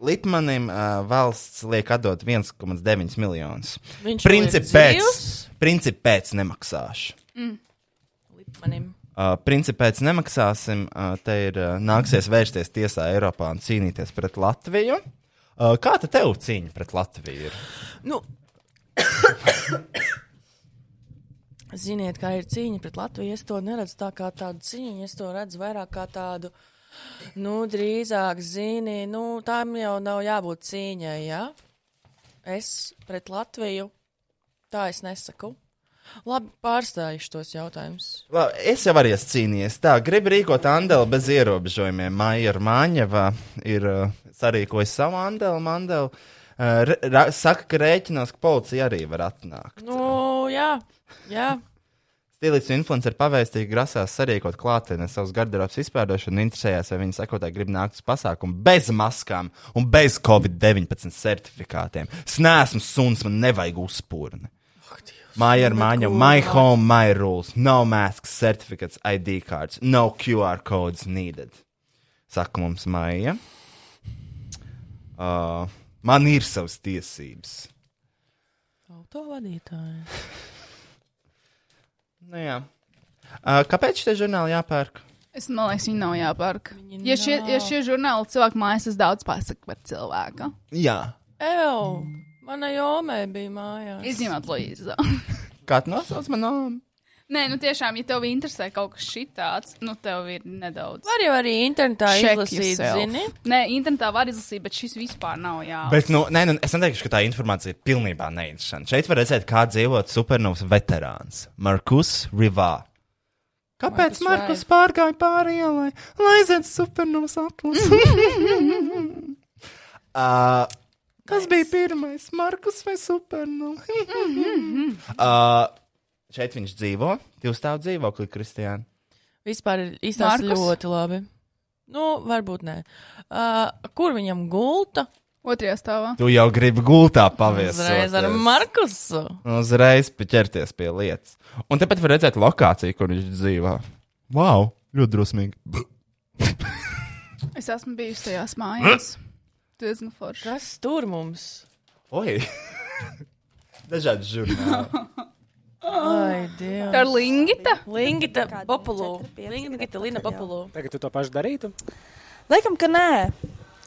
S1: Litmanim uh, valsts liek atdot 1,9 miljonus.
S3: Viņš vēl
S1: Princip
S3: ir
S1: pēc,
S3: dzīvs?
S1: princip pēc nemaksāšu.
S3: Mm. Lipmanim.
S1: Uh, Principēc nemaksāsim, uh, te ir uh, nāksies vērsties tiesā Eiropā un cīnīties pret Latviju. Uh, Kāda tev cīņa pret Latviju ir?
S3: Nu. Ziniet, kā ir cīņa pret Latviju. Es to neredzu tā kā tādu cīņu. Es to redzu vairāk kā tādu, nu, drīzāk, zini, nu, tam jau nav jābūt cīņai. Ja? Es pret Latviju tā es nesaku. Labi, pārstājuši tos jautājumus.
S1: La- Es jau arī esmu cīnījies. Tā, gribu rīkot Andelu bez ierobežojumiem. Maija Maņevā ir uh, sarīkojusi savu Andelu. Mandelu. Uh, re- ra- Saka, ka rēķinās, ka policija arī var atnākt.
S3: Nu, jā, jā.
S1: Stilīts un influenceri pavēstīgi grasās sarīkot klātienē savus garderobas izpērdošanu un interesējās, vai viņu sekotāji grib nākt uz pasākumu bez maskām un bez COVID-19 certifikātiem. Es neesmu suns, man nevajag uzspūrni. Māja ar māju, my home, my rules, no masks, certificates, ID cards, no QR codes needed. Saka mums māja. Uh, man ir savas tiesības.
S3: Autovadītāji.
S1: Nu, jā. Uh, kāpēc šie žurnāli jāpērk?
S2: Es man liekas, viņi nav jāpērk. Ja šie, ja šie žurnāli cilvēku mājās, es daudz pasaku par cilvēku.
S1: Jā.
S3: Evo, mana jomē bija mājās.
S2: Izņemot Luīzu.
S1: Kāds nosauc manām?
S2: Nē, nu tiešām, ja tev interesē kaut kas šitāds, nu tev ir nedaudz.
S3: Var jau arī internetā
S2: Check
S3: izlasīt,
S2: yourself.
S3: zini.
S2: Nē, internetā var izlasīt, bet šis vispār nav jā.
S1: Bet, nu, nē, nu, es neteikšu, ka tā informācija ir pilnībā neinteresanta. Šeit var redzēt, kā dzīvot supernovas veterāns Markus Rivā. Kāpēc Markus pārgāja pāri ielai, lai aizietu supernovas
S2: <laughs>
S1: atlasu? Uh, Kas bija pirmais? Markus vai <laughs> Supernovs? uh, šeit viņš dzīvo, divu stāvu dzīvoklī, Kristiāna.
S3: Vispār ir izstāsts
S2: Markus?
S3: ļoti labi. Nu, varbūt nē. Uh, kur viņam gulta?
S2: Otrajā stāvā.
S1: Tu jau gribi gultā paviesoties.
S3: Uzreiz ar Markusu.
S1: Uzreiz ķerties pie lietas. Un tāpat var redzēt lokāciju, kur viņš dzīvo. Wow, ļoti drosmīgi.
S2: <laughs> Es esmu bijusi tajās mājās. Tu esi nu forši.
S3: Kas tur mums?
S1: Oi! <laughs> Dažādi žurnāli.
S3: Ai, Dievs.
S2: Tā ir Lingita.
S3: Lingita Populu. Lingita Lina Populu.
S14: Tagad tu to pašu darītu?
S15: Laikam, ka nē.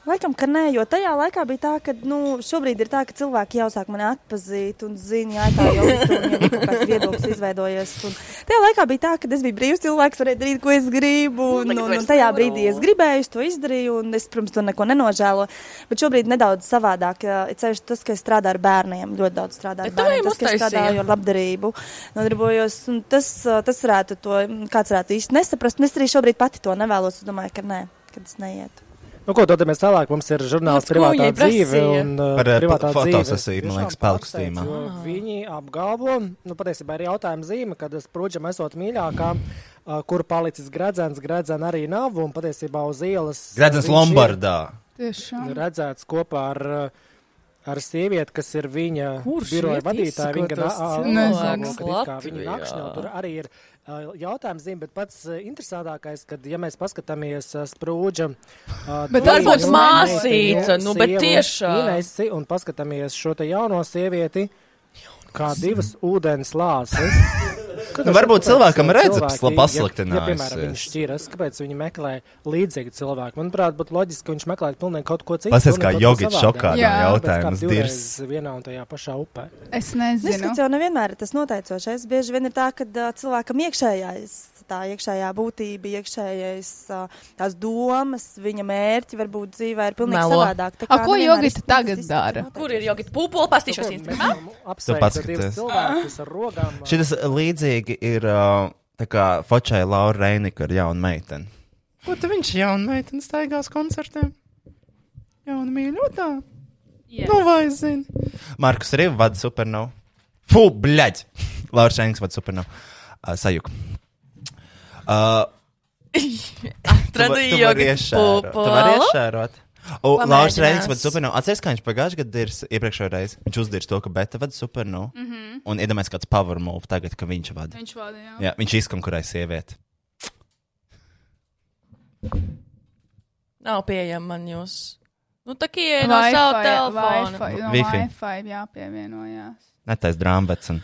S15: Laikam, ka nē, jo tajā laikā bija tā, ka nu, šobrīd ir tā, ka cilvēki jau sāk mani atpazīt un zina, jā, tā jau ir kaut kāds viedoklis izveidojies. Un tajā laikā bija tā, ka es biju brīvs cilvēks, varēju darīt, ko es gribu. Un, un, un tajā brīdī es gribēju, es to izdarīju, un es, protams, to neko nenožēloju. Bet šobrīd nedaudz savādāk. jā, Ir ceļš tas, ka es strādāju ar bērniem, ļoti daudz strādāju ar
S3: Bet tu
S15: bērniem.
S3: viņiem
S15: Tas, ka es
S3: uztaisīji.
S15: strādāju ar labdarību, nodarbojos, un tas, uh, tas varētu to, kāds varētu īsti nesaprast. Un es arī šobrīd pati to nevēlos. Es domāju, ka nē, kad es neietu.
S14: Nu, ko dodamies tālāk? Mums ir
S15: Mums
S14: žurnāls
S15: kuģi
S14: privātā dzīve.
S15: prasīja.
S14: Un, uh,
S1: Par, uh,
S14: privātā
S1: po-
S14: dzīve
S1: fotosesiju, man
S14: tiešām
S1: liekas, parakstījumā.
S14: pārsteidz, jo Viņi apgalvo, nu, patiesībā ir jautājuma zīme, kad es prūģam esot mīļākā. uh, kur palicis gradzens. Gradzena arī nav un patiesībā uz ielas.
S5: Gredzens
S14: viņš ir
S5: Lombardā.
S2: Tiešām.
S14: Redzēts kopā ar, uh, ar sievieti, kas ir viņa
S16: Kurš
S14: biroja
S16: iet
S14: vadītāja. Viņa gan
S16: izskatās
S14: ā-
S16: cilvēks
S14: apgalvo, ka it kā viņa
S16: Latvijā?
S14: nakšņo. Tur arī ir uh, jautājums, zin, bet pats uh, interesantākais, kad ja mēs paskatāmies uh, sprūdža. uh,
S16: Bet
S14: to
S16: tas būs
S14: jauno
S16: māsīca,
S14: meiteni,
S16: nu, bet
S14: sievu
S16: tiešām.
S14: Inesi, un paskatāmies šo te jauno sievieti. Kā divas ūdens lāses.
S5: Nu, varbūt cilvēkam
S14: Kāpēc
S5: recepts
S14: cilvēki,
S5: laba
S14: Ja, ja, piemēram,
S5: pasliktinājusies.
S14: viņš šķiras, kāpēc viņi meklē līdzīgu cilvēku. Manuprāt, būtu loģiski, ka viņš meklē pilnīgi kaut ko citu.
S5: Pasies,
S14: pilnīgi
S5: kā
S14: kaut ko
S5: Jogic
S14: savādāku.
S5: šokā no
S14: Jā,
S5: jautājuma
S14: tāpēc kā divreiz
S5: zdirs.
S14: Vienā un tajā pašā upē.
S2: Es nezinu.
S15: Diskuts jau nevienmēr ir tas noteicošais. Bieži vien ir tā, ka uh, cilvēkam iekšējais, tā iekšējā būtība, iekšējais uh, tās domas, viņa mērķi varbūt dzīvē ir pilnīgi
S2: Melo.
S15: savādāk. Tā
S2: A,
S15: kā
S2: ko
S15: nevienmēr
S2: Jogita
S15: ir <laughs>
S2: tagad
S15: izcīnīts
S2: dara?
S3: Kur ir jogi? Pūpola pastīšos Instagram.
S1: Tu paskaties.
S14: Cilvēkus ar rogām.
S1: Šis līdzīgi ir uh, tā kā Fočai Laura Reinika ar jaunu meiteni.
S17: Ko tu viņš jaunu meiteni staigās koncertiem? Jauna mīļotā?
S2: Yeah.
S17: Nu, vai zini?
S1: Markus arī vada supernovu. Fū, bļaģ! <laughs> Laura Šenks vada supernovu. Uh, sajuk. Uh,
S2: <laughs>
S3: Atradīju jogi.
S1: Pupolu. Lauks
S3: Pamēģinās.
S1: Reigns vada supernovu. Atceries, ka viņš pagājušajā gadā ir iepriekšējā reizē. Viņš uzdīrs to, ka Beta vada supernovu. Mm
S2: Mhm.
S1: Un iedomājies kāds power move tagad, ka viņš vada.
S2: Viņš vada, jā.
S1: jā viņš izkonkurē sievieti.
S3: Nav pieejama man jūs. Nu, tā kā ir no
S2: Wi-Fi,
S3: sava telefona.
S2: Wi-Fi, no
S1: Wi-Fi.
S2: Wi-Fi jāpievienojās.
S1: Netais drāmbets. Un...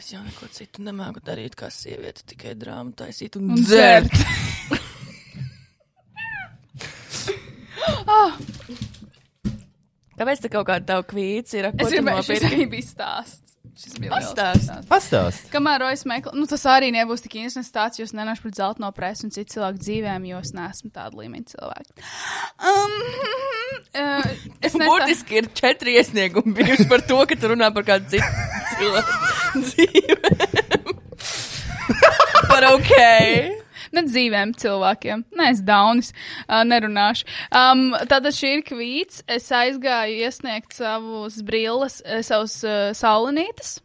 S3: Es jau neko citu nemāku darīt, kā sieviete, tikai drāmu taisīt un,
S2: Un
S3: un dzert.
S2: Ah,
S3: <laughs> Kāpēc tā kaut kāda tava kvīts ir?
S2: es gribēju, šis arī bija stāsts. Šis bija liels
S3: Pastāst.
S2: stāsts.
S1: Pastāst.
S2: Kamēr Rojas meklē, nu tas arī nebūs tik interesants stāsts, jo es nenāšu par zelta no preses un citu cilvēku dzīvēm, jo es neesmu tāda līmeņa cilvēka. Um, <laughs> uh,
S3: Es Burtiski ir četri iesniegumi bijuši par to, ka tu runā par kādu citu cilvēku dzīvēm. par ok.
S2: Ne dzīvēm cilvēkiem. Nē, es daunis uh, nerunāšu. Um, tātad šī ir kvīts. Es aizgāju iesniegt savus brilles, eh, savus uh, saulinītes.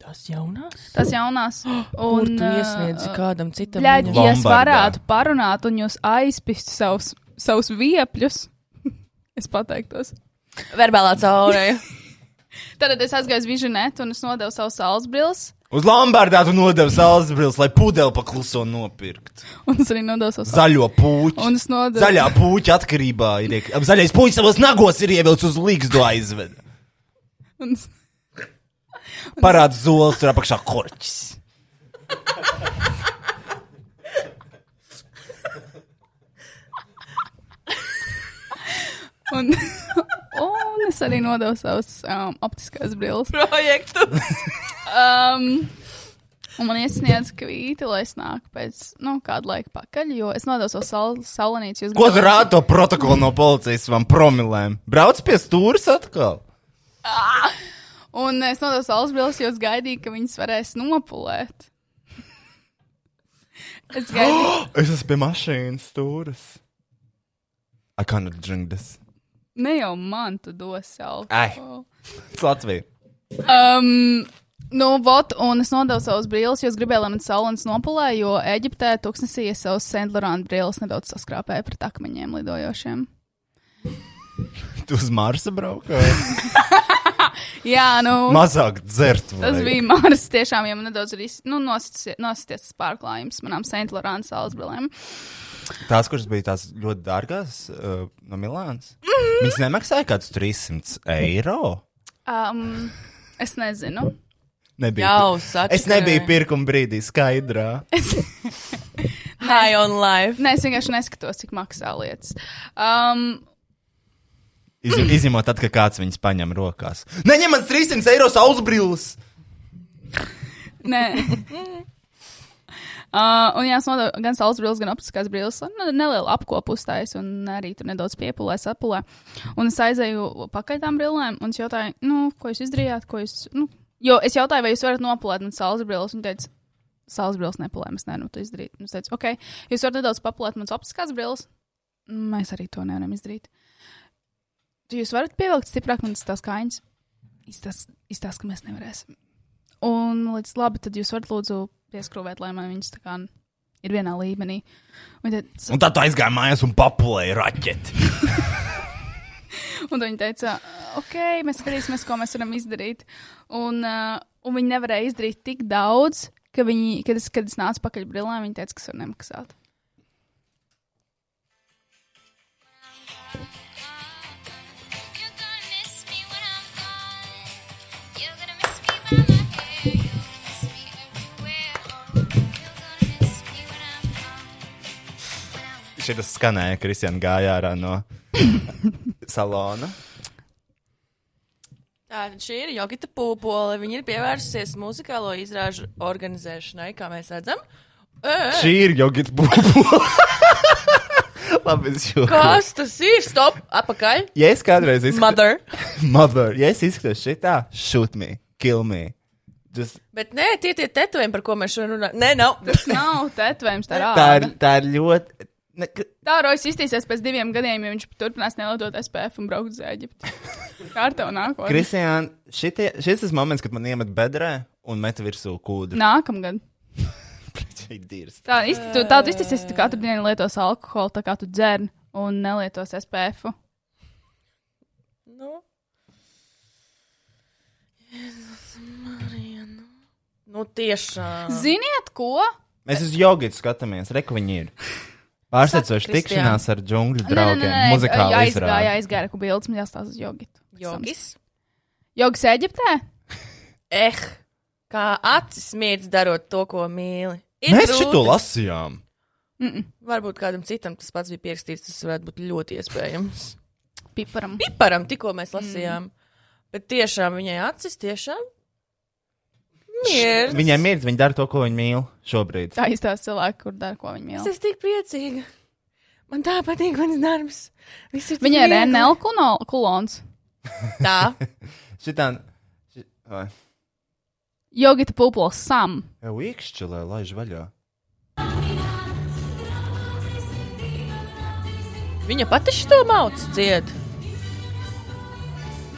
S3: Tas jaunās?
S2: Tas jaunās.
S3: <gasps> Kur tu
S2: eh,
S3: iesniedzi kādam citam
S2: Bļaigi,
S3: viņu?
S2: ja es
S3: Lombardā.
S2: varētu parunāt un jūs aizpistu savus, savus viepļus, <laughs> es pateiktos.
S3: Verbālā caurē.
S2: Tad es aizgāju uz Visionetu un es nodevu savus saules brilles.
S5: Uz Lombardā tu nodevi zāles brīvs, lai pudeli pakluso nopirkt.
S2: Un es arī nodevu savus
S5: Zaļo puķi.
S2: Un es nodevu.
S5: Zaļā puķa atkarībā ir. iek- Zaļais puķis savos nagos ir ievilcis uz līgstu aizved.
S2: Un es
S5: Parāda zolis, tur apakšā korķis.
S2: Un, <laughs> un es arī nodevu savus um, optiskās brilles.
S3: Projektus.
S2: <laughs> um, un man iesniedz kvīti, lai es nāku pēc nu, kāda laika pakaļ, jo es nodevu savu saul saulanīti.
S5: Ko tu rādi to protokolu no policijas man promilēm? Brauc pie stūres atkal.
S2: <laughs> Un es nodevu saules brilles, jo es gaidīju, ka viņas varēs nopulēt. <laughs> es gaidīju.
S5: <gasps>
S2: <gasps>
S5: Es esmu pie mašīnas stūres. I can't drink this.
S2: ne jau man tu dosi
S5: Ai.
S2: alkoholu.
S5: It's Latvija.
S2: Um, nu, vot, un es nodevu savus brīvus, jo es gribēju, lai man saulēns nopulē, jo Eģiptē tūkstnesī es savus Sandlerāna brīvus nedaudz saskrāpēju pret akmeņiem lidojošiem.
S5: Tu uz Marsa braukā.
S2: Jā, nu.
S5: Mazāk dzert.
S2: Tas
S5: vajag.
S2: bija <laughs> Mars. Tiešām, ja man nedaudz ir iz- nu, nosties tas pārklājums manām Sandlerāna saules brīvām.
S1: Tās, kuras bija tās ļoti dārgās
S5: eh,
S1: uh, no Milānas, mm -hmm. viņas nemaksāja kaut kādus 300 eiro.
S2: Um, es nezinu.
S5: Nebija
S3: Jau,
S5: pir-
S3: sačakarē.
S5: es nebiju pirkuma brīdī skaidrā.
S3: <laughs> High on life.
S2: Nē, es vienkārši neskatos, cik maksā lietas. Um,
S1: Iz,
S3: <laughs>
S1: izņemot, tad, kad kāds viņas paņem rokās.
S5: Neņem man 300 eiro sausbrīlis.
S3: <laughs>
S2: Nē. Uh, un jā, es nodevu gan saules brilles, gan optiskās brilles. Nu, Nelielu apkopu uztaisīju, un arī tur nedaudz piepūlēju, sapulēju. Un es aizēju pakaļ tām brillēm, un es jautāju, nu, ko jūs izdarījāt, ko jūs. Nu, jo es jautāju, vai jūs varat nopulēt man saules brilles, un viņi teica, saules brilles nepulē, mēs nevaram to izdarīt. Un es teicu, ok, jūs varat nedaudz papulēt manas optiskās brilles. "Mm, Mēs arī to nevaram izdarīt. Jūs varat pievilkt stiprāk manas tās kājas. Izstāsta, ka mēs nevarēsim. Un man liekas, labi, tad jūs varat lūdzu pieskrūvēt, lai man viņas tā kā ir vienā līmenī. Un tad,
S5: Un tad tu aizgāji mājās un papulēji raķeti.
S2: Un viņi teica, ok, mēs skatīsimies, ko mēs varam izdarīt. Un, uh, un viņi nevarēja izdarīt tik daudz, ka viņi, kad, es, kad es nācu pakaļ brillēm, viņi teica, ka es varu nemaksāt. <laughs>
S1: Šī tas skanēja, kad Kristiāna gāja ārā no
S5: <laughs>
S1: salona.
S3: Tā šī ir Jogita Pūpole. Viņa ir pievērsusies muzikālo izrāžu organizēšanai, kā mēs redzam. Ē,
S1: Šī ir jogita būva. <laughs> Labi, es
S5: <laughs>
S1: jūtu.
S3: Kas tas ir? Stop! Apakaļ!
S1: Ja es kādreiz izskatīšos.
S3: Mother.
S1: <laughs> Mother. Ja es izskatīšos šitā, shoot me, kill me. Just...
S3: Bet nē, tie tie tetovējumi, par ko mēs šodien runājam. Nē, nav.
S2: Tas nav tetovējums, tā ir
S1: Tā ir,
S2: ārā.
S1: tā ir ļoti.
S2: Tā Rojas iztīsies pēc diviem gadiem, ja viņš turpinās nelietot SPF un braukt uz Eģipti. Kā ar tev nākotnē?
S1: Kristiāna, šitie- šis ir moments, kad man iemet bedrē un met virsū kūdu.
S2: Nākamgad.
S1: Šī dirst.
S2: Tā, izt, tu, tā tu iztīsies, tu katru dienu lietos alkoholu, tā kā tu dzer un nelietos SPF. -u.
S3: Nu, tiešām.
S2: Ziniet, ko?
S1: Mēs uz jogitu skatāmies, reku viņi ir. Pārsteidzoši
S2: Saka, Kristiāna. Nu,
S1: tikšanās ar
S3: Nu,
S1: džungļu
S2: Nē, nē, nē,
S1: draugiem. Muzikāli
S2: aizgāja,
S1: izrāda.
S2: aizgāja, ko bildes man jāstāsta uz jogitu.
S3: Jogis?
S2: Jogis Eģiptē?
S3: <laughs> Eh, kā acis mirdz darot to, ko mīli. Ir
S5: Mēs
S3: grūti.
S5: šito lasījām.
S2: Mm -mm.
S3: Varbūt kādam citam tas pats bija pierakstīts, tas varētu būt ļoti iespējams.
S2: Piparam.
S3: Piparam, tikko mēs lasījām. Mm. Bet tiešām viņai acis tiešām mirdz.
S1: Viņai mirdz, viņi dara to, ko viņi mīl šobrīd.
S2: Tā izstāsta cilvēki, kur dara, ko viņi mīl.
S3: Es esmu tik priecīga. Man tā patīk mans darbs. Viss ir tik
S2: Viņai ir
S3: viegli.
S2: NL kuno- kulons.
S3: Tā.
S1: <laughs> Šitā. ši- vai.
S2: Jogita Pupls Sam.
S1: Jau iekšķelē, laiž vaļā.
S3: Viņa pati šo maucu dzied.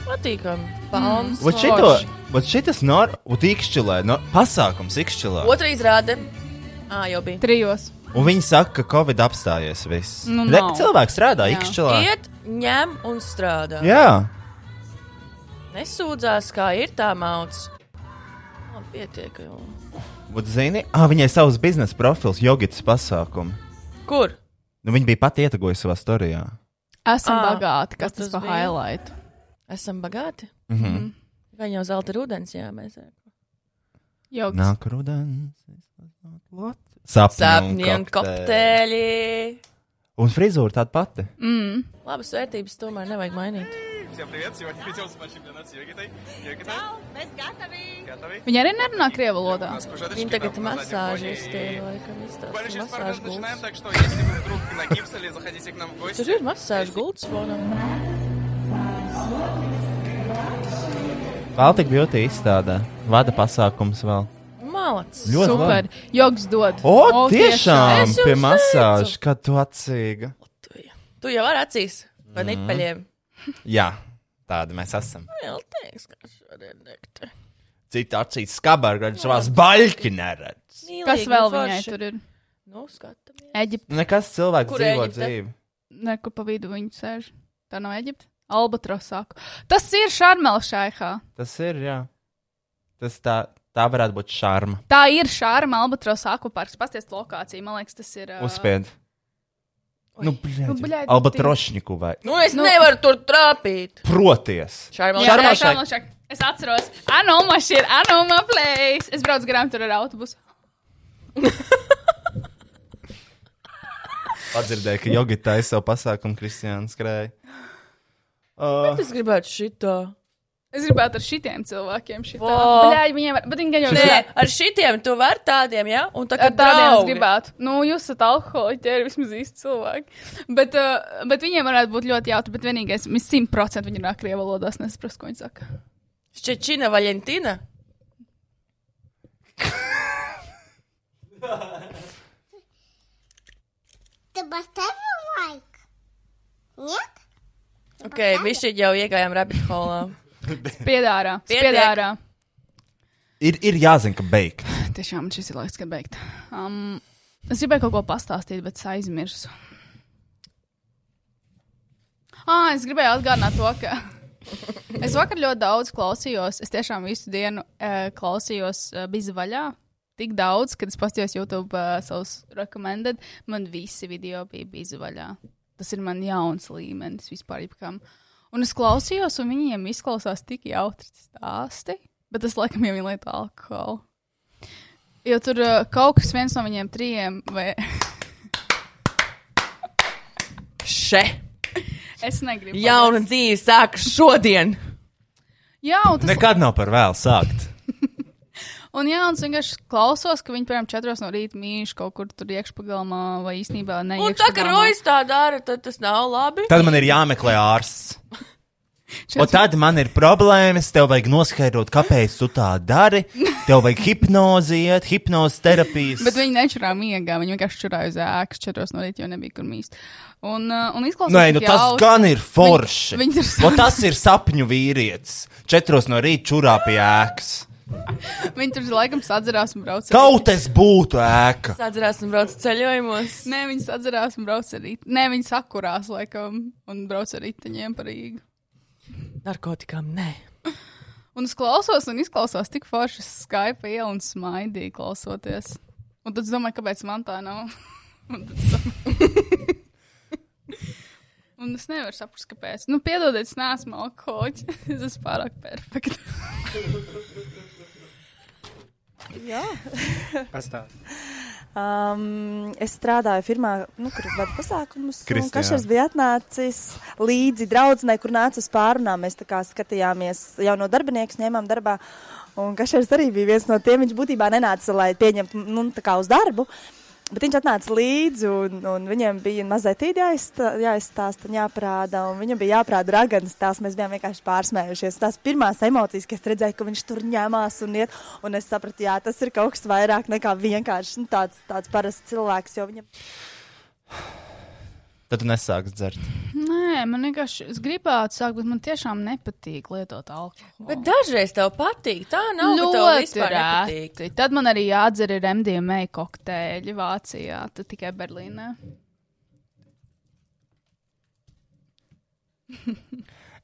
S3: Patīkami. Palmas.
S1: Vot Mm. šito, vot šitas nor, vot iekšķelē, no, pasākums iekšķelē.
S3: Otra izrāde. Ā, jau bija.
S2: Trijos.
S1: Un viņi saka, ka Covid apstājies viss.
S3: Nu,
S1: Re,
S3: nav.
S1: cilvēks strādā
S3: Jā.
S1: iekšķelē.
S3: Iet, ņem un strādā.
S1: Jā.
S3: Nesūdzās, kā ir tā mauts. Man pietiek jau.
S1: Vot zini, ah, viņai savs biznesa profils, jogitas pasākumi.
S3: Kur?
S1: Nu, viņi bija pati ietegojusi savā storijā.
S2: Esam
S3: Ā,
S2: bagāti. Kas
S3: vot
S2: tas
S3: tas
S2: par
S3: bija.
S2: highlight?
S3: Esam bagāti.
S1: Mhm.
S3: Vai jau zelta rudens, jā, mēs.
S2: Jogis.
S1: Nāk rudens.
S2: What?
S1: Sapņi,
S3: Sapņi
S1: un
S3: un kokteļi.
S1: Un frizūra tāda pati.
S3: Mm. Labas vērtības tomēr nevajag mainīt.
S16: Всем привет! Сегодня идем спать чемпионат с Йогитой. Йогита, готовы?
S2: Viņa arī nerunā krievu valodā.
S3: Viņa tagad masāžas te laikam
S16: Буквально
S3: izstāsta
S16: через пару минут
S3: masāžu
S16: начинаем,
S3: gultas.
S16: так что если вы вдруг на гипсоле, заходите к нам в гости.
S3: Tur ir masāžu gultas fonam.
S1: Baltika Beauty izstādē. Vada pasākums vēl.
S3: Malacis.
S1: Ļoti
S2: Super.
S1: labi.
S2: Jogs dod.
S1: O, tiešām!
S3: Es jums
S1: Pie
S3: teicu.
S1: masāžas, kā tu atsīga.
S3: Tu jau vari acīs pa
S1: Mhm.
S3: nipaļiem. Nu,
S1: Jā, tāda mēs esam.
S3: Jā, teiks, ka šodien nekta.
S1: Cita acīs skabāra, kad savās baļķi neredz.
S2: Kas vēl viņai tur ir?
S3: Nu, skatāmies.
S2: Eģipte.
S1: Nekas cilvēks
S2: Kur
S1: dzīvo
S2: Ēģipte?
S1: dzīvi.
S2: Nekur pa vidu viņa sēž. Tā nav Eģipte. Albatrosāku. Tas ir Šarmela šaihā.
S1: Tas ir, jā. Tas tā, tā varētu būt šarma.
S2: Tā ir Šārma Albatrosāku parks. Pasties lokācija. Man liekas, tas ir. ā,
S1: Uzspied. Nu,
S2: Nu,
S1: bļaļ.
S2: bļaļ,
S1: Albatrošņiku vai.
S3: Nu, es nu. nevaru tur trāpīt.
S1: Proties.
S3: Šarmela
S2: Jā,
S1: Šarmela
S2: jā, Šarmela šaihā. Es atceros, Anoma šeit ir Anoma place. Es braucu garām tur ar autobusu.
S1: Padzirdēju, ka jogi taisa savu pasākumu, Kristiāna skrēja.
S3: Bet es gribētu šito.
S2: Es gribētu ar šitiem cilvēkiem. šitā.
S3: Vo.
S2: Bļaļ, viņiem var. Bet viņi gan jau
S3: Nē, ar šitiem tu vari tādiem, jā? Un tā kā
S2: Ar tādiem es
S3: draugi.
S2: gribētu. Nu, jūs esat alkoholiķi, ir vismaz īsti cilvēki. Bet, uh, bet viņiem varētu būt ļoti jautri. Bet vienīgais, mēs simtprocentīgi viņi runā krievu valodā. Es nesaprotu, ko viņi saka.
S3: Šķečina Valentīna.
S18: Ты поставил лайк? Нет?
S3: Ok, visi jau iegājām rabbit holā.
S2: Piedārā.
S3: Pietiek.
S2: Piedārā.
S1: Ir, ir jāzina, ka beigt.
S2: tiešām šis ir laiks, kad beigt. Um, es gribēju kaut ko pastāstīt, bet es aizmirsu. Ah, es gribēju atgādināt to, ka es vakar ļoti daudz klausījos. Es tiešām visu dienu uh, klausījos uh, bizi vaļā. Tik daudz, kad es paskatījos YouTube uh, savus recommended, man visi video bija bizi vaļā. Tas ir man jauns līmenis vispār. Jebkam. Un es klausījos, un viņiem izklausās tik jautri stāsti, bet tas laikam jau ir lietu alkohola. Jo tur uh, kaut kas viens no viņiem trijiem vai <laughs>
S3: Še!
S2: es negribu.
S3: Jauna dzīve sākas šodien!
S2: Jā, un tas
S1: Nekad nav par vēlu sākt.
S2: Un jā, un es vienkārši klausos, ka viņi piemēram četros no rīta mīlēs kaut kur tur iekšpagalmā vai īstenībā ne.
S3: Un tā kā
S2: iekšpagalmā.
S3: Rojas tā dara, tad tas nav labi.
S1: Tad man ir jāmeklē ārsts. Un tad man ir problēmas, tev vajag noskaidrot, kāpēc tu tā dari. Tev vajag hipnoziet, hipnozes terapijas.
S2: Bet viņi nečurā miegā, viņi vienkārši čurāja uz ēkas četros no rīta, jo nebija kur mīst. Un, uh, un izklausās,
S1: Nē,
S2: tik
S1: nu tas
S2: jautri.
S1: gan ir forši.
S2: Viņi, viņi
S1: O,
S2: tur
S1: tas ir sapņu vīrietis. Četros no rīta čurā pie ēkas.
S2: Viņi tur laikam sadzirās un brauc. ar
S1: Kaut es būtu ēka.
S3: Sadzirās un brauc ceļojumos.
S2: Nē, viņi sadzirās un brauc ar rītu. Nē, viņi sakurās laikam un brauc ar riteņiem par Rīgu.
S3: Narkotikām nē.
S2: Un es klausos un izklausos tik forši es Skype ielu un smaidīju klausoties. Un tad es domāju, kāpēc man tā nav. <laughs> un, tad es domāju- <laughs> un es nevaru saprast, kāpēc. Nu, piedodiet, es neesmu alkoholiķis. <laughs> es esmu pārāk perfekta.
S15: Jā.
S14: Pastāst.
S15: Um, es strādāju firmā, nu, kur vada pasākumus. un
S14: Kristi, jā.
S15: Kašers bija atnācis līdzi draudzenei, kur nāca uz pārunām. Mēs tā kā skatījāmies jau no darbinieku, ņēmām darbā. Un Kašers arī bija viens no tiem. Viņš būtībā nenāca, lai pieņemtu nu, tā kā uz darbu. Bet viņš atnāca līdzi, un, un viņiem bija mazliet jāizstā- jāizstāsta un jāparāda. Un viņam bija jāparāda raganas tās. Mēs bijām vienkārši pārsmējušies. Tās pirmās emocijas, kas redzēja, ka viņš tur ņēmās un iet. Un es sapratu, jā, tas ir kaut kas vairāk nekā vienkārši nu, tāds, tāds parasts cilvēks. jo Viņam...
S1: Tad tu nesāks dzert.
S2: Nē, man vienkārši es gribētu sākt, bet man tiešām nepatīk lietot alkoholu.
S3: Bet dažreiz tev patīk. Tā nav ka tev vispār nepatīk.
S2: reti. Tad man arī jādzer ir MDMA kokteļi Vācijā, tad tikai Berlīnē.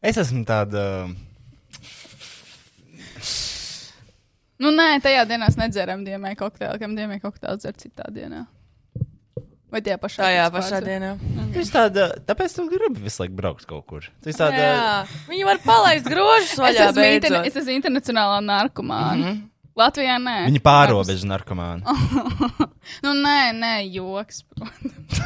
S1: Es esmu tāda.
S2: Nu, nē, tajā dienā es nedzeru MDMA kokteili, kam MDMA kokteili dzer citā dienā. Vai tajā pašā
S3: Tajā
S2: pēc
S3: pašā
S2: pārsvaru?
S3: dienā.
S1: Es tāda. Tāpēc tu gribi visu laiku braukt kaut kur. Tu esi tāda.
S3: Jā, viņi var palaist grožus
S2: Es
S3: vaļā.
S2: esmu, interne,
S3: beidzot. Mhm.
S2: es esmu internacionālā narkomāna. Mm -hmm. Latvijā nē.
S1: Viņa pārobežu narkomāna.
S3: Oh.
S2: nu, nē, nē, joks. protams.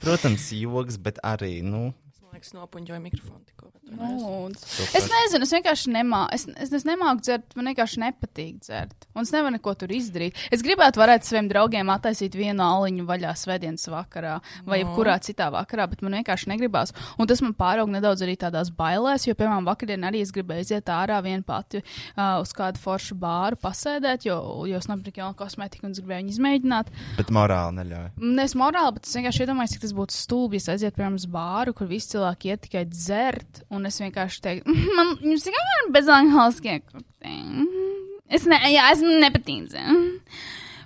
S1: Protams, joks, bet arī, nu,
S3: Man liekas, nopuņģoja mikrofonu. tikko, bet tu
S2: Lūdzu.
S1: Super.
S2: Es nezinu, es vienkārši nemāku, es, es, es nemāku dzert, man vienkārši nepatīk dzert. Un es nevaru neko tur izdarīt. Es gribētu varētu saviem draugiem attaisīt vienu aliņu vaļā svētdienas vakarā vai
S3: No.
S2: no. kurā citā vakarā, bet man vienkārši negribās. Un tas man pāraug nedaudz arī tādās bailēs, jo, piemēram, vakardien arī es gribēju iziet ārā viena pati uh, uz kādu foršu bāru pasēdēt, jo, jo es nopirku jaunu kosmētiku un es gribēju viņu izmēģināt.
S1: bet morāli neļauj.
S2: Mm, Nevis morāli, bet es vienkārši iedomājos, cik tas būtu stulbi, ja aiziet piemēram uz bāru, kur visi cilvēki iet tikai dzert, un es vienkārši teiktu, "Mhm, man jums ir kaut kāda bezalkoholiskā kokteļa. Mhm. Es ne, jā, es nepatīcu.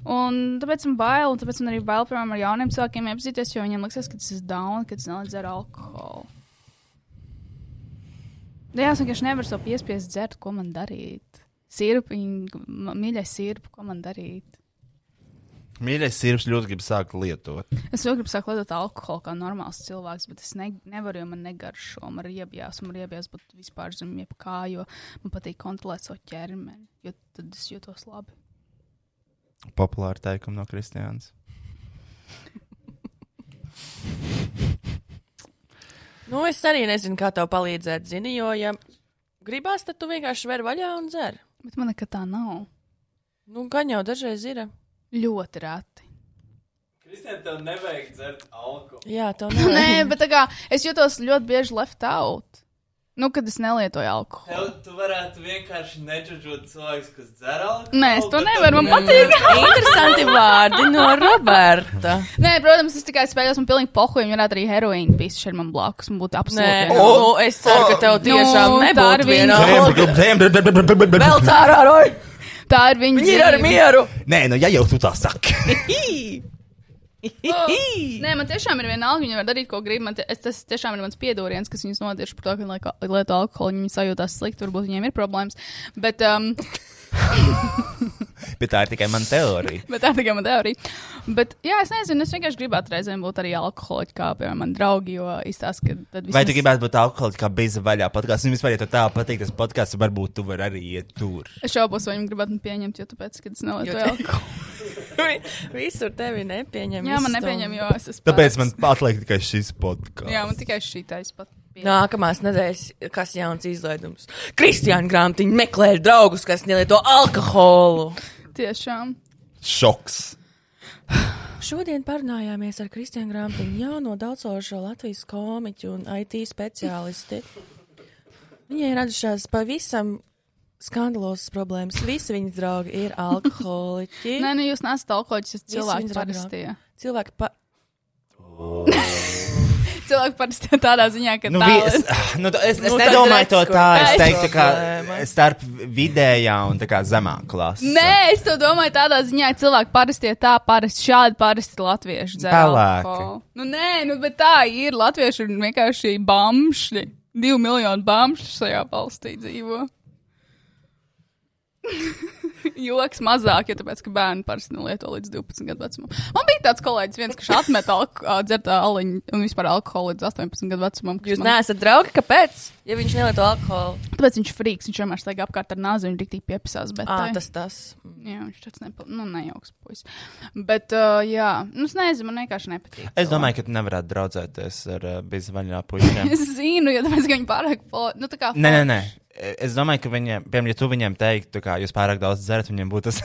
S2: Un tāpēc man bail, un tāpēc man arī bail, piemēram, ar jauniem cilvēkiem iepazīties, jo viņiem liksies, ka tas ir down, ka tas nelīdz ar alkoholu. Nu Jā, es vienkārši nevaru sev piespiest dzert, ko man darīt. Sirpiņa, mīļais sirpi, ko man darīt.
S1: Mīļais sirds ļoti grib sākt lietot.
S2: Es jau gribu sākt lietot alkoholu kā normāls cilvēks, bet es ne, nevaru, jo man negaršo, man ir riebjās, man ir riebjās, bet vispār zem jebkā, jo man patīk kontrolēt savu ķermeni, jo tad es jūtos labi.
S1: Populāra teikuma no Kristiānas.
S3: Nu, es arī nezinu, kā tev palīdzēt, zini, jo, ja gribās, tad tu vienkārši ver vaļā un dzer.
S2: Bet man nekad tā nav.
S3: Nu, gan jau dažreiz ir.
S2: Ļoti reti.
S8: Kristēn, tev nevajag dzert alkoholu.
S3: Jā,
S2: <laughs>
S3: tev nevajag.
S14: <laughs>
S2: Nē, bet tā kā es jūtos ļoti bieži left out. Nu, kad es nelietoju alkoholu.
S8: Tev, tu varētu vienkārši neģeģot cilvēks, kas dzer alkoholu.
S2: Nē, es to
S8: bet
S2: nevaru, man patīk.
S3: <laughs> Interesanti vārdi no Roberta.
S2: Nē, protams, es tikai spēlēju, man pilnīgi pohu, ja varētu arī heroīnu pīst šeit man blakus, un
S3: Nē,
S2: būtu absolūti.
S3: nu, es ceru, ka tev tiešām
S2: Nu,
S3: nebūtu
S2: Darvīn.
S3: viena alga.
S1: Vēl
S3: Vēl cārā, Roj!
S2: Tā ir viņa
S3: Viņi ir ar mieru.
S5: Nē, nu, ja jau tu tā saki.
S2: Oh, nē, man tiešām ir vienalga, viņi var darīt, ko grib. Man Te, es, tas tiešām ir mans piedodiens, kas viņus notiek par to, ka laiko- lieto alkoholu viņi sajūtās slikti, varbūt viņiem ir problēmas. Bet, um,
S1: Bet tā ir tikai mana <laughs> teorija.
S2: bet tā ir tikai mana teorija. Bet, jā, es nezinu, es vienkārši gribētu reizēm būt arī alkoholiķi, kā piemēram mani draugi, jo izstāsta, ka tad
S1: Vai tu gribētu būt alkoholiķis, kā beigas vaļā podkāstā? Un vispār, ja tev tā patīk, tas podkāsts varbūt tu vari arī iet tur.
S2: Es šaubos, vai viņi gribētu mani pieņemt, jo tāpēc, ka es nelietu
S3: Jo te- <laughs>
S2: alkoholu.
S3: Visur tevi nepieņem.
S2: Jā, man
S3: visu
S2: nepieņem,
S3: to.
S2: jo es esmu.
S5: Tāpēc man atliek tikai šis podkāsts.
S2: Jā, man tikai šī tā izpat.
S3: Nākamās nedēļas, kas jauns izlaidums. Kristiāna grāmatiņa meklē draugus, kas nelieto alkoholu.
S2: Tiešām.
S5: Šoks.
S3: Šodien parunājāmies ar Kristiānu Grāmatiņu, jauno daudzsološo Latvijas komiķu un IT speciālisti. Viņai radušās pavisam skandalosas problēmas. Visi viņas draugi
S2: <laughs>
S3: ir alkoholiķi.
S2: Nē, nu jūs nesat alkoholiķis, jūs
S3: Visi
S2: cilvēki
S3: viņas draugi
S2: parastie.
S3: draugi. Cilvēki pa...
S2: Cilvēki parastie <laughs> tādā ziņā, ka
S1: Nu,
S2: tā
S1: vi- es, nu, tu- es, es
S2: Nu,
S1: nu,
S2: tad
S1: nedomāju
S2: redz,
S1: to
S2: kur
S1: tā. Es
S2: taisnība.
S1: teiktu, ka
S2: Problēma.
S1: starp vidējā un tā kā zemākā klasē.
S2: Nē, es to domāju tādā ziņā, ka cilvēki parasti ir tā, parasti šādi parasti latvieši dzer
S1: Pelēki.
S2: alkoholu. Nu, nē, nu, bet tā ir. Latvieši ir vienkārši bamšļi. Divu miljonu bamšļu šajā valstī dzīvo. <laughs> Joks mazāk, jo tāpēc, ka bērni parasti nelieto līdz 12 gadu vecumam. Man bija tāds kolēģis, viens, kurš atmet alko- ā, dzert aliņu un vispār alkoholu līdz 18 gadu vecumam.
S3: Jūs neesat draugi, kāpēc? Ja viņš nelieto alkoholu.
S2: Tāpēc viņš ir frīks, viņš vienmēr staigā apkārt ar nāzi, viņš tik tik piepisās. Bet,
S3: Ā,
S2: tai-
S3: tas tas.
S2: Jā, viņš tāds nepa... nu, nejauks puisis. Bet, uh, jā, nu, es nezinu, man vienkārši nepatīk. <laughs>
S1: Es domāju, ka tu nevarētu draudzēties ar uh, bez vaļā puikiem.
S2: Es <laughs> zinu, jo tāpēc, ka viņi pārāk po... nu, tā kā.
S1: Nē, nē, nē. Es domāju, ka viņiem, piemēram, ja tu viņiem teiktu, ka jūs pārāk daudz dzerat, viņiem būtu <laughs> tas.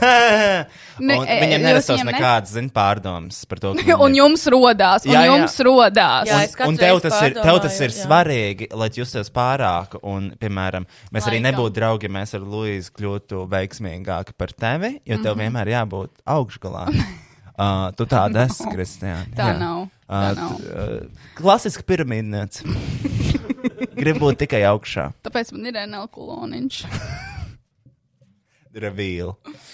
S2: Ne,
S1: ne,
S2: e,
S1: viņiem
S2: jūs
S1: nerastos
S2: viņiem ne-
S1: nekādas, zin, pārdomas par
S2: <laughs>
S1: to. ka
S2: forši. un
S1: viņi-
S2: jums rodās, un jā,
S1: Jā, jā.
S2: jums jā. rodās.
S3: Jā, es
S1: Un
S3: katru
S1: tev
S3: reizi
S1: tas, ir, tev tas
S3: pārdomāju,
S1: ir
S3: jā.
S1: svarīgi, lai tu justies pārāk. Un, piemēram, mēs arī
S3: Laikam.
S1: nebūtu draugi, ja mēs ar Luīsu kļūtu veiksmīgāki par tevi, jo tev
S2: Mhm.
S1: vienmēr jābūt augšgalā.
S3: <laughs>
S1: Uh, tu tāda esi, Kristija.
S2: tā nav, tā nav.
S1: Uh, klasiski
S3: <laughs>
S1: piramīdniec. Gribu būt tikai augšā.
S2: Tāpēc man ir NL koloniņš.
S1: Revīli.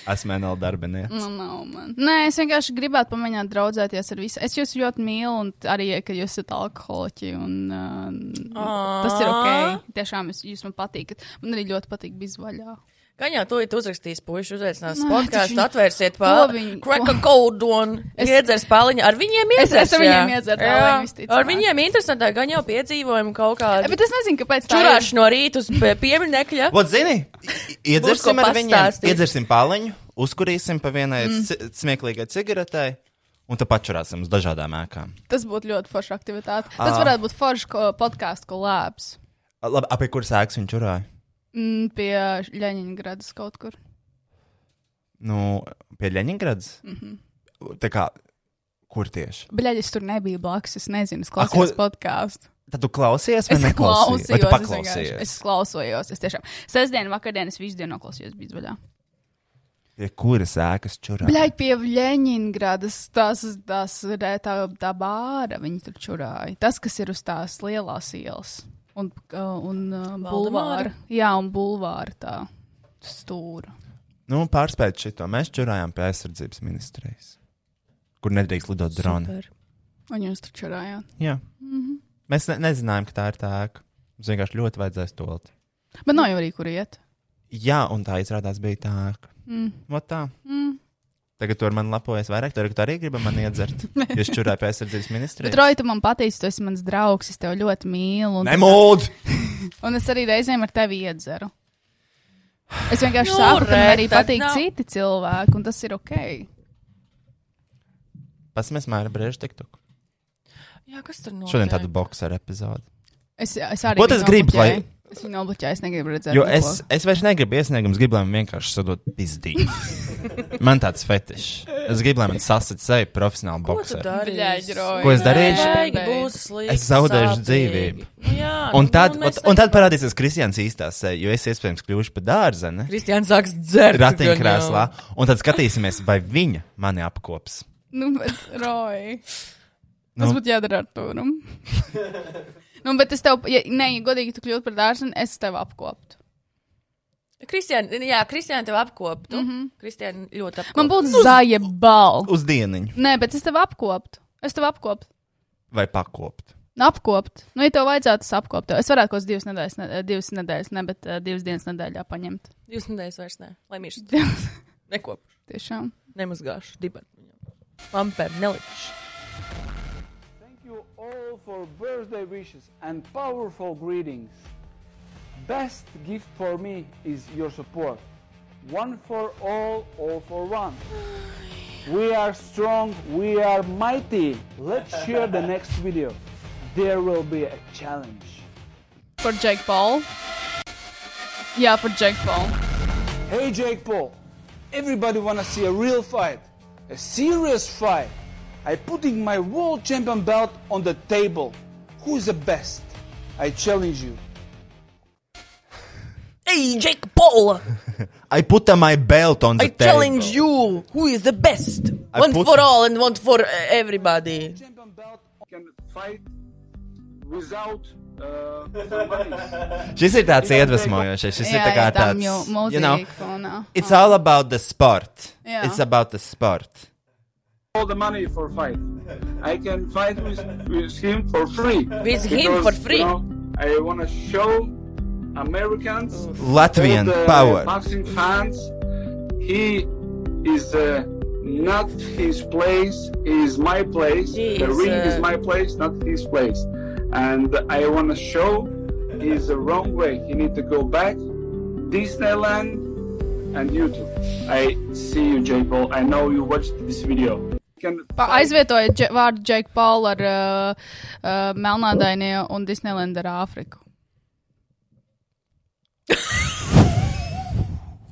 S1: Esmu NL darbinieks.
S2: Nu, nav man. Nē, es vienkārši gribētu pamēģināt draudzēties ar visiem. Es jūs ļoti mīlu, un arī, ka jūs esat alkoholiķi. Un, uh, tas ir ok. Tiešām es, jūs man patīkat. Man arī ļoti patīk bizvaļā.
S3: Kā jau to uzrakstīs, puiši uzaicinās
S2: Nē,
S3: podkāstu,
S2: taču
S3: atvērsiet
S2: ko viņi-
S3: pāri.
S2: ko- <laughs>
S3: Crack a cold one.
S2: Es-
S3: Es iedzers pāliņu. Ar viņiem
S2: Es-
S3: iedzers.
S2: es ar viņiem
S3: jā.
S2: iedzeru
S3: Jā.
S2: pāliņu, visticamāk.
S3: Ar viņiem interesantāk, gan jau piedzīvojumu kaut kādu.
S2: E, Bet es nezinu, kāpēc tā ir.
S3: Čurāšu no rīta uz pie- pieminekļa.
S1: <laughs> Vot, zini,
S3: Būs ko
S1: iedzersim ar viņiem,
S3: pastāstīt.
S1: iedzersim pāliņu, uzkurīsim pa vienai
S2: Mm.
S1: mm. smieklīgai cigaretei, un tad pačurāsim uz dažādām ēkām.
S2: Tas būtu ļoti forša aktivitāte. Tas
S1: Ā.
S2: varētu būt foršs ko- podkāsts kolēps.
S1: Labi, ap kur sēks viņa čurāja?
S2: Mm, Pie Ļaņģeradas kaut kur.
S1: Nu, pie Leņņģeradas.
S2: Mm -hmm.
S1: Tā kā, kur tieši?
S2: Bļaļ, es tur nebiju blakus. Es nezinu, es
S1: A, ko-
S2: klausījos podkāstu.
S1: Tad tu
S2: <laughs>
S1: klausies, vai
S2: Es
S1: neklausies? Vai tu
S2: klausījos, es vienkārši-
S1: paklausies?
S2: es klausījos. Es tiešām sestdien, vakardien, es visu dienu noklausījos bizvaļā.
S1: Pie kuras ēkas čurāja?
S2: Bļaļ, pie Ļaņģeradas tās, tās re- tā, tā bāra viņi tur čurāja. Tas, kas ir uz tās lielās ielas un, uh, un uh,
S3: Valdemāra?
S2: bulvāra. Jā, un bulvāra tā stūra.
S1: Nu, pārspēt šito. Mēs čurājām pie aizsardzības ministrijas, kur nedrīkst lidot droni.
S2: Un jūs tur čurājāt.
S1: Jā.
S2: Mhm.
S1: Mēs ne nezinājām, ka tā ir tā ēka. Mums vienkārši ļoti vajadzēs to lietot.
S2: Bet nav jau arī kur iet.
S1: Jā, un tā izrādās bija tā ēka.
S2: Mm.
S1: Vat tā.
S2: Mm.
S1: Tagad tur man lapojas vairāk, tur arī gribam man iedzert. Jūs čurājāt pie aizsardzības
S2: Bet,
S1: ministrijas.
S2: Roja, tu man pateici, tu esi mans draugs, es tevi ļoti mīlu. Un,
S1: Nemūd!
S2: un es arī reizēm ar tevi iedzeru. Es vienkārši
S3: Nu,
S2: saprotu, ka man
S3: re,
S2: arī
S3: tad
S2: patīk
S3: nav.
S2: citi cilvēki, un tas ir ok.
S1: Pasmēs mēra brēžu tiktuku.
S3: Jā, kas tur notiek?
S1: Šodien tāda boxera epizode.
S2: Es, es arī.
S1: Ko tas
S2: viņu
S1: grib, lai-
S2: nobloķēju. Es viņu nobloķēju, es negribu redzēt.
S1: Jo es, es vairs negribu iesniegumus, gribu, lai man vienkārši sadod pizdī. man tāds fetišs. Es gribu, lai man sasit sevi profesionāli boxeri. Ko es darīšu? Es zaudēšu dzīvību.
S3: Nu jā,
S1: un,
S3: nu,
S1: tad,
S3: un
S1: un,
S3: mēs
S1: un tad parādīsies Kristians īstā seja, jo es iespējams kļūšu par dārzeni.
S3: Kristians sāks dzert
S1: Ratiņkrēslā. Un tad skatīsimies, vai viņa mani apkops.
S2: Nu, bet, Roja.
S1: Nu.
S2: Tas būtu jādara ar turumu. nu, bet es tev, ja, nē, ja godīgi, tu kļūtu par dārstu, es tevi apkoptu.
S3: Kristiāna, jā, Kristiāna tev apkoptu. Mm -hmm. Kristiāna ļoti apkoptu.
S2: Mhm.
S3: Nu,
S2: Man būtu zāja balva.
S1: Uz dieniņu
S2: Nē, bet es tev apkoptu. Es tev apkoptu.
S1: vai pakopt.
S2: Apkopt. Nu, ja tev vajadzētu, es apkoptu. tevi. Es varētu kaut kādas divas nedēļas, ne, divas nedēļas, ne, bet uh, divas dienas nedēļā paņemt.
S3: Divas nedēļas vairs nē, lai
S2: <laughs>
S3: mīlētu. Neko.
S2: Tiešām.
S3: Nemazgāšu, dibenu. Lampēm nelikšu.
S19: all for birthday wishes and powerful greetings. Best gift for me is your support. One for all, all for one. We are strong, we are mighty. Let's share the next video. There will be a challenge.
S2: For Jake Paul. Yeah, for Jake Paul.
S19: Hey Jake Paul, everybody wanna see a real fight, a serious fight. I putting my world champion belt on the table. Who is the best? I challenge you.
S3: Hey, Jake Paul!
S1: I put uh, my belt on the
S3: I
S1: table.
S3: challenge you! Who is the best?
S1: I
S3: one
S1: put-
S3: for all and one for uh, everybody.
S19: Can fight without uh, somebody.
S1: Šis ir tāds iedvesmojošs. Šis ir
S2: Jā,
S1: tā kā
S2: jā, tam
S1: tāds.
S2: jau
S1: you know,
S2: mūzika fonā.
S1: it's all about the sport.
S19: Jā.
S1: It's about the sport.
S19: all the money for fight. I can fight with, with him for free.
S3: With him for free?
S19: you know, I want to show Americans,
S1: Latvian
S19: all the
S1: power.
S19: boxing fans, he is uh, not his place. Is my place.
S3: He
S19: the
S3: is,
S19: ring
S3: uh,
S19: is my place, not his place. And I want to show he's the wrong way. He need to go back Disneyland and YouTube. I see you, J. Paul. I know you watched this video. Can
S2: Pa, aizvietoja dž vārdu Jake Paul ar uh, uh, Melnādainie un Disneylandu ar Āfriku.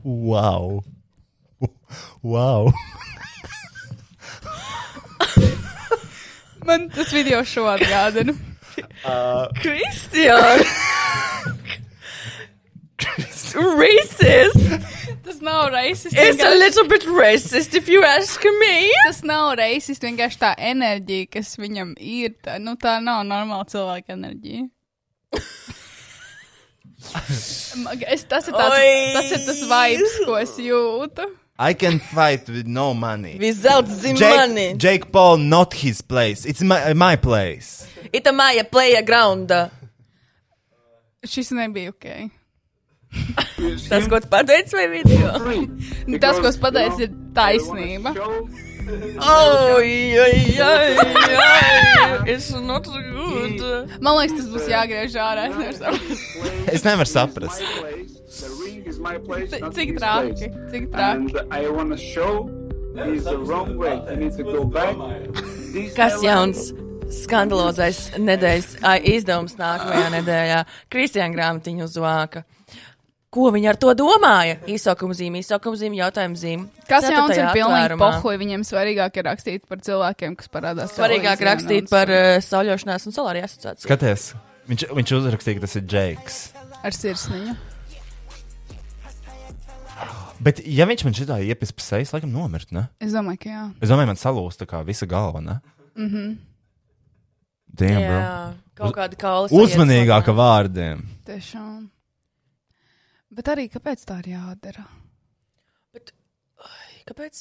S1: Wow. <laughs> Wow.
S2: Man tas video šo atgādina.
S3: Kristian! racist!
S2: <laughs> tas nav racist.
S3: It's a
S2: vienkārši-
S3: little bit racist if you ask me!
S2: Tas nav racist, vienkārši tā enerģija, kas viņam ir. Tā, nu, tā nav normāla cilvēka enerģija. Um, es, tas, ir tāds,
S3: Oi!
S2: tas ir tas vibes, ko es jūtu.
S1: I can fight with no money.
S3: Without the
S1: Jake,
S3: money.
S1: Jake Paul, not his place. It's my, uh, my place.
S3: It's a Maya playground.
S2: Šis nebija ok.
S3: <laughs> Tas, ko tu pateici, vai video?
S2: Tas, ko es pateicu, ir taisnība.
S3: Oh, <laughs> jā, jā, jā. It's not good.
S2: Man liekas, tas būs jāgriež ārā. es nevaru saprast.
S1: Es nevaru saprast.
S19: The ring is my place,
S2: Cik-
S19: not
S2: cik
S19: his
S2: traki,
S19: place.
S2: cik traki.
S19: And I want to show he's the wrong way. He needs to go back.
S3: Kas
S19: Disneyland.
S3: jauns? Skandalozais nedēļas ai, izdevums nākamajā nedēļā. Kristiāna grāmatiņa uz vāka. Ko viņi ar to domāja? Īsākuma zīme, īsākuma zīme, jautājuma zīme.
S2: Kas jauns ir
S3: Ceturtajā
S2: pilnīgi
S3: atvērumā.
S2: pohuļi, viņiem svarīgāk ir rakstīt par cilvēkiem, kas parādās.
S3: Svarīgāk
S2: televīzijā,
S3: rakstīt
S2: un-
S3: par uh, sauļošanās un solāru asociāciju.
S1: Skaties, viņš, viņš uzrakstīja, ka tas ir Jakes.
S2: Ar sirsniņu.
S1: Bet, ja viņš man šitā iepis pa sejas, laikam nomirt, ne?
S2: Es domāju, ka jā.
S1: Es domāju, man salūst tā kā visa galva, ne?
S2: Mm -hmm.
S1: Damn,
S3: Jā,
S1: bro.
S3: kaut kāda kaula sajiet
S1: Uzmanīgāka vārdiem.
S2: Tiešām. Bet arī kāpēc tā ir jādara?
S3: Kāpēc?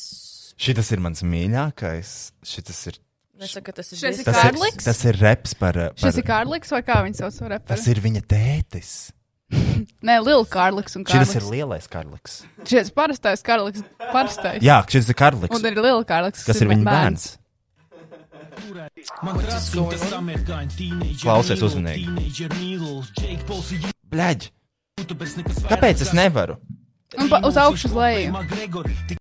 S1: Šitas ir mans mīļākais. Šitas ir.
S3: Nesaka, ka tas ir
S2: Šis ir
S1: Tas ir,
S2: Kārliks?
S1: tas ir reps par. uh, par
S2: Šis ir Kārlis vai kā viņš sauc?
S1: tas
S2: Reperu?
S1: ir viņa tētis.
S2: Nē, Lila Kārlis un Kārlis.
S1: Šis ir lielais Kārliks.
S2: Šis parastais Kārlis. Parastais.
S1: Jā, šis ir Kārliks.
S2: Un ir Lila Kārlis.
S1: Kas ir viņa bērns? Klausies uzmanīgi. Bļaģ! Kāpēc es nevaru?
S2: Un pa, uz augšu uz leju.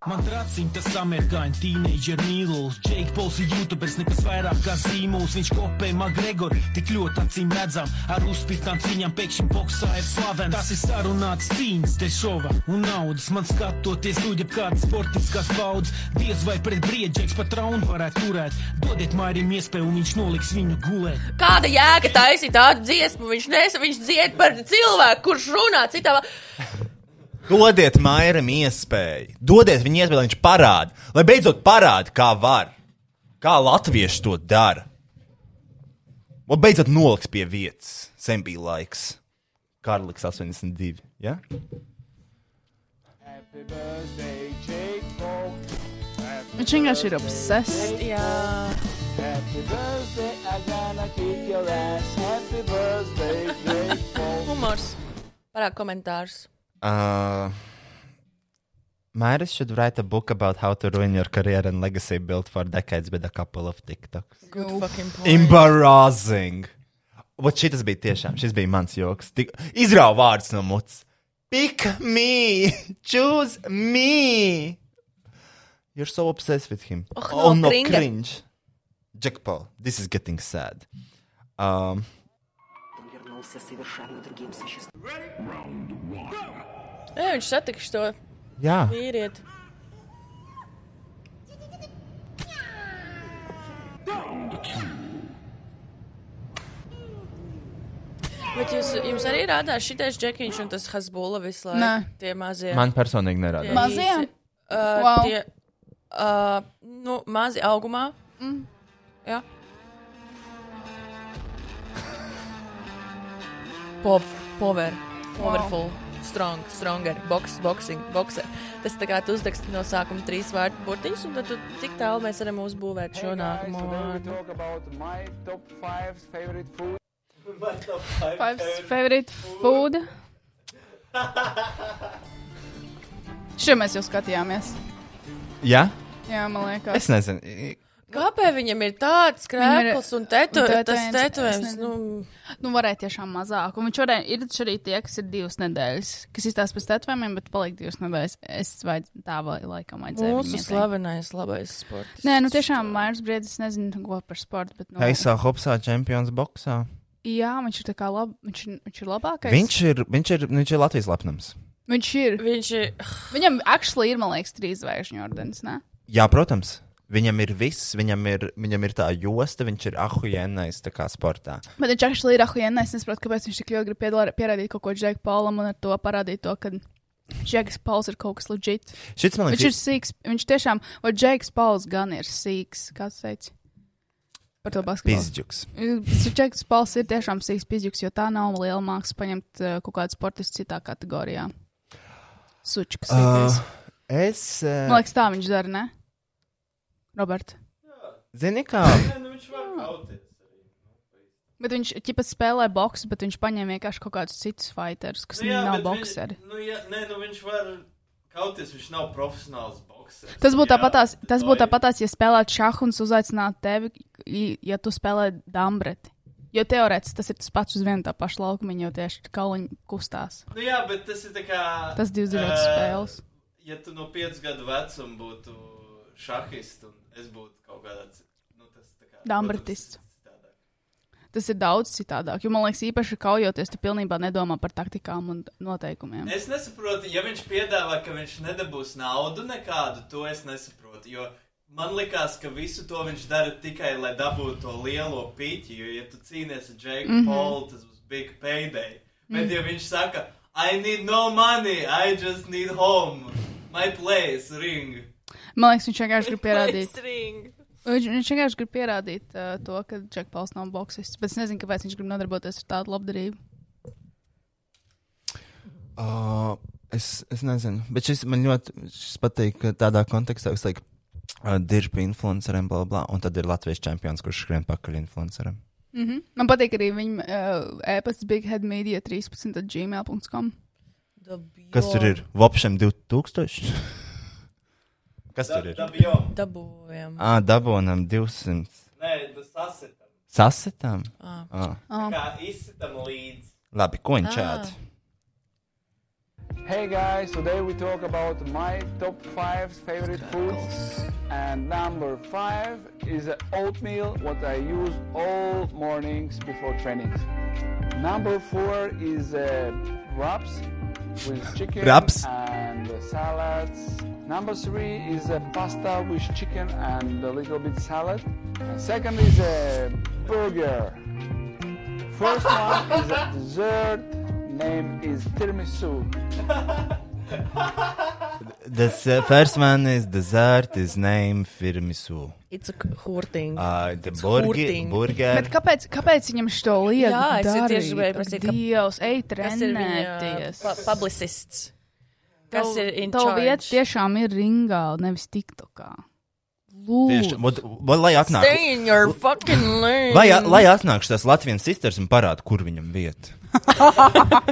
S20: Man tracīja tas amerikāņu teenager mīlus. Jake Pauls ir youtubers, nekas vairāk kā zīmols. Viņš kopē Magregoru, tik ļoti acīm redzam. Ar uzspītām cīņām pēkšņi boksā ir slavens. Tas ir sarunāts cīņas, te šova un naudas. Man skatoties, lūdzu, kādas sportiskās paudzes. Diez vai pret briedžeks pat raundu varētu turēt. Dodiet Mairim iespēju un viņš noliks viņu gulēt.
S3: Kāda jēga taisīt tādu dziesmu? Viņš nes, viņš dzied par cilvēku, kurš runā citā. vā-
S1: Dodiet Mairam iespēju. Dodiet viņam iespēju, lai viņš parāda. Lai beidzot parāda, kā var. Kā latvieši to dara. Un beidzot noliks pie vietas. Sen bija laiks. Kārliks 82. Ja?
S19: Happy birthday, Jake Paul. Happy
S2: Viņš vienkārši ir
S19: birthday,
S2: obsessed.
S19: Jake Paul. Happy birthday, I gonna kick your ass. Happy birthday, Jake Paul.
S3: <laughs> Humors. Parāk komentārs.
S1: Uh, Myra should write a book about how to ruin your career and legacy built for decades with a couple of TikToks.
S3: Good Oof. fucking point.
S1: Embarrassing. Vat šis bija tiešām, šis bija mans joks. Tik, izrāva vārds no mutes. Pick me! Choose me! You're so obsessed with him.
S3: Oh, no,
S1: no,
S3: cringe.
S1: cringe. Jack Paul, this is getting sad. Um,
S21: вернулся совершенно другим существом.
S3: Ē, Nu, viņš satiks to
S1: Jā.
S3: vīrieti. Bet jūs, jums arī rādās šitais džekiņš un tas hasbula visu laiku.
S2: Nē.
S3: Tie mazie.
S1: Man personīgi nerādās.
S3: Tie
S2: Mazie?
S3: īsi, Uh, wow.
S2: Wow.
S3: Tie, uh, nu, mazi augumā.
S2: Mm.
S3: Jā. Pop, power, powerful, strong, stronger, box, boxing, boxer. Tas tā kā tu uzraksti no sākuma trīs vārdu burtiņus, un tad tu, cik tālu mēs varam uzbūvēt šo
S19: Hey guys,
S3: nākamo
S19: today we
S3: vārdu.
S19: talk about my top five favorite <laughs> food.
S2: Five's favorite food. Šo mēs jau skatījāmies.
S1: Jā?
S2: Jā, man liekas.
S1: Es nezinu. i-
S3: Kāpēc viņam ir tāds krēkls un tetu, tas tetojums? Nu,
S2: nu, varēja tiešām mazāk. Un viņš varēja, ir taču arī tie, kas ir divas nedēļas, kas izstāsta pēc tetovējumiem, bet paliek divas nedēļas. Es vai tā vai laikam aizēju.
S3: mūsu slavenais labais sports.
S2: Nē, nu tiešām Mairs Briedis, es nezinu, ko par sportu, bet. Nu,
S1: Heisā Hopsā čempions boxā.
S2: Jā, viņš ir tā kā lab, viņš, ir- viņš ir labākais.
S1: Viņš ir, viņš ir, viņš ir Latvijas lepnums.
S2: Viņš ir.
S3: Viņš ir.
S2: Viņam actually ir, man liekas, trīs zvaigžņu ordens. Ne?
S1: Jā, protams. Viņam ir viss, viņam ir, viņam ir tā josta, viņš ir ahujēnais tā kā sportā.
S2: Bet viņš actually ir ahuēnais. Es nesaprotu, kāpēc viņš tik ļoti grib piedalā- pierādīt kaut ko Džeku Paulam un ar to parādīt to, ka Džeks Pauls ir kaut kas leģit.
S1: Šits, man liekas,
S2: viņš ir sīgs. Viņš tiešām, vai Džeks Pauls gan ir sīgs, kāds teica. Par to basketbolu.
S1: Pizdžuks.
S2: Džeks Pauls ir tiešām sīgs pizjuks, jo tā nav liela māksla paņemt uh, kaut kādu sportistu citā kategorijā. Sučiks. Uh,
S1: Ah, es. Uh,
S2: Man liekas, tā viņš dara, ne? Robert.
S8: <laughs>
S1: Zini, kā?
S8: Nu
S2: Bet viņš ķipa spēlē boksu, bet viņš paņēma vienkārši kaut kādus citus fighters, kas
S8: Nu
S2: nu, jā, nav
S8: bet vi-
S2: bokseri.
S8: Nu, jā, nē, nu viņš var kauties, viņš nav profesionāls boxers.
S2: Tas
S8: jā?
S2: būtu tāpatās, tas būtu
S8: Vai-
S2: tāpatās, ja spēlētu šāhu un uzaicinātu tevi, i- ja tu spēlē dambreti. Jo teorētiski tas ir tas pats uz vienu tā pašu laukumu, jo tieši kauliņi kustās.
S8: Nu jā, bet tas ir tā kā.
S2: Tas divas dažādas
S8: eh,
S2: spēles.
S8: Ja tu no 5 gadu vecuma būtu šahists un es būtu kaut kādā. ci- Nu, tas tā kā.
S2: Dambretists. Tas ir daudz citādāk, jo man liekas, īpaši kaujoties, tu pilnībā nedomā par taktikām un noteikumiem.
S8: Es nesaprotu, ja viņš piedāvā, ka viņš nedabūs naudu nekādu, to es nesaprotu. Jo man likās, ka visu to viņš dara tikai, lai dabūtu to lielo pīķi. Jo, ja tu cīnies ar Jake mm -hmm.
S2: Mhm.
S8: Paul, tas būs big payday. Bet,
S2: Mhm.
S8: ja viņš saka, I need no money, I just need home, my place, ring.
S2: Man liekas, viņš
S8: <laughs>
S2: vienkārši grib pierādīt.
S3: String.
S2: Viņš, viņš vienkārši grib pierādīt uh, to, ka Džeks Pauls nav boxists. Bet es nezinu, kāpēc viņš grib nodarboties ar tādu labdarību.
S1: Uh, es, es nezinu, bet šis man ļoti šis patīk ka tādā kontekstā, kas liek uh, dirbi influenceriem, bla, bla, un tad ir Latvijas čempions, kurš skrien pakaļ influenceriem.
S2: Mm
S3: Mhm.
S2: -hmm. Man patīk arī viņa uh, e-pasta bigheadmedia 13 at gmail.com.
S1: Kas tur ir? Vopšiem 2000?
S3: <laughs>
S1: Kas tur ir?
S8: Dabjom.
S3: Dabūjam.
S1: Ā, dabonam 200.
S8: Nē, tas sasitam.
S1: Sasitām?
S8: Ā.
S1: Ā.
S3: Ah.
S8: Tā Kā izsitam līdzi.
S1: Labi, ko viņš
S19: Ā.
S1: ēd?
S19: Hey guys, today we talk about my top five favorite foods. And number five is a oatmeal, what I use all mornings before trainings. Number four is uh, wraps with chicken
S1: Wraps?
S19: and salads. Number three is a pasta with chicken and a little bit salad. And second is a burger. First one is a dessert. Name is tiramisu.
S1: This uh, first one is dessert, his name Firmisu.
S3: It's a hurting.
S1: Uh, the
S3: It's
S1: burger,
S3: hurting.
S1: burger.
S2: Bet kāpēc, kāpēc viņam šo lietu?
S3: Jā, es tieši gribēju prasīt, ka-
S2: Dievs, ej,
S3: Kas ir viņa
S2: trenēties.
S3: pa- publicists? Kas ir in
S2: Tā
S3: charge?
S2: vieta tiešām ir ringā, nevis
S3: <laughs>
S2: tiktokā. Lūdzu.
S1: Tieši, vot- vot lai atnāk.
S3: Stay in your fucking lane.
S1: Lai, lai atnāk šis Latvijas sisters un parāda, kur viņam vieta.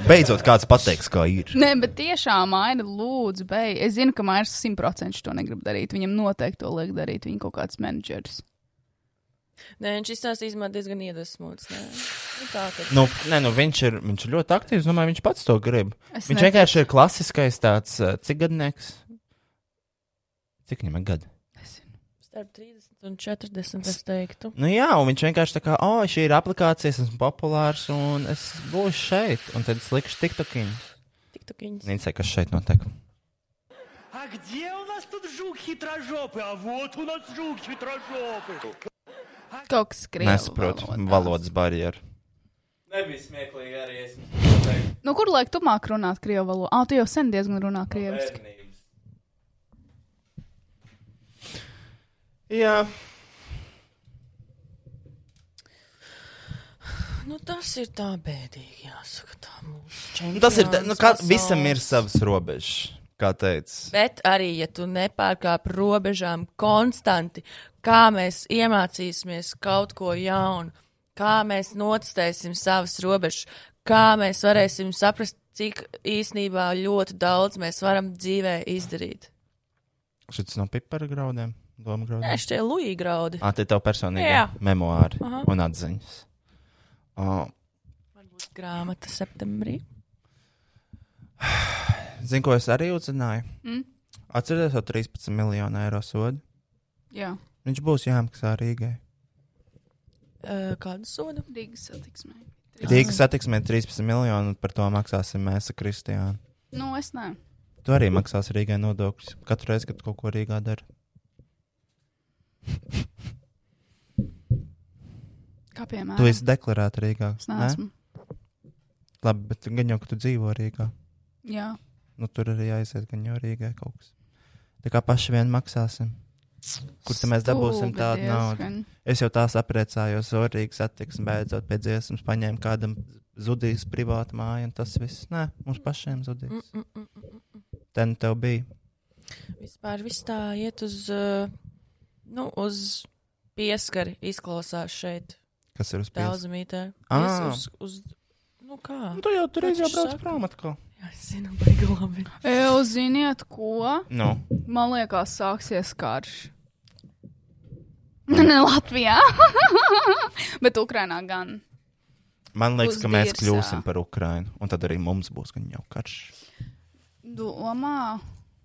S1: Beidzot, kāds pateiks, kā ir.
S2: Nē, bet tiešām Maija lūdzu, beidz. Es zinu, ka Maija simtprocentīgi to negrib darīt. Viņam noteikti to liek darīt viņa kaut kāds menedžers.
S3: Nē, viņš izstāstīs man diezgan iedvesmots. nē. Nu, tā tad.
S1: Nu, nē, nu, viņš, ir, viņš ir ļoti aktīvs. Domāju, viņš pats to grib.
S3: Es
S1: viņš
S3: neticu.
S1: vienkārši ir klasiskais tāds uh, cigadnieks. Cik viņam ir gadi?
S3: Starp 30 un 40 es teiktu.
S1: Nu, jā, un viņš vienkārši tā kā, oh, šī ir aplikācija, es esmu populārs un es būšu šeit. Un tad es likšu tiktokiņu.
S3: Tiktokiņus.
S1: Nīcē, kas šeit notiek?
S16: А где у нас тут жук хитрожопый? А вот у нас жук хитрожопый.
S2: Kaut kas skribi.
S1: Nesaprotu valodas barjeru.
S8: Nebija smieklīgi arī es.
S2: Nu, kur lai tu māk runāt krievu valodu? Ah, tu jau sen diezgan runā krieviski.
S1: Jā.
S3: Nu, tas ir tā bēdīgi, jāsaka. Tā mūsu
S1: Nu, tas ir, tā- nu, kā,
S3: čempions
S1: visam ir
S3: pasaules.
S1: savas robežas, kā teica.
S3: Bet arī, ja tu nepārkāp robežām konstanti, kā mēs iemācīsimies kaut ko jaunu, kā mēs notestēsim savas robežas, kā mēs varēsim saprast, cik īsnībā ļoti daudz mēs varam dzīvē izdarīt.
S1: Šis no pipara graudiem, doma graudiem.
S3: Nē, šie Luija graudi.
S1: Ah, tie tev personīgi
S3: Jā.
S1: memoāri
S3: Aha.
S1: un atziņas. Uh,
S3: Grāmata septembrī.
S1: Zini, ko es arī uzzināju?
S2: Mm.
S1: Atcerieties to 13 miljonu eiro sodu.
S2: Jā.
S1: Viņš būs jāmaksā Rīgai.
S3: Uh, kādu sodu?
S2: Rīgas satiksmē.
S1: Rīgas satiksmē 13 miljonu, un par to maksāsim mēs ar Kristiānu.
S2: Nu, es ne.
S1: Tu arī
S3: Mm.
S1: maksās Rīgai nodokļus. Katru reizi, kad kaut ko Rīgā dara.
S2: Kā piemēram?
S1: Tu esi deklarēta Rīgā.
S2: Es
S1: ne?
S2: neesmu.
S1: Labi, bet gan jau, ka tu dzīvo Rīgā.
S2: Jā.
S1: Nu, tur arī jāiziet gan jau Rīgai kaut kas. Tā kā paši vien maksāsim. Kur tad mēs
S2: Stulbi
S1: dabūsim tādu naudu?
S2: diezgan.
S1: Es jau tā sapriecājos, jo Rīgas attieksme beidzot pēc dziesmas paņēma kādam zudīs privātu māju, un tas viss. Nē, mums pašiem zudīs.
S3: Mm, mm, mm, mm.
S1: Ten tev bija.
S3: Vispār viss tā iet uz, uh, nu, uz pieskari izklausās šeit.
S1: Kas ir uz Ah. pieskari?
S3: Daudzmītē.
S1: Ā.
S3: Uz, uz, nu kā?
S1: Nu, tu jau tur
S3: Kā
S1: reiz jau
S3: taču
S1: brauc
S3: saka?
S1: prom atkal.
S3: Jā, es zinu, baigi labi.
S2: Jūs ziniet, ko?
S1: Nu.
S2: Man liekas, sāksies karš. <laughs> Ne Latvijā, bet Ukrainā gan.
S1: Man liekas,
S2: Uz
S1: ka mēs
S2: Birsā.
S1: kļūsim par Ukrainu, un tad arī mums būs gan jau karš.
S2: Domā.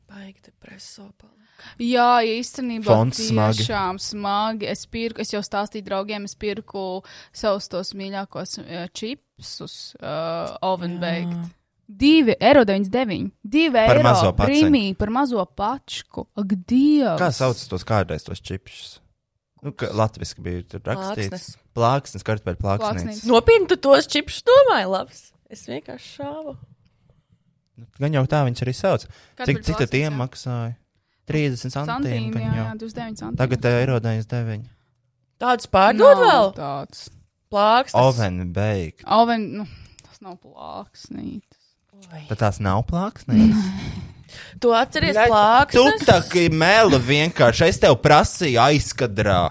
S3: Baigi depreso. paliek.
S2: Jā, īstenībā
S1: Fonds smagi.
S2: tiešām smagi. Es, pirku, es jau stāstīju draugiem, es pirku savus tos mīļākos eh, čipsus, uh, ovenbaked. Divi eiro 99, divi
S1: Par
S2: eiro
S1: mazo paciņu.
S2: brīnī par mazo pačku. Ak, Dievs!
S1: Kā sauc tos kādreiz tos čipsus? Nu, ka Latvijas bija tur rakstīts.
S3: Plāksnes.
S1: Plāksnes, kartupeļu plāksnes.
S3: Nopietni, tu tos čipsus domāji, labs. Es vienkārši šāvu.
S1: Gan jau tā viņš arī sauc. Cik,
S3: Kartupeļu
S1: cik tad
S3: plāksnes, jā.
S1: tiem maksāja? 30
S2: Santīmi,
S1: centiem. gan
S2: jā,
S1: jau.
S2: jā, 29 centiem.
S1: Tagad eh, eiro 99.
S3: Tāds pārdod
S2: Nav
S3: vēl?
S2: Tāds.
S3: Plāksnes.
S1: Oven bake.
S2: Oven, nu, tas nav plāksnītis.
S1: Tad tās nav plāksnes.
S2: <laughs>
S3: Tu atceries
S1: Tu
S3: plāksnes?
S1: tā kā meli vienkārši. Es tev prasīju aizkadrā.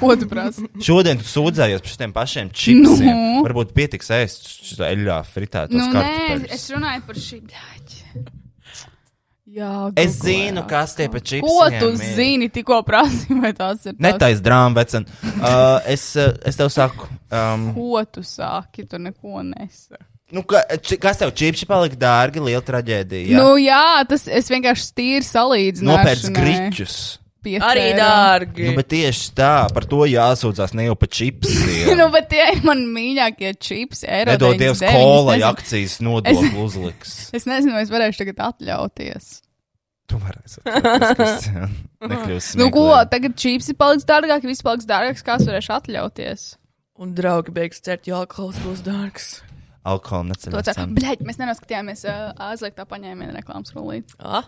S2: Ko tu prasi?
S1: Šodien tu sūdzējies par šiem pašiem čipsiem.
S2: Nu.
S1: Nu. Varbūt pietiks ēst šo eļļā fritētos
S2: Nu,
S1: nu,
S2: nē,
S1: kartupeļus.
S2: es runāju par šī daļa. Jā,
S1: Es
S2: googlējā.
S1: zinu, kas tie pa čipsiem
S2: Ko tu
S1: ir.
S2: zini, tikko prasīju, vai tās ir? tās-
S1: Netais drāmas, vecen. Uh, es, uh, es tev saku, um,
S2: Ko tu sāki? Tu neko nesaki.
S1: nu, ka, či, kas tev čipsi palika dārgi, liela traģēdija.
S2: Jā. Nu, jā, tas es vienkārši tīri salīdzinu.
S1: Nopērts griķus.
S3: Arī dārgi.
S1: Nu, bet tieši tā, par to jāsūdzās ne jau par čipsiem.
S2: <laughs> <laughs> nu, bet tie ir mani mīļākie čips. eiro
S1: Nedod Dievs,
S2: 99, es
S1: kolai
S2: nezinu-
S1: akcijas nodokli uzliks.
S2: <laughs> Es nezinu, vai es varēšu tagad atļauties.
S1: Tu varēsi atļauties,
S2: <laughs>
S1: <laughs> Kristiāna. Nekļūsi
S2: Nu, ko?
S1: smieklīgi.
S2: Tagad čipsi paliks dārgāki, viss paliks dārgāks. Kā es varēšu atļauties?
S3: Un draugi beigs cert, jo alkohols būs dārgs.
S1: Alkohola
S2: To tā,
S1: neceļ.
S2: bļaļ, mēs nenoskatījāmies uh, aizliegtā paņēmienu reklāmas rullīti.
S3: Ah,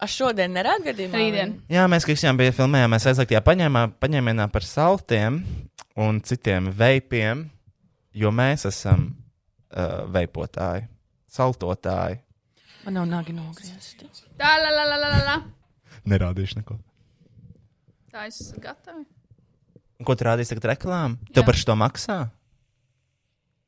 S3: aš šodien neradu gadījumā.
S2: Rītdien.
S1: Jā, mēs Kristijam bija filmējāmies aizliegtajā paņēmā, paņēmienā par saltiem un citiem veipiem, jo mēs esam uh, veipotāji, saltotāji.
S3: Man nav nagi nogriezti.
S2: Tā, la, la, la, la, la, la.
S1: Nerādīšu neko.
S2: Tā, es esmu gatava.
S1: Un Ko tu rādīsi tagad reklāmā? Tev par šo maksā?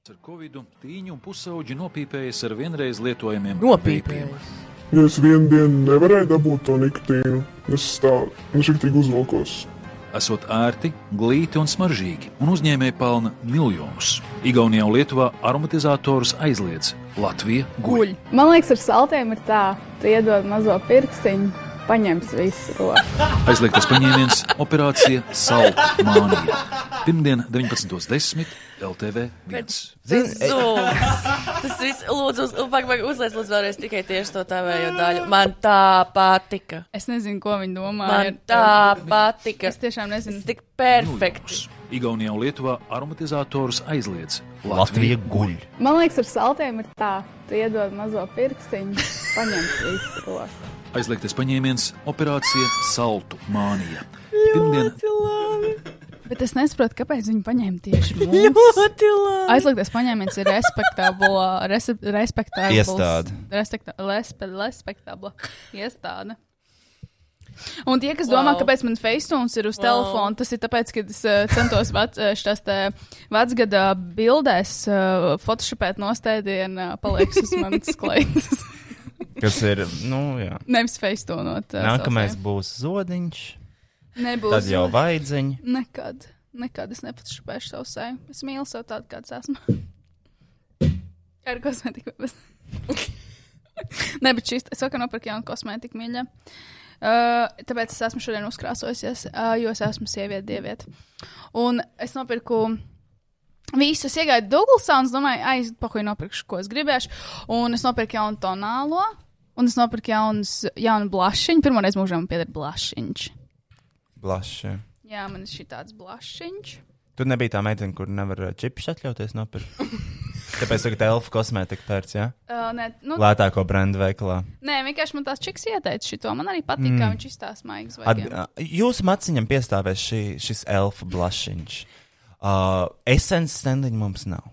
S4: Ar covid tīņu un pusauģi nopīpējas ar vienreiz lietojamiem
S3: Nopīpējas.
S22: Jo es vienu dienu nevarēju dabūt to nikotīnu. Es tādu nesaktīgi uzvilkos.
S4: Esot ērti, glīti un smaržīgi, un uzņēmēji pelna miljonus. Igaunijā un Lietuvā aromatizatorus aizliedz Latvija guļ.
S23: Man liekas, ar saltiem ir tā, tu iedod mazo pirkstiņu, paņems visu roku.
S4: Aizliegtas paņēmiens - operācija Salt Mānija. Pirmdien, 19.10. LTV
S3: Zini, <laughs> tas viss, lūdzu, uz, pag, pag, uzliec lūdzu vēlreiz tikai tieši to
S2: Ah.
S3: tavējo daļu. Man tā patika.
S2: <laughs> Es nezinu, ko viņi domā.
S3: Man tā patika.
S2: Es tiešām nezinu.
S3: Tas tik perfekts.
S4: Igaunijā un Lietuvā aromatizatorus aizliedz
S1: Latvija guļ.
S23: Man liekas, ar saltiem ir tā, tu iedod mazo pirkstiņu, paņems visu roku.
S4: Aizliegtas paņēmiens - operācija Saltu Mānija. Pirmdien,
S2: Bet es nesaprotu, kāpēc viņi paņēma tieši mūsu. Aizliegtais paņēmiens ir respektabla, rese- respektabls.
S1: Iestāde.
S2: Respekta- lespe- Respektabla iestāde. Un tie, kas domā, wow.
S3: Wow.
S2: kāpēc man Facebooks ir uz
S3: Wow.
S2: wow. telefona, tas ir tāpēc, ka es eh, centos vec- eh, šitās te vecgada bildēs eh, photoshopēt nostēdienu, eh, paliks uz manas klaidas.
S1: Kas ir, nu, jā.
S2: Nevis eh, Facebookot.
S1: Nākamais būs zodiņš.
S2: Nebūs.
S1: Tad jau vaidziņi.
S2: Nekad, nekad es nepatšupēšu savu seju. Es mīlu sev tādu, kāds esmu. Ar kosmētiku. <laughs> bez- Nē, bet šis, es vakar nopirku jaunu kosmētiku, mīļā. Uh, tāpēc es esmu šodien uzkrāsojusies, uh, jo es esmu sieviete, dieviete. Un es nopirku visus, iegāju Douglasā un es domāju, ai, es pakoju nopirkšu, ko es gribēšu. Un es nopirku jaunu tonālo, un es nopirku jaunas, jaunu blašiņu. Pirmoreiz mūžā man pieder blašiņš.
S1: Blaši.
S2: Jā, man ir šī tāds blašiņš.
S1: Tur nebija tā meitene, kur nevar ā, čipus atļauties
S2: <laughs>
S1: nopirkt. Tāpēc tagad elfu kosmētika pērts, jā?
S2: Ā, nē, nu-
S1: Lētāko brendu veikalā.
S2: Nē, vienkārši man tās čiks ieteica šo. Man arī patīk, mm. kā
S1: Mm.
S2: viņš izstāsta maigas.
S1: At,
S2: vaigiem.
S1: jūsu maciņam piestāvēs šī, šis elfu blašiņš. Uh, Esens stendiņa mums
S2: <laughs>
S1: nav.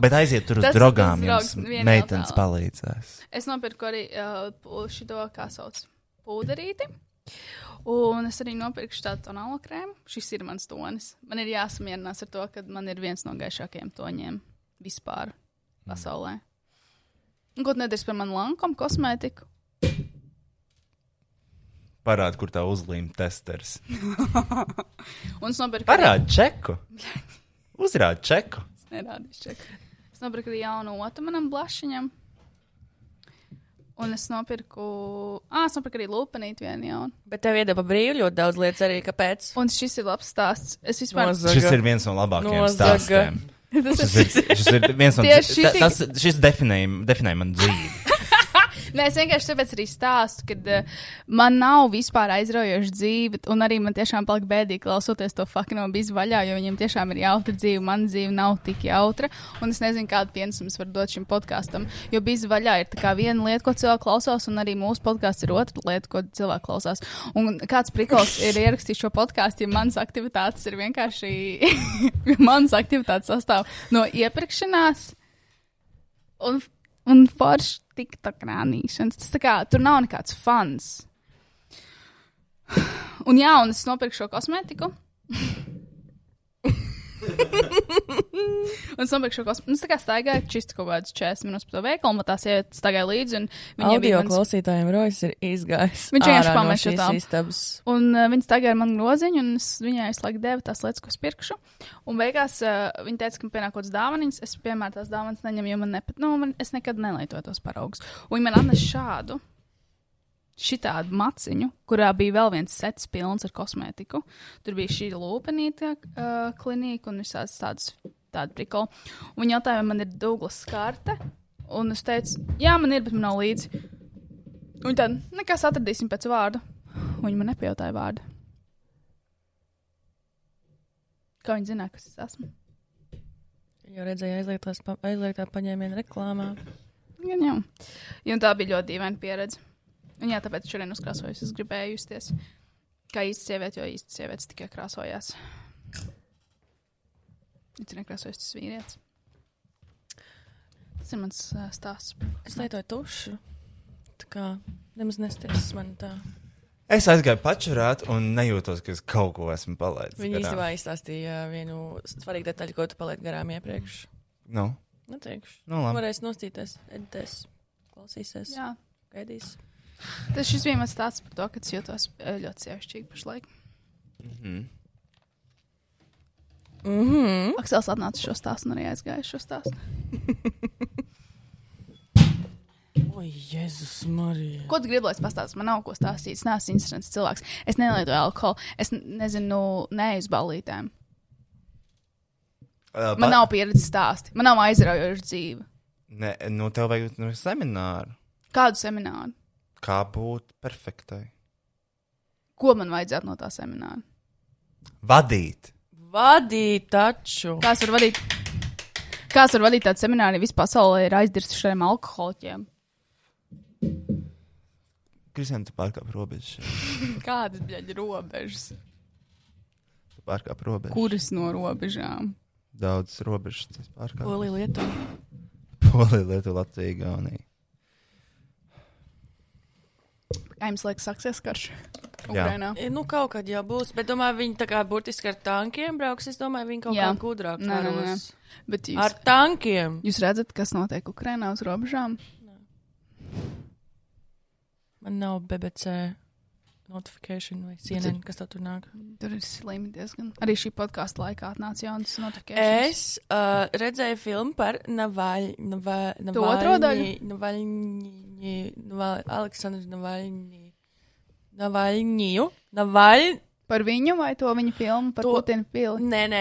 S1: Bet aiziet tur uz
S2: Tas-
S1: drogām.
S2: tas
S1: Jums
S2: draugs vienmēr
S1: meitenes
S2: tālāk.
S1: palīdzēs.
S2: Es nopirku arī uh, šo, kā sauc, pūderīti. Un es arī nopirku tādu tonālu krēmu. Šis ir mans tonis. Man ir jāsamierinās ar to, ka man ir viens no gaišākajiem toņiem vispār
S1: Mm.
S2: pasaulē. Un ko tu nedarīsi par manu lankumu,
S1: <laughs>
S2: kosmētiku?
S1: Parādi, kur tā uzlīm
S2: <laughs>
S1: testers.
S2: Un es nopirku.
S1: Parādi čeku.
S2: <laughs>
S1: Uzrādi čeku.
S2: Es nerādīšu čeku. Es nopirku arī jaunu otru manam blašiņam. Un es nopirku. Ah, es nopirku arī lupanīti vienu jaunu.
S3: Bet tev iedeva brīvi ļoti daudz lietas arī, kāpēc.
S2: Un šis ir labs stāsts. Es vispār.
S3: Nozaga.
S1: Šis ir viens no labākajiem
S3: Nozaga.
S1: stāstiem.
S2: <laughs> Tas
S1: Šis ir, šis ir viens no
S2: Tieši
S1: ta-
S2: šitī-
S1: tas, šis definēja, definēja man dzīvi.
S2: <laughs> Nē, es vienkārši tāpēc arī stāstu, ka man nav vispār aizraujoša dzīve, un arī man tiešām palika bēdīgi klausoties to fakno bizu vaļā, jo viņiem tiešām ir jautra dzīve, man dzīve nav tik jautra, un es nezinu, kādu pienesumu es varu dot šim podkāstam, jo bizu vaļā ir tā kā viena lieta, ko cilvēki klausās, un arī mūsu podkāsts ir otra lieta, ko cilvēki klausās. Un kāds prikals ir ierakstījis šo podkāstu, ja manas aktivitātes ir <laughs> vienkārši, manas aktivitātes sastāv no iepirkšanās un, un forši tikta krānīšanas. Tas tā kā tur nav nekāds fans. Un jā, un es nopirku šo kosmētiku. un es nopirku šo kosmētiku. Nu, es tā kā staigāju, čisto kaut kāds 40 minūtes pa to veikalu, un tā sieviete staigāja līdzi. un Viņai
S3: Audio
S2: bija
S3: mans...
S2: mans...
S3: klausītājiem Rojas ir izgājis.
S2: Viņš vienkārši
S3: ārā no
S2: pameta šo
S3: šīs
S2: tālu.
S3: istabas.
S2: Un uh, viņa tagad ir man groziņa, un es viņai visu laiku devu tās lietas, ko es pirkšu. Un beigās uh, viņa teica, ka man pienākot dāvanas. Es, piemēram, tās dāvanas neņemu, jo man nepatīk. Nu, man, es nekad nelietoju tos paraugus. Un viņa man atnes šādu. Šitādu maciņu, kurā bija vēl viens sets pilns ar kosmētiku. Tur bija šī lupenīta uh, klinika un visādas tādas tāda prikola. Un Viņa jautāja, vai man ir Douglas karte. Un es teicu, jā, man ir, bet man nav līdzi. Un tad, nekas atradīsim pēc vārdu. Viņa man nepajautāja vārdu. Kā viņi zināja, kas tas esmu?
S3: Jo redzēju aizliegtās pa- aizliegtā paņēmiena reklāmā.
S2: Jā, jā. Un tā bija ļoti dīvaina pieredze. Un jā, tāpēc šodien uzkrāsojos. Es gribēju justies kā īsta sieviete, jo īsta sieviete tikai krāsojās. Viņš ir nekrāsojis tas vīrietis. Tas ir mans uh, stāsts.
S3: Es lietoju tušu. Tā kā nemaz nestiprināts man tā.
S1: Es aizgāju pačurāt un nejūtos, ka es kaut ko esmu palaidis.
S3: Viņa
S1: garām.
S3: īstenībā izstāstīja vienu svarīgu detaļu, ko tu palaidi garām iepriekš.
S1: Nu,
S3: Neteikšu.
S1: Nu, labi.
S3: Varēs nostīties, editēs, klausīsies.
S2: Jā.
S3: Gaidīs.
S2: Tas šis bija mans stāsts par to, ka es jūtos eh, ļoti sievišķīgi pašlaik.
S1: Mhm.
S2: Mhm. Aksels atnāca šo stāstu un arī aizgāja šo stāstu.
S3: O, Jēzus, Marija.
S2: Ko tu gribi, lai es pastāstītu? Man nav ko stāstīt. Es neesmu interesants cilvēks. Es nelietoju alkoholu. Es n- nezinu, neeju uz ballītēm.
S1: Uh,
S2: Man nav pieredzes stāsti. Man nav aizraujoša dzīve.
S1: Ne, nu, tev vajag nu, semināru.
S2: Kādu semināru?
S1: Kā būt perfektai?
S2: Ko man vajadzētu no tā semināra?
S1: Vadīt.
S3: Vadīt taču.
S2: Kāds var vadīt? Kāds var vadīt tādu semināru, ja vispār pasaulē ir aizdirsušiem alkoholiķiem?
S1: Kristian, tu pārkāp robežu.
S2: <laughs> Kādas bija robežas?
S1: Tu pārkāp robežu.
S2: Kuras no robežām?
S1: Daudzas robežas. tas pārkāp.
S3: Polija Lietuva.
S1: Polija, Lietuva, Latvija, Igaunija.
S2: Jā, jums liekas, sāksies karš.
S1: Jā.
S2: Ukrainā.
S3: E, Nu, kaut kad jau būs, bet domāju, viņi tā kā burtiski ar tankiem brauks. Es domāju, viņi kaut kā gudrāk
S2: Nē, nē, nē.
S3: karos.
S2: Bet jūs,
S3: Ar tankiem.
S2: jūs redzat, kas notiek Ukrainā uz robežām?
S3: Man nav BBC notifikācija vai CNN, kas tā tur nāk.
S2: Tur ir slimi diezgan. Arī šī podkāstu laikā atnāca jaunas notifikācijas.
S3: Es uh, redzēju filmu par Navaļ, Nava, Navaļņi.
S2: To otro daļu?
S3: Navaļņi, Nava- Aleksandru Navaļņi. Navaļņiju. Navaļ...
S2: Par viņu vai to viņa filmu par to... Putinu pili?
S3: Nē, nē,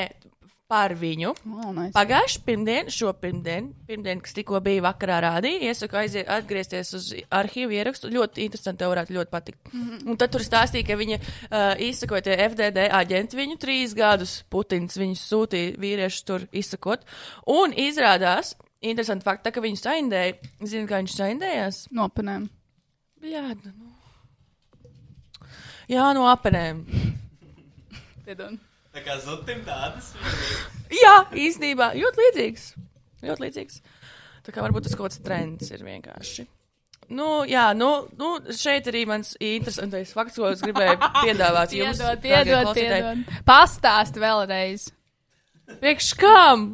S3: par viņu.
S2: Oh, nice.
S3: Pagājuši pirmdien, šo pirmdien, pirmdien, kas tikko bija vakarā rādīja, iesaku aiziet, atgriezties uz arhīvu ierakstu. Ļoti interesanti, tev varētu ļoti patikt.
S13: Mhm.
S3: Un tad tur stāstīja, ka viņa uh, izsakot, ja FDD aģenti viņu trīs gadus, Putins viņus sūtīja vīriešus tur izsakot. Un izrādās, interesanti fakti, tā, ka viņu saindēja. Zini, kā viņš saindējās?
S2: Nopenēm.
S3: Jā, nu. Jā, no apenēm.
S2: Piedod.
S8: Tā kā zudim tādas.
S3: Jā, īstenībā ļoti līdzīgs. Ļoti līdzīgs. Tā kā varbūt tas kaut kāds trends ir vienkārši. Nu, jā, nu, nu šeit arī mans interesantais fakts, ko es
S2: <laughs>
S3: gribēju piedāvāt jums.
S2: Piedod,
S3: dārgie
S2: piedod,
S3: klausītāji.
S2: piedod. Pastāst vēlreiz.
S3: Priekš kam?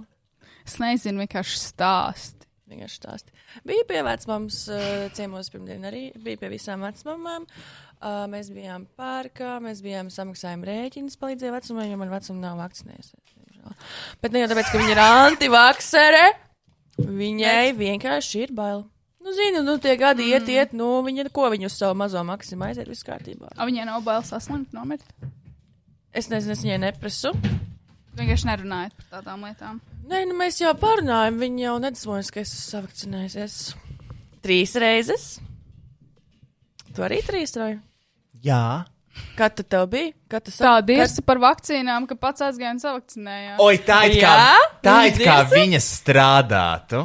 S2: Es nezinu, vienkārši stāst.
S3: Vienkārši stāsti. Bija pie vecmāmas uh, ciemos pirmdien arī, bija pie visām vecmāmām. Uh, mēs bijām pārkā, mēs bijām samaksājumi rēķinus, palīdzēja vecumam, jo man vecuma nav vakcinējusies. diemžēl. Bet ne jau tāpēc, ka viņa ir antivaksere, viņai vienkārši ir bail. Nu, zinu, nu, tie gadi mm. iet, iet, nu, viņa ko viņa uz savu mazo maksimumu aiziet, viss kārtībā.
S2: A, viņai nav bail saslimt, nomirt.
S3: Es nezinu, es viņai neprasu.
S2: Vienkārši nerunājot par tādām lietām.
S3: Nē, nu, mēs jau parunājam, viņa jau nedusmojas, ka es esmu savakcinējusies trīs reizes. Tu arī trīs reizes.
S1: Jā.
S3: Kad tu tev bija? Kad tu
S2: Tā
S3: sa-
S2: dirsa par vakcīnām, ka pats aizgāja un savakcinējās.
S1: Oi, tā ir kā,
S2: Jā?
S1: tā it kā
S2: Dirsi?
S1: viņa strādātu.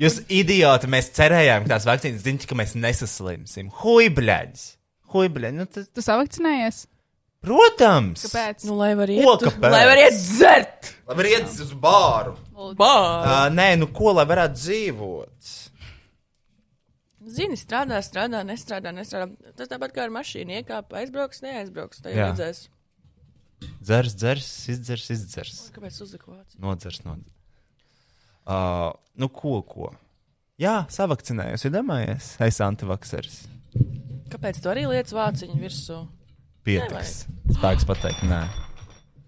S1: Jūs idioti, mēs cerējām, ka tās vakcīnas zina, ka mēs nesaslimsim. Huibļaģis! Huibļaģis! Nu, tas...
S2: Tu savakcinējies?
S1: Protams!
S2: Kāpēc?
S3: Nu, lai var
S1: Ko, kāpēc?
S3: lai var iet dzert!
S1: Lai var iet uz bāru!
S3: Bā!
S1: Uh, nē, nu ko, lai varētu dzīvot?
S3: Zini, strādā, strādā, nestrādā, nestrādā. Tas tāpat kā ar mašīnu iekāp, aizbrauks, neaizbrauks. Tā jau
S1: Jā.
S3: redzēs.
S1: Dzers, dzers, izdzers, izdzers.
S3: Kāpēc uzliku vācu?
S1: Nodzers, nodzers. Uh, nu, ko, ko? Jā, savakcinējos, iedomājies. Es antivakseris.
S3: Kāpēc tu arī lietas vāciņu virsū?
S1: Pietiks. Spēks pateikt, nē.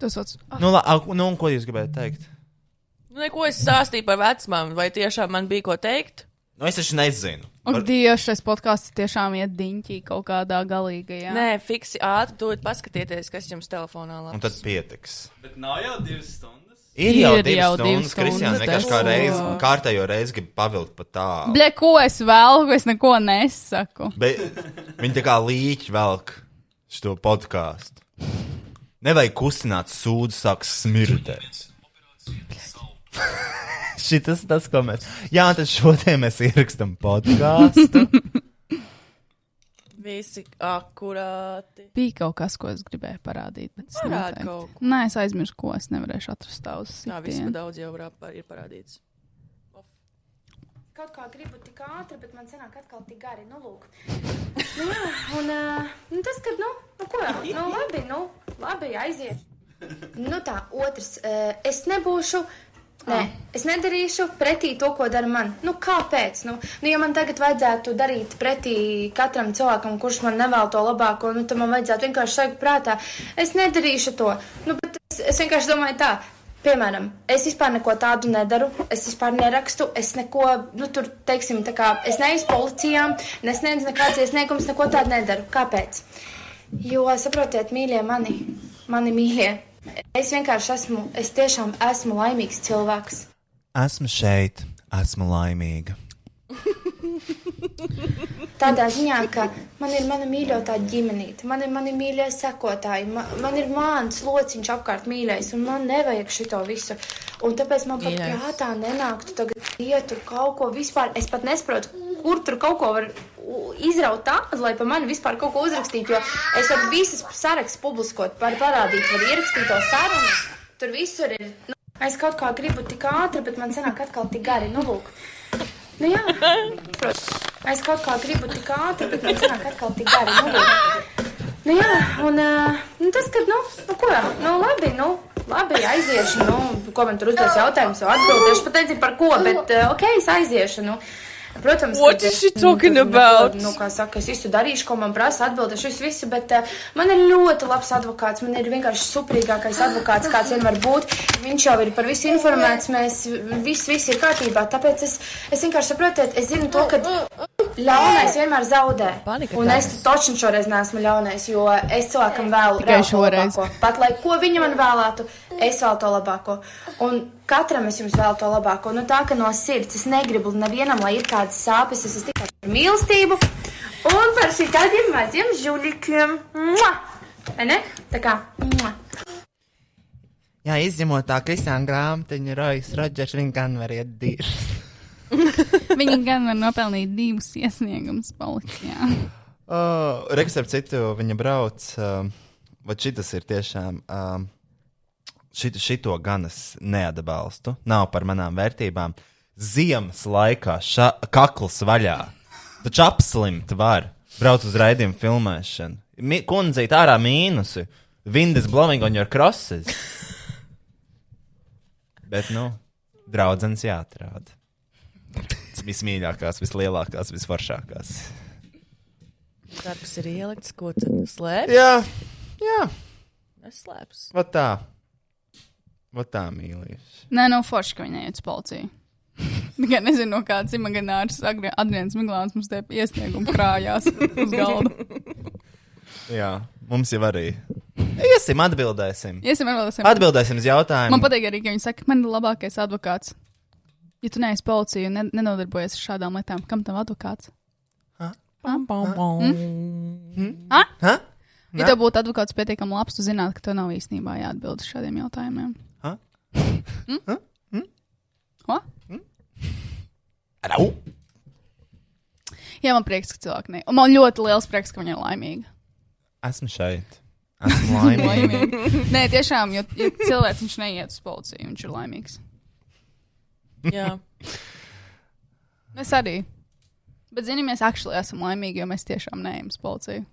S2: Tu sauc.
S3: Ah.
S1: Nu, la, ak, nu, un ko jūs gribējāt teikt?
S3: Nu, neko es stāstīju par vecmām, vai tiešām man bija ko teikt?
S1: Nu, es taču nezinu.
S2: Ak, Dievs, šis podkāsts tiešām iet diņķī kaut kādā galīgajā.
S3: Nē, fiksi ātri, dod paskatieties, kas jums telefonā labs.
S1: Un tad pietiks.
S8: Bet nav jau divas stundas.
S1: Ir jau
S2: Ir
S1: divas
S2: jau divas
S1: stundas. Kristians
S2: stundas,
S1: vienkārši kā
S2: tas-
S1: reizi, kārtējo reizi grib pavilkt pa tālu.
S2: Bļa, ko es vēlku, es neko nesaku.
S1: Bet viņi tā kā līķi velk šo podkāstu. Nevajag kustināt sūdu, sāks smirdēt. <laughs> Šitas tas, ko mēs. Jā, tad šodien mēs ierakstām
S2: <laughs>
S1: podkāstu.
S3: Visi akurāti.
S2: Bija kaut kas, ko es gribēju parādīt. bet es
S3: Parādi
S2: noteikti-
S3: kaut ko.
S2: Nē, es aizmirsu, ko es nevarēšu atrast tavus.
S3: Tā vispār daudz jau rā- ir parādīts.
S7: Kaut kā gribu tik ātri, bet man sanāk atkal tik gari. Nu, lūk. Nu, jā, un ā, nu, tas, kad, nu, nu ko, nu, labi, nu, labi, aiziet. Nu, tā, otrs, ā, es nebūšu. Nē,
S2: Ah.
S7: es nedarīšu pretī to, ko dara man. Nu, kāpēc? Nu, nu, ja man tagad vajadzētu darīt pretī katram cilvēkam, kurš man nevēl to labāko, nu, tad man vajadzētu vienkārši sakt prātā, es nedarīšu to. Nu, bet es, es vienkārši domāju tā, Piemēram, es vispār neko tādu nedaru, es vispār nerakstu, es neko, nu, tur, teiksim, tā kā es neeju uz policijām, nesniedzu nekādas iesniegumus, neko tādu nedaru. Kāpēc? Jo, saprotiet, mīļie mani, mani mīļie, es vienkārši esmu, es tiešām esmu laimīgs cilvēks.
S1: Esmu šeit, esmu laimīga.
S7: Tādā ziņā, ka man ir mana mīļotā ģimenīte, man ir mani mīļie sekotāji, man, man ir mans lociņš apkārt mīļais, un man nevajag šito visu. Un tāpēc man pat
S9: Mīļais.
S7: prātā nenāktu tagad iet tur kaut ko vispār. Es pat nesaprotu, kur tur kaut ko var u- izraut tā, lai pa mani vispār kaut ko uzrakstītu, jo es varu visas sarakstus publiskot, par parādīt, var ierakstīt to sarunu. Tur visur ir. Nu, es kaut kā gribu tik ātri, bet man sanāk atkal tik gari. Nu, lūk. Nu, jā, protams. Es kaut kā gribu tik ātri, bet man sanāk atkal tik gari. Nu, lūk. nu jā, un ā, nu, tas, kad, nu, nu ko, nu, labi, nu, labi, aiziešu, nu, ko man tur uzdos jautājumus, jau atbildēšu, pateicu par ko, bet, ā, ok, es aiziešu, nu. Protams,
S3: What
S7: kad
S3: is
S7: es,
S3: she
S7: nu,
S3: talking
S7: tur neko,
S3: about?
S7: Nu, kā saka, es visu darīšu, ko man prasa, atbildēšu visu, visu, bet uh, man ir ļoti labs advokāts. Man ir vienkārši suprīgākais advokāts, kāds vien var būt. Viņš jau ir par visu informēts, mēs viss, viss ir kārtībā. Tāpēc es, es vienkārši saprotu, es zinu to, ka ļaunais vienmēr zaudē.
S3: Panika
S7: Un es
S3: tāds.
S7: točni šoreiz neesmu ļaunais, jo es cilvēkam vēlu
S3: Tikai
S7: reāli to
S3: šoreiz.
S7: labāko. Pat lai ko viņa man vēlētu, es vēlu to labāko. Un katram es jums vēlu to labāko. Nu, tā kā no sirds es negribu nevienam, lai ir kādas sāpes. Es esmu tikai par mīlestību un par šitādiem maziem žuļikiem. Mua! Vai ne? Tā kā. Mua!
S17: Jā, izņemot tā Kristiāna grāmatiņa, Rojas Rodžers, viņa gan var iet dīri.
S2: <laughs>
S3: <laughs>
S2: Viņi gan var nopelnīt divus iesniegumus policijā.
S1: Oh, Reiks ar citu viņa brauc. Um, Vai šis ir tiešām. Um, šit, šito gan es neatbalstu. Nav par manām vērtībām. Ziemas laikā ša, kakls vaļā. Taču apslimt var. Brauc uz raidījumu filmēšanu. Mi, kundzīt ārā mīnusi. Windows blowing on your crosses. Bet, nu, draudzens jāatrāda. Vismīļākās, vislielākās, visvaršākās.
S3: <laughs> Darbs ir ielikts, ko tad slēpjas?
S1: Jā, jā.
S3: Neslēpjas.
S1: Vat tā. Vat tā, mīlīši.
S2: Nē, no forša, ka viņa iet uz policiju. <laughs> Tikai nezinu, no kādas imagināras Adrians Miglāns mums te iesniegumu krājās uz galda.
S1: Jā, mums jau arī.
S2: <laughs>
S1: Iesim, atbildēsim.
S2: Iesim, atbildēsim.
S1: Atbildēsim uz jautājumu.
S2: Man patīk arī, ka viņi saka, man ir labākais advokāts. Ja tu neesi policija un ne- nenodarbojies ar šādām lietām, kam tam advokāts?
S3: Hm?
S17: Pam, pam, pam.
S2: Ha?
S1: Ha?
S2: Ja tev būtu advokāts pietiekami labs, tu zinātu, ka tev nav īstenībā jāatbild uz šādiem jautājumiem. <laughs>
S1: Ha?
S2: Mm? Ha? Mm?
S1: Arau!
S2: Jā, man prieks, ka cilvēki ne. Un man ļoti liels prieks, ka viņi ir laimīgi.
S1: Esmu šeit.
S2: <laughs>
S1: Esmu laimīgs.
S2: laimīgi. Nē, tiešām, jo, jo cilvēks viņš neiet uz policiju, viņš ir laimīgs.
S3: Jā.
S2: Mēs arī. Bet, zinām, mēs akšļi esam laimīgi, jo mēs tiešām neejam uz policiju.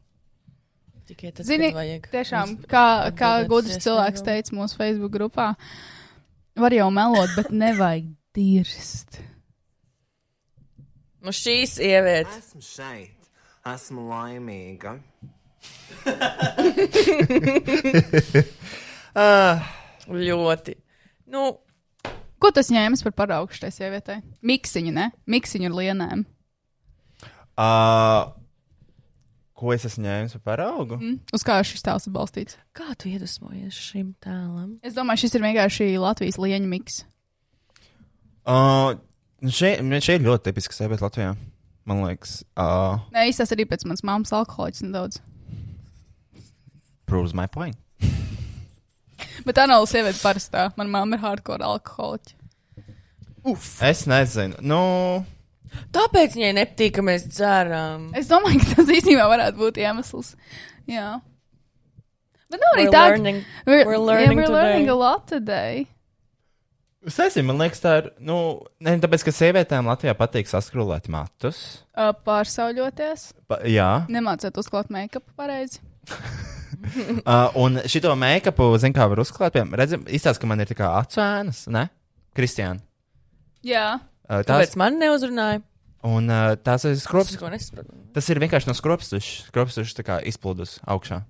S3: Tikai tas,
S2: Zini,
S3: kad vajag.
S2: tiešām,
S3: Mums
S2: kā, kā
S3: atbildēt
S2: gudrs
S3: uz
S2: cilvēks teica mūsu Facebook grupā, var jau melot, bet <laughs> nevajag dirst.
S3: Nu, šīs sievietes.
S11: Esmu šeit. Esmu
S3: <laughs>
S11: laimīga.
S3: ah, ļoti. Nu,
S2: Ko tas ņēmis par paraugu šai sievietei? Miksiņu, ne? Miksiņu ar lienēm.
S1: Uh, ko es esmu ņēmis par paraugu?
S2: Mm? Uz kā šis tēls ir balstīts?
S3: Kā tu iedvesmojies šim tēlam?
S2: Es domāju, šis ir vienkārši Latvijas lieņu miks.
S1: Uh, šeit, šeit nu ir ļoti tipiska sieviete Latvijā. Man liekas, uh,
S2: Nē, īstenībā tas arī pēc manas mammas alkoholiķis nedaudz.
S1: proves my point.
S2: Bet tā nav sieviete parastā. Mana mamma ir hardcore alkoholiķa.
S1: Es nezinu. Nu,
S3: Tāpēc viņai nepatīk, ka mēs dzērām.
S2: Es domāju, ka tas īstenībā varētu būt iemesls. Jā. Bet nav arī
S3: We're
S2: tā.
S3: learning-
S2: We're,
S3: we're learning
S2: yeah, we're learning
S3: today.
S2: a lot today.
S1: Es nezinu, man liekas, tā ir. Nu, ne, tāpēc, ka sievietēm Latvijā patīk saskrūlēt matus.
S2: Uh, Pārsauļoties.
S1: Pa, jā.
S2: Nemācāt uzklāt make-upu pareizi.
S1: Uh, un šito make-upu, zinām, kā var uzklāt. Piemēram, redzam, izstāsta, ka man ir tā kā acu ēnas, ne? Kristiāna.
S3: Jā.
S1: Uh,
S3: Tāpēc man neuzrunāja.
S1: Un uh, tās ir skrops.
S3: Es ko nesaprotu.
S1: Tas ir vienkārši no skropstušas. Skropstušas tā kā izplūdus
S3: <laughs>
S1: augšā.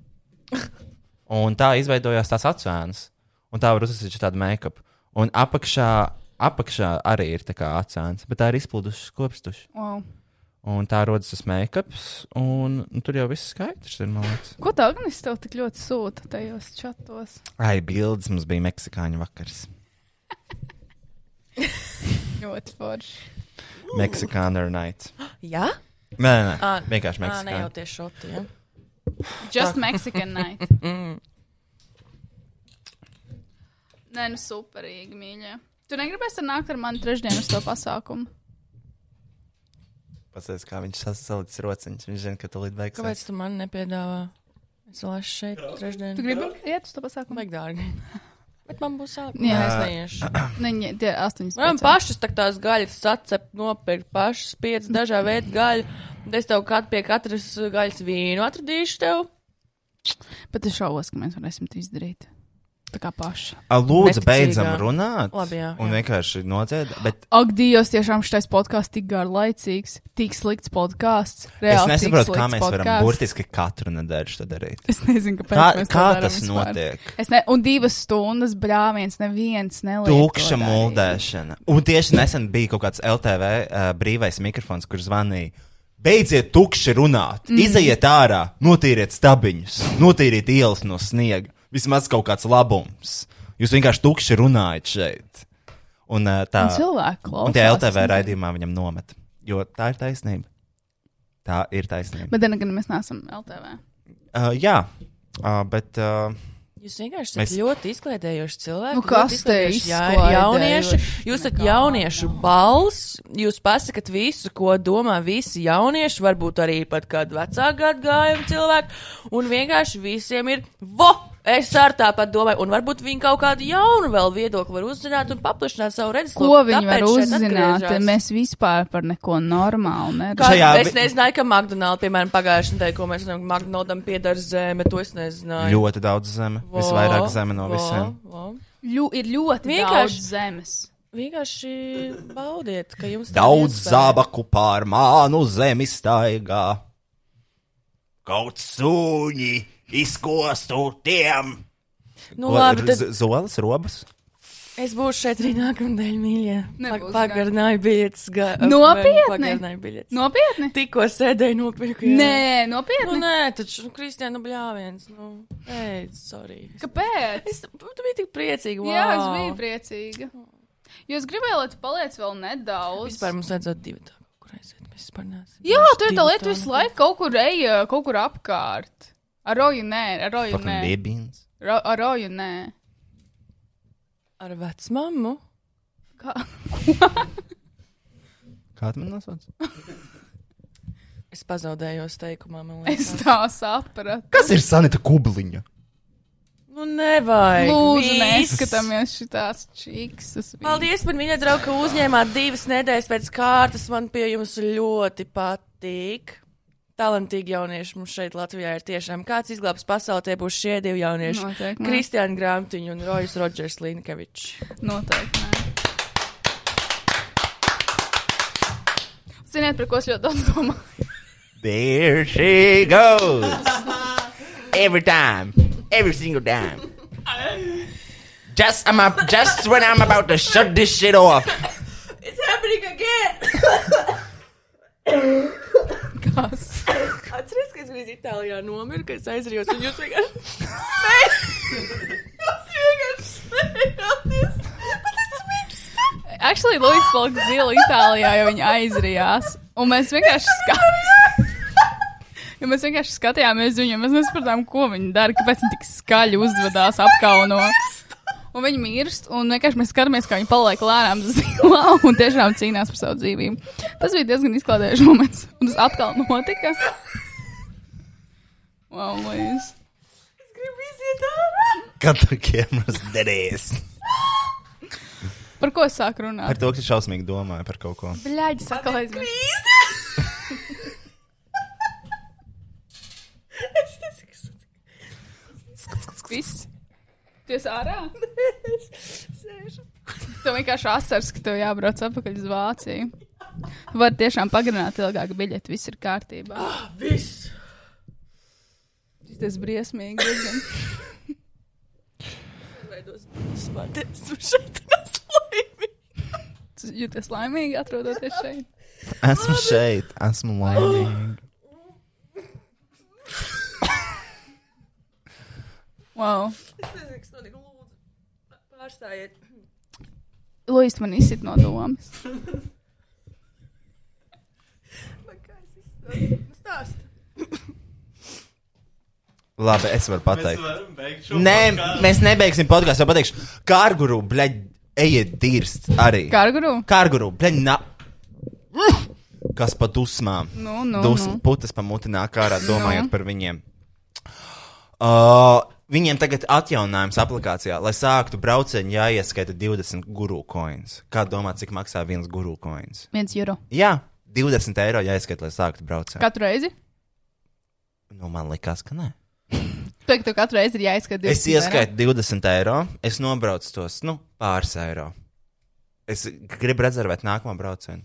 S1: Un tā izveidojās tās atsēnas. Un tā var uzsākt tādu make-up. Un apakšā, apakšā arī ir tā kā atsēns, bet tā ir izplūdušas skropstušas.
S2: Wow.
S1: Un tā rodas tas make-ups, un, un tur jau viss skaidrs ir, man liekas.
S2: Ko tā Agnēs tev tik ļoti sūta tajos čatos?
S1: Ai, bildes mums bija Meksikāņu vakars.
S2: Ļoti forši.
S1: Meksikāna night.
S3: <gasps> Jā?
S1: Nē, nē, nē.
S3: Ā, ā,
S1: vienkārši
S3: Ne jau
S1: Meksikāna.
S3: tieši šoti, jā.
S2: Just
S3: Tā.
S2: Mexican night.
S3: Mm.
S2: Nē, nu superīgi, mīļie. Tu negribēsi nākt ar mani trešdien uz to pasākumu?
S1: Paskatās, kā viņš sas- salicis rociņas. Viņš zina, ka tu līdz beigas.
S3: Kāpēc tu man nepiedāvā? Es vēl esmu šeit trešdien.
S2: Tu gribi iet uz to pasākumu?
S3: Baigi dārgi. <laughs> Bet man būs sāpīgi.
S2: Jā.
S3: es neiešu.
S1: <clears throat>
S2: Nē, tie ir astoņas.
S3: Man pašas tā tās gaļas sacep, nopirkt pašas piecas dažā veida gaļu. Un Es tev kat, pie katras uh, gaļas vīnu atradīšu tev.
S2: Bet es šaubos, ka mēs varēsim to izdarīt. Tā kā paši.
S1: A, Lūdzu,
S3: Neticīgā.
S1: beidzam runāt.
S3: Labi, jā,
S1: Un vienkārši nodzied. Bet
S2: Ak, Dievs, tiešām šis podkāsts tik garlaicīgs, tik slikts podkāsts.
S1: es
S2: Reāli tik
S1: nesaprotu, kā
S2: slikts
S1: mēs varam
S2: podcasts.
S1: burtiski katru nedēļu to darīt.
S2: Es nezinu, kāpēc
S1: Kā,
S2: mēs to
S1: kā
S2: darām
S1: tas
S2: vispār.
S1: notiek?
S2: Es ne, un divas stundas brāviens, neviens neliek.
S1: Tukša mūldēšana. Un tieši nesen bija kaut kāds LTV uh, brīvais mikrofons, kur zvanīja. Beidziet, tukši runāt,
S2: Mm.
S1: mm. izejiet ārā, notīriet stabiņus, notīriet ielas no sniega. Vismaz kaut kāds labums. Jūs vienkārši tukši runājat šeit. Un, uh, tā,
S2: Un cilvēki klausās,
S1: Un tie LTV
S2: es nezinu.
S1: raidījumā viņam nomet. Jo tā ir taisnība. Tā ir taisnība.
S2: Bet, gan mēs neesam LTV.
S1: Uh, jā, uh, bet. Uh,
S3: Jūs vienkārši
S1: Mēs-
S3: esat ļoti izklaidējuši cilvēki.
S2: Nu, kas
S3: ļoti
S2: te
S3: izklaidējoši jā-
S2: izklaidējoši?
S3: jaunieši? Jūs esat jauniešu balss, jūs pasakat visu, ko domā visi jaunieši, varbūt arī pat kādu vecāku gadgājumu cilvēku, un vienkārši visiem ir vo! Es ar tāpat domāju, un varbūt viņi kaut kādu jaunu vēl viedokli var uzzināt un paplašināt savu redzesloku.
S2: Ko viņi var
S3: Tāpēc šeit
S2: uzzināt?
S3: atgriežās.
S2: Mēs vispār par neko normālu
S3: Kā,
S2: nerunājam.
S3: Šajā... Es nezināju, ka McDonald's, piemēram, pagājušajā nedēļā, ko mēs zinām, ka McDonald's pieder zeme, to es nezināju.
S1: Ļoti daudz zeme,
S3: Vo,
S1: visvairāk zeme no
S3: vo,
S1: visiem.
S3: vo.
S2: Ļu, ir ļoti
S3: Vienkārši-
S2: vienkārši zemes.
S3: Vienkārši baudiet, ka jums tāda
S1: Daudz
S3: iespēja.
S1: zābaku pār mānu zemi staigā. Kaut sūņi izkostu tiem.
S3: Nu, labi, tad
S1: Zolas, robas.
S3: es būšu šeit arī nākamnedēļ, mīļie. Pag
S2: Nebūs
S3: pagarināju biļetes. Ga
S2: Nopietni?
S3: Pagarināju biļetes.
S2: Nopietni?
S3: Tikko sēdēju, nopirku. jā.
S2: Nē, nopietni.
S3: Nu, nē, taču, nu, Kristija, nu, bļāviens. Nu, ej, sorry.
S2: Kāpēc?
S3: Es, tu biji tik priecīga. Wow.
S2: Jā, es biju priecīga. Jūs gribējāt, lai tu paliec vēl nedaudz.
S3: Vispār mums vajadzētu divi tā, kur aiziet. Mēs vispār neesam.
S2: Jā,
S3: bijuši
S2: tur ir tā
S3: divi
S2: lieta
S3: tā.
S2: visu laiku kaut kur eja, kaut kur apkārt. Ar roju nē, ar roju nē.
S1: Fucking babies.
S2: Ro- Ar roju nē.
S3: Ar vecmāmu?
S2: Kā? <laughs>
S1: Kā tu man
S2: <laughs>
S1: nosauc?
S3: Es pazaudējos teikumā, man
S2: Es
S3: liekas.
S2: tā sapratu.
S1: Kas ir Sanita Kubliņa?
S3: Nu, nevajag.
S2: Lūdzu,
S3: Viss.
S2: neskatāmies šitās čiksus.
S3: Paldies par viņa draugu, ka uzņēmāt divas nedēļas pēc kārtas. Man pie jums ļoti patīk. Talantīgi jaunieši mums šeit Latvijā ir tiešām. Kāds izglābs pasaulē, tie būs šie divi jaunieši.
S2: Noteikti.
S3: Kristiāna Grāmtiņa un Rojas Rodžers Linkevičs.
S2: Noteikti. nē. Ziniet, par ko es ļoti daudz domāju.
S17: There she goes. every time, every single time. Just I'm up, just when I'm about to shut this shit off.
S3: It's happening again!
S2: Kas?
S3: Atceries, ka es biju Itālijā nomiru, ka es aizrījos un jūs vienkārši. Nē! Jūs vienkārši smējāties! Bet es smēju!
S2: Actually, Lūdzu, palika zila Itālijā, jo viņa aizrījās. Un mēs vienkārši <laughs> skatījāmies. Ja mēs vienkārši skatījāmies uz viņiem, mēs nesapratām, ko viņi dara, kāpēc viņi tik skaļi uzvedās, apkauno. Un viņi mirst, un vienkārši mēs skatāmies, kā viņi paliek lēnām <laughs> zilā un tiešām cīnās par savu dzīvību. Tas bija diezgan izklaidējošs moments, un tas atkal notika. Wow, Lūdzu.
S3: Es gribu iziet ārā!
S1: Katra kameras derēs.
S2: Par ko es sāku runāt?
S1: Par to, ka tu šausmīgi domāji par kaut ko.
S2: Bļaģi, saka, lai aizmirst.
S3: Es nezinu, kas
S2: Viss. Tu esi ārā? Tu vienkārši asars, ka tev jābrauc atpakaļ uz Vāciju. Tu vari tiešām pagarināt ilgāku biļeti, viss ir kārtībā. Ah,
S3: viss!
S2: Tas briesmīgi. diezgan.
S3: <laughs> Veidos spēties, tu šeit neslaimi.
S2: Tu Jūties laimīgi atrodoties šeit.
S1: Esmu šeit, esmu laimīga.
S2: Wow.
S3: Es nezinu, kas notika. Lūdzu, pārstājiet.
S2: Lūdzu, man izsit no domas.
S3: Stāst.
S1: Labi, es varu pateikt.
S8: varam beigt šo
S1: Nē,
S8: podcastu.
S1: mēs nebeigsim podkāstu. Es pateikšu, kārguru, bļaļ, ejiet dirst arī.
S2: Kārguru?
S1: Kārguru, bļaļ, na. Kas pa dusmām?
S2: Nu, nu,
S1: Dusmu
S2: nu.
S1: putas pa muti nāk ārā, domājot
S2: Nu.
S1: par viņiem. Uh, viņiem tagad atjauninājums aplikācijā, lai sāktu braucienu, jāieskaita 20 guru coins. Kā domā, cik maksā viens guru coins?
S2: Viens eiro.
S1: Jā, 20 eiro jāieskaita, lai sāktu braucienu.
S2: Katru reizi?
S1: Nu, man likās, ka nē.
S2: Tu teiksi, ka katru reizi ir jāizskata.
S1: Es ieskaitu 20 eiro, es nobraucu tos nu, pāris eiro. Es gribu rezervēt nākamo braucienu.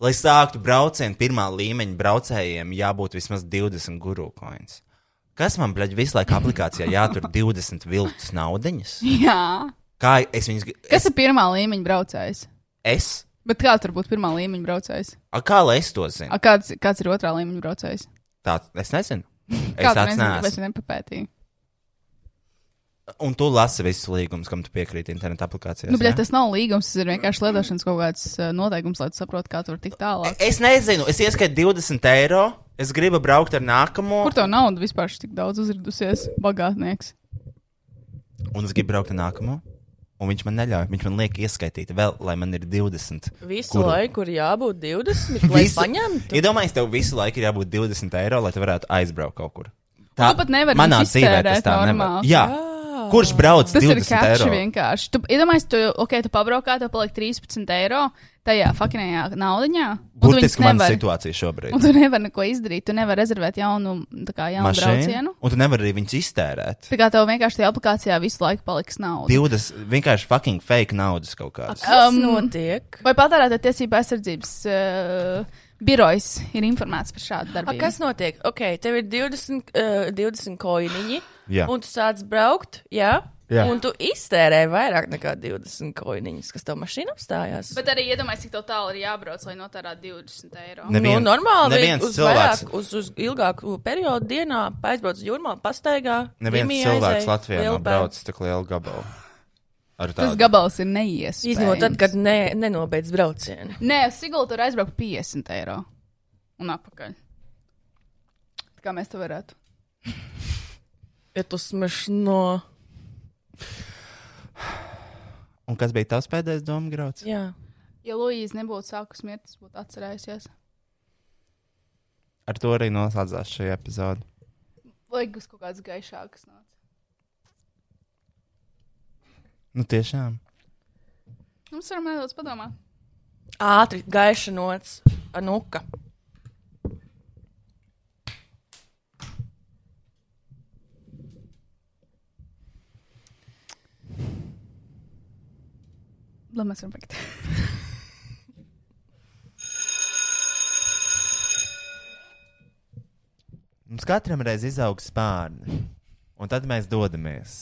S1: Lai sāktu braucienu, pirmā līmeņa braucējiem jābūt vismaz 20 guru coins. Kas man, bļaļ, visu laiku aplikācijā
S2: <laughs>
S1: jātur 20 viltus naudiņas?
S2: Jā.
S1: Kā es viņus gribu?
S2: Kas ir pirmā līmeņa braucējs?
S1: Es?
S2: Bet kā tur būtu pirmā līmeņa braucējs?
S1: A, kā lai es to
S2: A,
S1: zinu?
S2: Kāds, kāds ir otrā līmeņa braucējs?
S1: Tā, es
S2: <laughs>
S1: nezinu. Es
S2: Kādu
S1: tāds
S2: nezinu, tāpēc
S1: neesmu.
S2: Es nepapētīju.
S1: Un tu lasi visus līgumus, kam tu piekrīti internetu aplikācijās.
S2: Nu,
S1: jā?
S2: bļa, tas nav līgums, tas ir vienkārši lietošanas kaut kāds eh, noteikums, lai tu saprotu, kā tur tik tālāk.
S1: Es nezinu, es ieskaitu 20 eiro. Es gribu braukt ar nākamo,
S2: Kur to naudu vispār tik daudz uzrādusies? Bagātnieks.
S1: un es gribu braukt ar nākamo. Un viņš man neļauj. Viņš man liek ieskaitīt vēl, lai man ir 20.
S3: Visu
S1: Kuru?
S3: Kuru? laiku ir jābūt 20, lai
S1: Visu-
S3: paņemtu.
S1: Iedomājies, tev visu laiku ir jābūt 20 eiro, lai tu varētu aizbraukt kaut kur.
S2: Tu pat nevari
S1: manā
S2: viņus
S1: dzīvē tas
S2: iztērēt
S1: tā nevar.
S2: normāli.
S1: Jā. Kurš brauc
S2: Tas ir
S1: 20
S2: kačs
S1: eiro?
S2: vienkārši. Tu iedomājies, tu, ok, tu pabraukā, tev paliek 13 eiro tajā fakinējā naudiņā. un tu viņus
S1: Burtiski mana
S2: nevari-
S1: situācija šobrīd.
S2: Un tu nevari neko izdarīt, tu nevari rezervēt jaunu, tā kā, jaunu braucienu.
S1: Un tu nevari arī viņus iztērēt.
S2: Tā kā tev vienkārši tajā aplikācijā visu laiku paliks nauda.
S1: 20 vienkārši fucking fake naudas kaut kāds.
S3: Kas notiek?
S2: Um, Vai patērētāja tiesība aizsardzības uh, birojs ir informēts par šādu
S3: A,
S2: darbu?
S3: kas notiek? Ok, tev ir 20, uh, 20 koiniņi,
S2: Jā.
S3: un tu sāc braukt, jā,
S2: Jā.
S3: un tu iztērē vairāk nekā 20 koiniņus, kas tev mašīna apstājās.
S2: Bet arī iedomājieties, cik tev tālu ir jābrauc, lai notērētu 20 eiro.
S3: Nevien, nu, normāli
S1: neviens
S3: vajag uz,
S1: cilvēks-
S3: vairāk, uz, uz ilgāku periodu dienā aizbrauc uz jūrmā, pastaigā.
S1: Neviens
S3: Rimi
S1: cilvēks
S3: aizej,
S1: Latvijā nav
S3: Lielpēd.
S1: braucis tik lielu gabalu. Ar
S2: Tas
S1: tādu.
S2: gabals ir neies.
S3: Izņemot tad, kad ne, nenobeidz braucienu.
S2: Nē, Sigulda tur aizbraukt 50 eiro un atpakaļ. Tā Kā mēs to varētu?
S3: Ja tu smešno.
S1: Un kas bija tavs pēdējais domu grauds?
S3: Jā.
S2: Ja Lūija nebūtu sākus mirt, tas būtu atcerējusies.
S1: Ar to arī noslēdzās šī epizode.
S2: Laikus kaut kāds gaišāks nāca.
S1: Nu, tiešām.
S2: Mums varam nedaudz padomāt.
S3: Ātri, gaiša nots, anuka.
S2: Lai mēs varam beigt. <laughs>
S1: Mums katram reiz izaug spārni, un tad mēs dodamies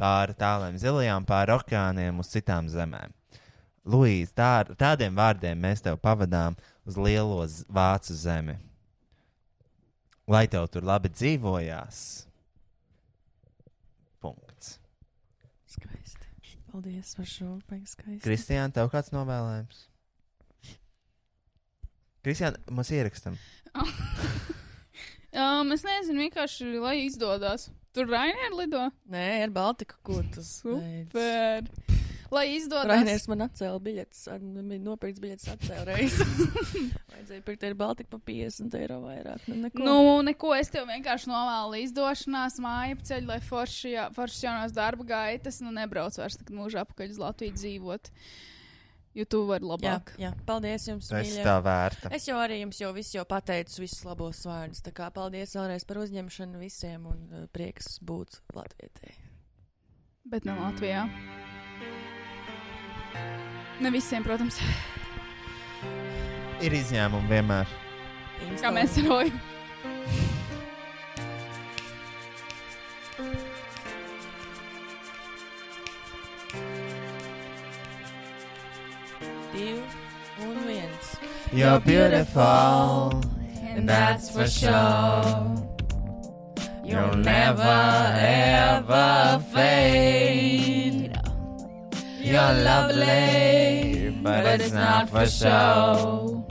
S1: pāri tālēm zilajām, pāri okeāniem uz citām zemēm. Lūdzu, tā, ar tādiem vārdiem mēs tev pavadām uz lielo z- vācu zemi. Lai tev tur labi dzīvojās. Punkts.
S3: Skaisti. Paldies par šo baigi skaisti.
S1: Kristija, tev kāds novēlējums? Kristija, mums ierakstam.
S2: Um, es nezinu, vienkārši lai izdodas. Tur Rainēra lido.
S3: Nē, ir Baltika, kur tas
S2: super. Lai izdodas.
S3: Rainērs man atcēla biļetes, ar- nopirks biļetes atcēla <laughs> reizi. Vajadzēja pirkt ar Baltiku pa 50 eiro vairāk. Nu, neko.
S2: Nu, neko, es tev vienkārši novēlu izdošanās, māju ceļu, lai forši, ja- foršas jaunās darba gaitas, nu, nebrauc vairs tik mūžā apakaļ uz Latviju dzīvot. Jo tu vari labāk.
S3: Jā, jā. paldies jums.
S1: Tas
S3: mīļie.
S1: tā vērta.
S3: Es jau arī jums jau, visu jau pateicu, visus labos vārdus. Tā kā paldies vēlreiz par uzņemšanu visiem un uh, prieks būt Latvijai.
S2: Bet
S3: Mm.
S2: ne Latvijā. Ne visiem, protams.
S1: Ir izņēmumi vienmēr.
S2: Kā mēs rojam.
S3: Divi un viens.
S1: You're beautiful,
S3: and that's for sure.
S1: You'll
S3: never, ever fade.
S1: You're lovely,
S3: but it's not for show.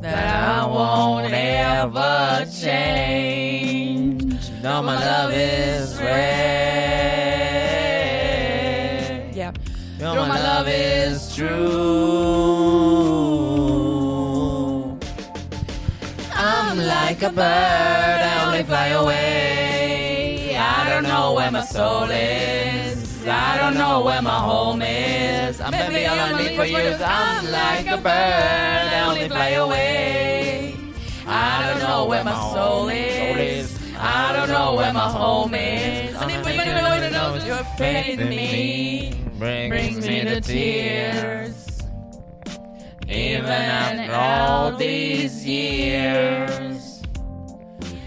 S3: That I won't ever change.
S17: No, my love is red.
S3: Yeah.
S17: No, my love is true. I'm like a bird, I only fly away. I don't know where my soul is. I don't know where my home is. I'm maybe all I need for you is I'm like a bird, I only fly away. I don't know where my soul is. I don't know where my home is. And if anybody really knows your faith in me brings me to tears. Even after all these years.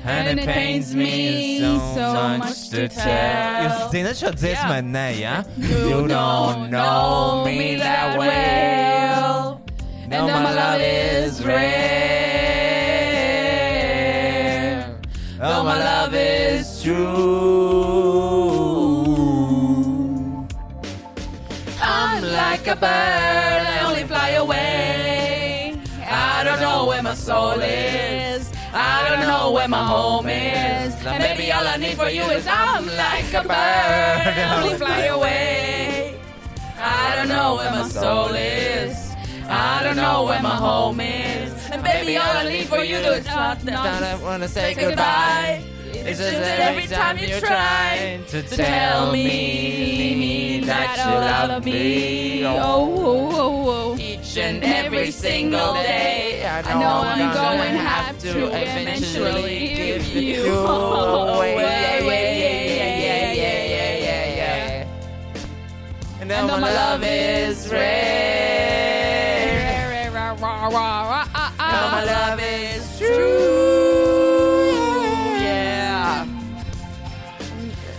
S17: And it pains me so, so much to
S1: Jūs
S17: tell.
S1: zināt šo dziesmu, vai nē, jā?
S17: You don't know me that well. No, my love is rare. No, Oh, my love is true. I'm like a bird, I only fly away. I don't know where my soul is. I don't know where my home is. And maybe all I need for you is I'm like a bird, I only fly away. I don't know where my soul is. I don't know where my home is. And baby, all I need for you is not that I wanna say goodbye. It's just that every time you try to tell me that you love me.
S2: Oh, oh, oh, oh.
S17: Each and every single day, I know, I'm, gonna, have to eventually give <laughs> you away. Yeah, yeah, yeah, yeah, yeah, yeah, yeah, yeah. And now my love is rare. Now my love <laughs> is true. Yeah.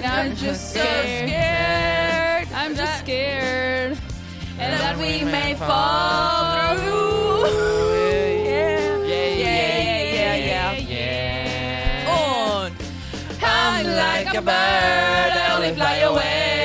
S2: I'm just so
S17: scared.
S2: I'm just scared.
S17: and that we may fall
S2: <laughs>
S17: through. Yeah, yeah, yeah, yeah, yeah, yeah. On. I'm like a bird, I only fly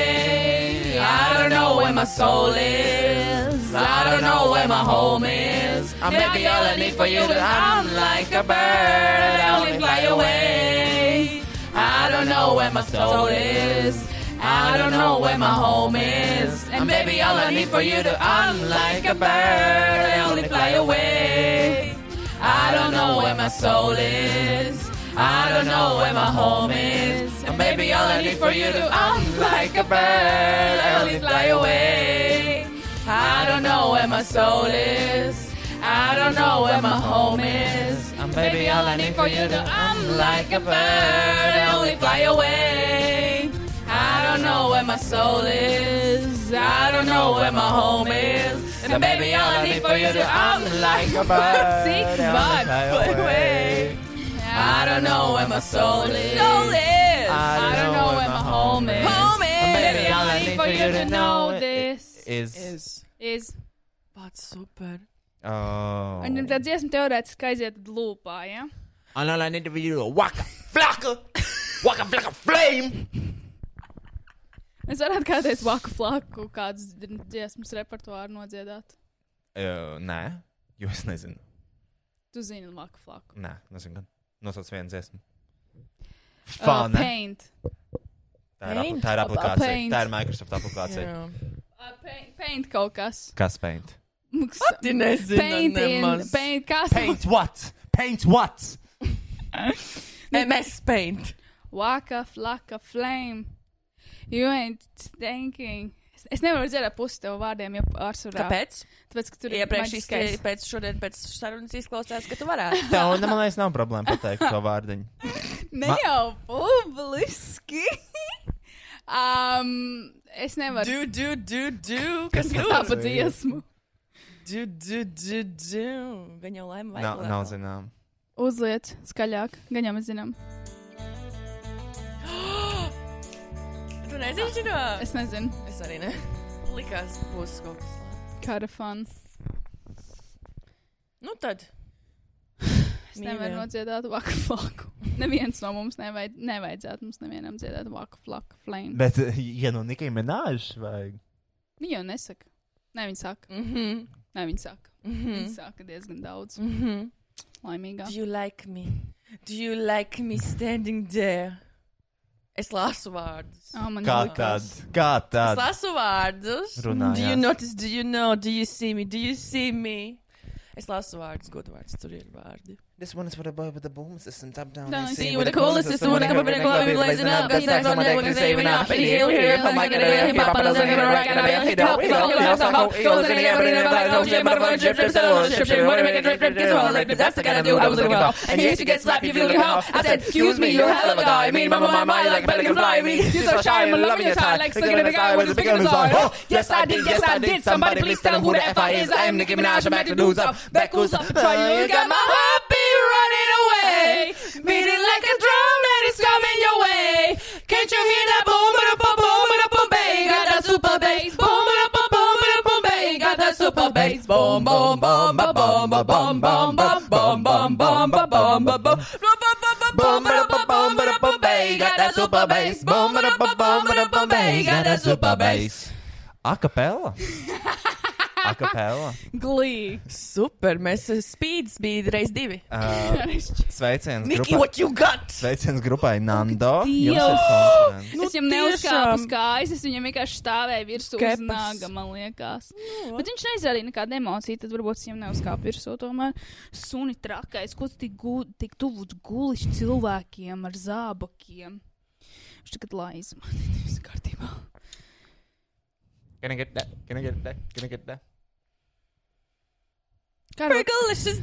S17: away. I don't know where my soul is. I don't know where my home is. I may be all I need for you, but I'm like a bird, I only fly away. I don't know where my soul is. I don't know where my home is. And baby, all I need for you to, I'm like a bird, I only fly away. I don't know where my soul is. I don't know where my home is. And baby, all I need for you to, I'm like a bird, I only fly away. I don't know where my soul is. I don't know where my home is. And baby, all I need for you to, I'm like a bird, I only fly away. I don't know where my soul is. I don't know where my home is. And baby, all I need for you to, I'm like a bird.
S2: Sick
S17: I only fly away. I don't know where my soul is.
S2: Soul is.
S17: I don't know where my home is.
S2: Home
S17: And baby, all I need
S2: For you to know this
S1: Is.
S3: Is.
S2: is.
S3: Pats super.
S1: Oh.
S2: Un tad dziesma teorētiski aiziet lūpā, ja?
S17: And all I need for you to waka, flocka, waka, flocka, flame.
S2: Es varētu kādreiz vaku flaku kādas dziesmas repertuāru nodziedāt.
S1: Uh, nē, jo es nezinu.
S2: Tu zini vaku flaku.
S1: Nē, nezinu. gan. Nosauc vienu dziesmu.
S2: Uh,
S1: Fana.
S2: paint.
S1: Tā ir, apl
S2: Uh, Paint?
S1: eh? tā ir
S2: A- a
S1: aplikācija.
S17: uh,
S2: paint.
S1: Tā ir Microsoft aplikācija.
S2: Jā. Uh, Paint kaut kas.
S1: Kas paint?
S2: Mums-
S17: Pati nezinu
S2: Paint in,
S17: nemaz.
S2: paint kas.
S1: Paint what? Paint what?
S17: MS Paint.
S2: Waka, flaka, flame. You ain't thinking. Es- Es nevaru dzirdēt pusi tev vārdiem, ja pārsvarā.
S17: Kāpēc?
S2: Tāpēc, ka tur ir
S17: Iepriekš
S2: maģiskais.
S17: izskaidrots, pēc šodien pēc sarunas izklausās, ka tu varētu.
S1: <laughs> Tev, man liekas, nav problēma pateikt to vārdiņu.
S2: <laughs> Ne
S1: Ma-
S2: jau
S17: <gasps>
S2: publiski. um, es nevaru.
S17: Du, du, du, du. Kas
S2: Kas
S17: tur?
S2: tā pa dziesmu?
S17: Du, du, du, du. Gan jau <gasps> laima vai
S1: Nav, nav zinām.
S2: Uzliet skaļāk, gan jau mēs zinām.
S17: Tu nezini, šito?
S2: Es nezinu.
S17: Es arī ne. Likās, būs kaut kas.
S2: Karafans.
S17: Nu tad.
S2: Es nevaru nodziedāt vaku flaku. <laughs> Neviens no mums nevajad, nevajadzētu mums nevienam dziedāt vaku flaku flame.
S1: Bet, ja nu Nikai minējuši, vajag.
S2: Viņa jau nesaka. Nē, viņa saka.
S17: Mm -hmm.
S2: Nē, viņa saka. Mm
S17: Mhm.
S2: -hmm. Viņa saka diezgan daudz.
S17: Mm -hmm.
S2: Laimīgā.
S17: Do you like me? Do you like me standing there? Es lasu vārdus.
S2: Oh, man
S1: Kā tad? Kā
S17: Es
S1: tad?
S17: lasu vārdus.
S1: Runājāt.
S17: Do you notice? Do you know? Do you see me? Do you see me? Es lasu vārdus, godu vārdus, tur ir vārdi.
S3: This one is for the boy with the boom system top down.
S17: Don't
S3: They
S17: see
S3: say
S17: you
S3: with
S17: with the coolest system, wanna come up in a club, you blazing up, got sex on my dick, you saving up, and here, here, pop, I get a real hip hop, I doesn't give a rock, and I hit up, we don't give a fuck, goes in the air, but it never like no shit, motherfucker, drip, drip, settle on a strip, shit, wanna make a drip, drip, kiss her on the lip, that's the kind of dude I was looking for, and you used to get slapped, you feel like hell, I said, excuse me, you're a hell of a guy, me, mama, my mind, like, better can fly, me, you're so shy, I'm loving your tie, like, looking at the guy with the big on Oh, yes, I did, yes, I did, somebody please tell him who the F I is, I am Nicki Minaj, I'm at the dudes up, back who's up, try Oh, you, got my heart beat running away, beating like a drum and it's coming your way. Can't you hear that boom, ba boom, boom, ba boom, bang? Got that super bass, boom, ba boom, boom, ba boom, bang. Got that super bass, boom, boom, boom, ba boom, ba boom, boom, boom, boom, boom, boom, ba boom, ba boom. Boom, ba boom, boom, ba boom, bang. Got that super bass, boom, ba boom, boom, ba boom, bang. Got that super bass.
S1: Akapela?
S17: <laughs>
S1: Akapela?
S2: Glīd.
S17: Super, mēs spīdus bija reiz divi.
S1: Uh, sveiciens
S17: Niki,
S1: grupai.
S17: what you got? Oh,
S1: Sveiciens grupai Nando.
S2: Dievs!
S1: Jums ir konference.
S2: Nu, es viņam neuzkāpu uz kājas, es viņam vienkārši stāvēju virsū uz
S17: Kepas.
S2: nāga, man liekas. Bet viņš neizrādīja nekādu emociju, tad varbūt es viņam neuzkāpu virsū. Tomēr suni trakais, ko tu tik, gu, tik tuvu guliš cilvēkiem ar zābakiem. Viņš tagad laiz man, <laughs> viss kārtībā.
S1: Can I get that? Can I get that? Can I get that?
S2: Gargalicious.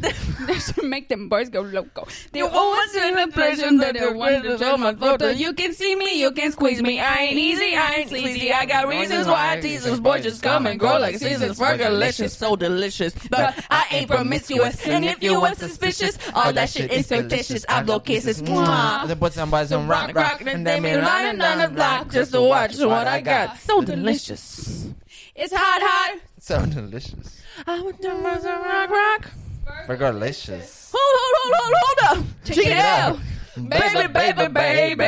S2: They should <laughs> make them boys go loco. They
S17: You
S2: always
S17: always
S2: an impression that they want to draw my photo. You can see me, you can squeeze me. I ain't easy, I ain't sleazy. I got reasons why I tease these boys just come and grow like seasons. Gargalicious,
S17: so delicious.
S2: But I ain't promiscuous, and if you were suspicious, all that shit is
S17: fictitious. I blow kisses.
S3: Mwah. They put some boys on rock rock and they be running down the block just to watch what I got.
S17: So delicious.
S2: It's hot, hot.
S1: Mm-hmm. So delicious.
S17: I would never rock, rock.
S1: Regardlicious.
S17: Hold, hold, hold, hold, hold up. Check, it out. Baby, baby, baby,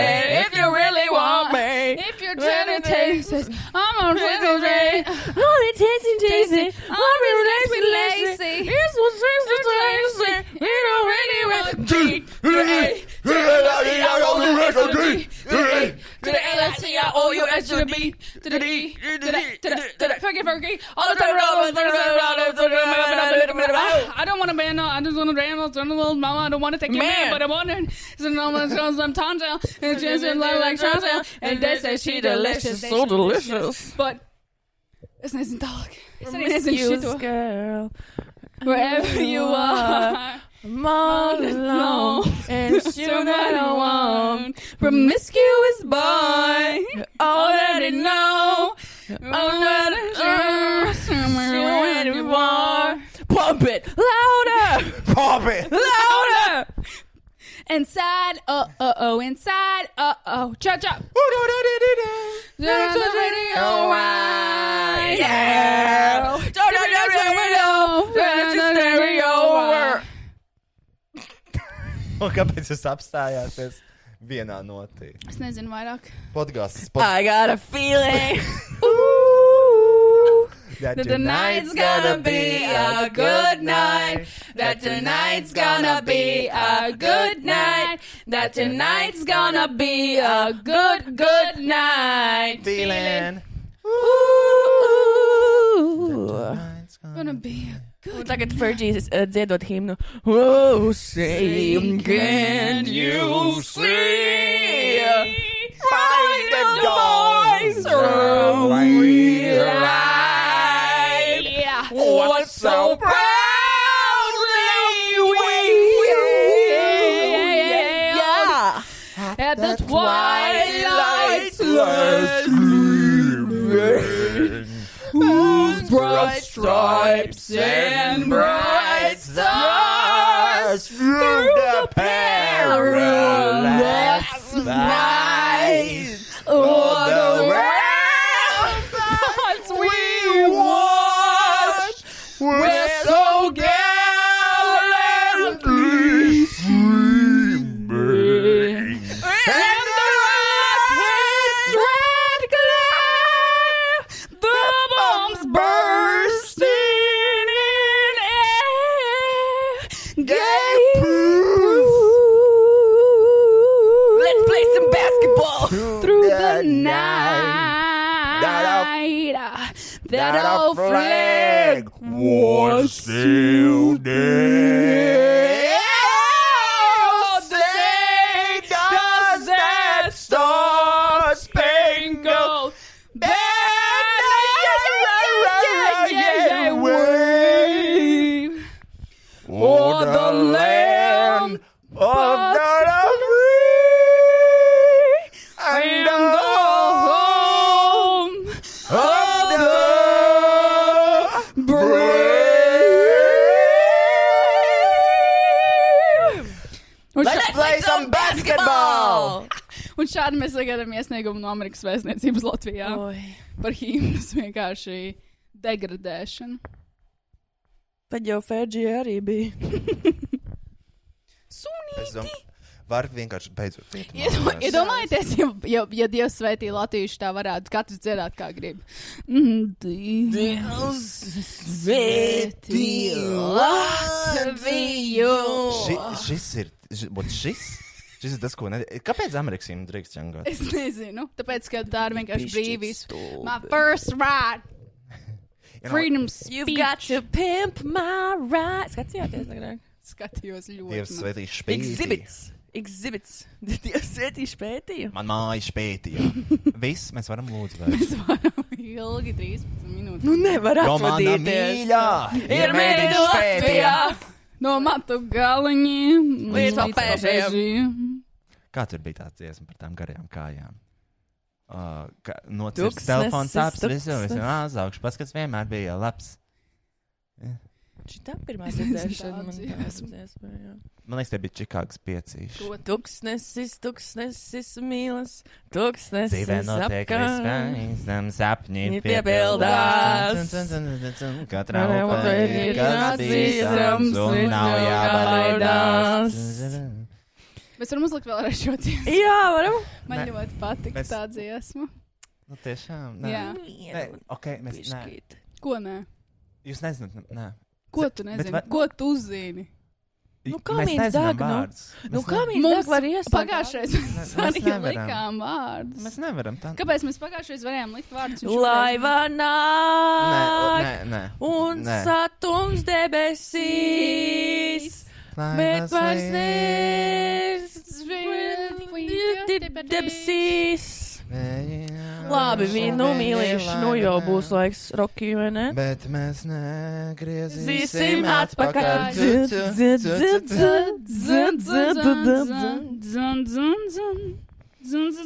S17: if you really want me.
S2: If you're trying to taste it, I'm a little ray.
S17: Oh, it tastes tasty.
S2: I'm a
S17: Lazy, lazy.
S2: lazy, lazy.
S17: Here's what's lazy, lazy. We don't really want to eat. To the LSC, I owe you S to the B, to the D, to the to the to the
S2: Fucking Fergie.
S17: all the time around, all the time around, all the time around.
S2: I don't want to ban. I just want to ban. I don't want to mama. I don't want to take your man,
S17: Man.
S2: but I want to. So no one shows them tonsil and just like like tonsil. And they say she delicious, They
S17: so
S2: say delicious.
S17: delicious.
S2: But es nezinu tālāk. Es arī nezinu
S17: Excuse,
S2: šito.
S17: girl.
S2: Wherever you are.
S17: I'm all <laughs> alone, and you not alone.
S2: Promiscuous
S17: boy, <laughs> Oh, you already know. I'm not sure where you are. Pump it louder,
S3: Pop it!
S17: louder.
S2: Inside, uh uh oh, inside, uh oh, cha cha.
S17: Yeah. Turn up your radio, turn your stereo.
S1: Un kāpēc jūs apstājāties vienā notī?
S2: Es nezinu vairāk.
S1: Podgāsts.
S17: I got a feeling.
S1: That
S17: That tonight's gonna be a good night. That tonight's gonna be a good night. That tonight's gonna be a good, good night.
S1: Feeling.
S17: Ooh,
S2: gonna be a
S17: Un tagad Fergijas uh, dziedot himnu. Oh, sing, can you see? Find the noise from light. What so proudly we yeah. At the twilight's last gleaming, whose bright stripes and bright stars through the perilous night, o'er the ramparts <laughs> we watched, were so gallantly streaming. And the rocket's red glare, the bombs bursting in air, gave proof. Let's play some basketball through the night. That our flag was still there. Oh, say, does that star spangled banner wave o'er the land of the free and the home of the
S24: Let's play some basketball!
S2: Un šādi mēs sagaidām iesniegumu no Amerikas vēstniecības Latvijā Oi. par himnas vienkārši <laughs> degradēšanu.
S3: Tad jau Ferģija
S17: E
S3: arī bija.
S1: Es domāju, var vienkārši beidzot. iet
S2: Iedo-
S1: mājās.
S2: Iedomājieties, ja, ja, ja Dievs svētī latviešu tā varētu katrs dziedāt, kā grib. Mm, Dievs
S25: svētī
S1: Ši, šis ir. ži- vot Šis, šis ir tas, ko. Ne... Kāpēc Amerikas himna drīkst ķengāt?
S2: Es nezinu, tāpēc, ka tā ir vienkārši
S1: Bišķi
S2: brīvīs.
S1: stulbi.
S2: My first
S1: <laughs>
S2: right!
S1: You know,
S2: Freedom
S17: You've
S2: speech.
S17: got to pimp my right. Skatījāties, agrāk.
S2: Skatījos ļoti.
S1: Dievs
S2: maz.
S1: svētī špētīja.
S17: Exhibits. Exhibits. <laughs> Dievs svētīšu pētīju.
S1: Man māja
S2: <laughs>
S1: špētīja. Viss mēs varam lūdzu. Mēs
S2: Ilgi 13 minūtes.
S17: Nu, nevar
S1: Romāna
S17: atvadīties.
S1: mīļā!
S17: Ir mīļa Latvijā.
S2: No matu galiņiem
S17: Līdz papēžiem.
S1: Kā tur bija tāds dziesma par tām garajām kājām? Uh, ka, Nocirst
S17: Tuksnesis,
S1: telefons taps, visu,
S17: tuksnesis.
S1: visu, azaugšu, paskats vienmēr bija labs.
S17: Šī tā pirmā
S25: Es nezinu,
S17: dzirdēšana
S25: tādu
S17: man
S25: dziesmu.
S17: jāsadzēs.
S1: Man liekas, te bija Čikāgas piecīši.
S17: Tuksnesis, tuksnesis mīlas, tuksnesis
S1: Dzīvē notiek viss, kā izdam sapņi
S17: Ir piepildās.
S1: piepildās. Cun, cun, cun, cun, cun, Katrā
S17: Varēja
S1: upē ir
S17: būt
S1: kas bīstams
S17: bīstams,
S1: un nav
S17: ir
S1: jābaidās.
S2: Mēs varam uzlikt vēlreiz šo dziesmu.
S17: Jā, varam.
S2: Man
S1: Nē.
S2: ļoti patīk
S1: Mēs-
S2: Mēs... tā dziesma.
S1: Nu, tiešām.
S2: Jā.
S1: Nē, nē, ok, mēs. Nē,
S2: Ko nē?
S1: jūs nezināt, nu, nē.
S2: Ko
S1: Se-
S2: tu
S1: bet
S2: nezini?
S1: vai-
S2: Bet, Ko tu uzzini?
S1: Nu,
S17: kā
S1: mēs
S17: mīns
S1: nezinām
S17: deg, nu?
S1: vārdus.
S17: Nu,
S1: Mēs
S17: kā
S1: ne-
S17: mīns
S2: Mums
S17: deg var iesākt?
S2: Pagājušais mēs
S1: mēs
S2: arī
S1: nevaram.
S2: likām vārdus.
S1: Mēs nevaram tā.
S2: Kāpēc mēs pagājušais varējām likt vārdus? un šoreiz-
S17: Laiva nāk
S1: Nē, nē, nē.
S17: un
S1: Nē.
S17: satums debesīs. Bet vairs nezinu, debesīs. Labi, vi- nu mīlīši, nu jau būs laiks rokī, vai ne?
S1: Bet mēs
S17: Zīsim
S1: negriezīsim
S17: atpakaļ.
S1: Tu, tu, tu, tu, tu, tu.
S2: Dzun, dzun, dzun, dzun, dzun, dzun. Dzun, dzun,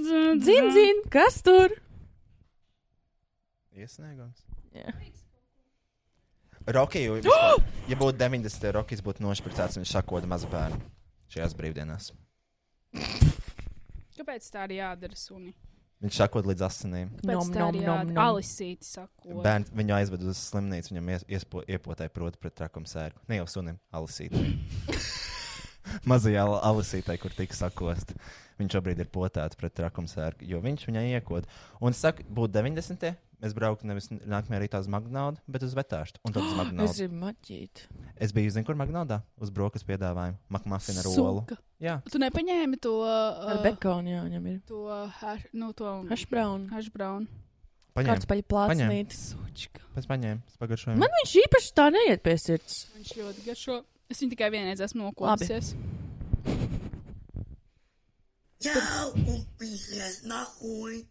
S2: dzun,
S17: Zin, zin, kas tur?
S1: Iesniegums. Rocky,
S2: <gasps>
S1: jo,
S2: Oh!
S1: vispār, ja būtu 90, Rockies būtu nošpricēts, viņš sakot mazu bērnu šajās brīvdienās.
S2: Kāpēc tā ir jādara suni?
S1: Viņš sakot līdz asinīm.
S2: Pēc
S17: Nom,
S2: tā
S17: nom,
S2: ir
S17: nom,
S2: jādara.
S17: nom.
S2: Alisīti sako.
S1: Bērns viņu aizved uz slimnīcu, viņam ies, iespo, iepotē proti pret trakumu sērgu. Ne jau sunim, alasītē. Mazajā al- alasītē, kur tika sakost. Viņš šobrīd ir potēts pret trakumu sērgu, jo viņš viņai iekod. Un saka, būtu 90. Es braucu nevis nākamajā rītā uz Magnaudu, bet uz Vetāšu. Un
S2: <gasps>
S1: tad uz
S17: Es
S1: Magnaudu.
S17: gribu maķīt.
S1: Es biju, zinu, kur Magnaudā? Uz brokastu piedāvājumu. Makmafina rolu.
S2: Suka.
S1: Jā.
S2: Tu nepaņēmi to.
S17: Ar
S2: uh,
S17: bekonu, jā, viņam ir.
S2: To hash, nu, to
S17: Hash brown.
S2: Hash brown.
S1: Paņēmu.
S3: Kartupeļu
S1: Paņēmu.
S3: plācnītis.
S1: Pēc paņēmu. Es pagaršoju.
S3: Man viņš īpaši tā neiet pie sirds.
S2: Viņš ļoti garšo. Es viņu tikai vienreiz esmu nokopusies.
S17: Я убежал нахуй.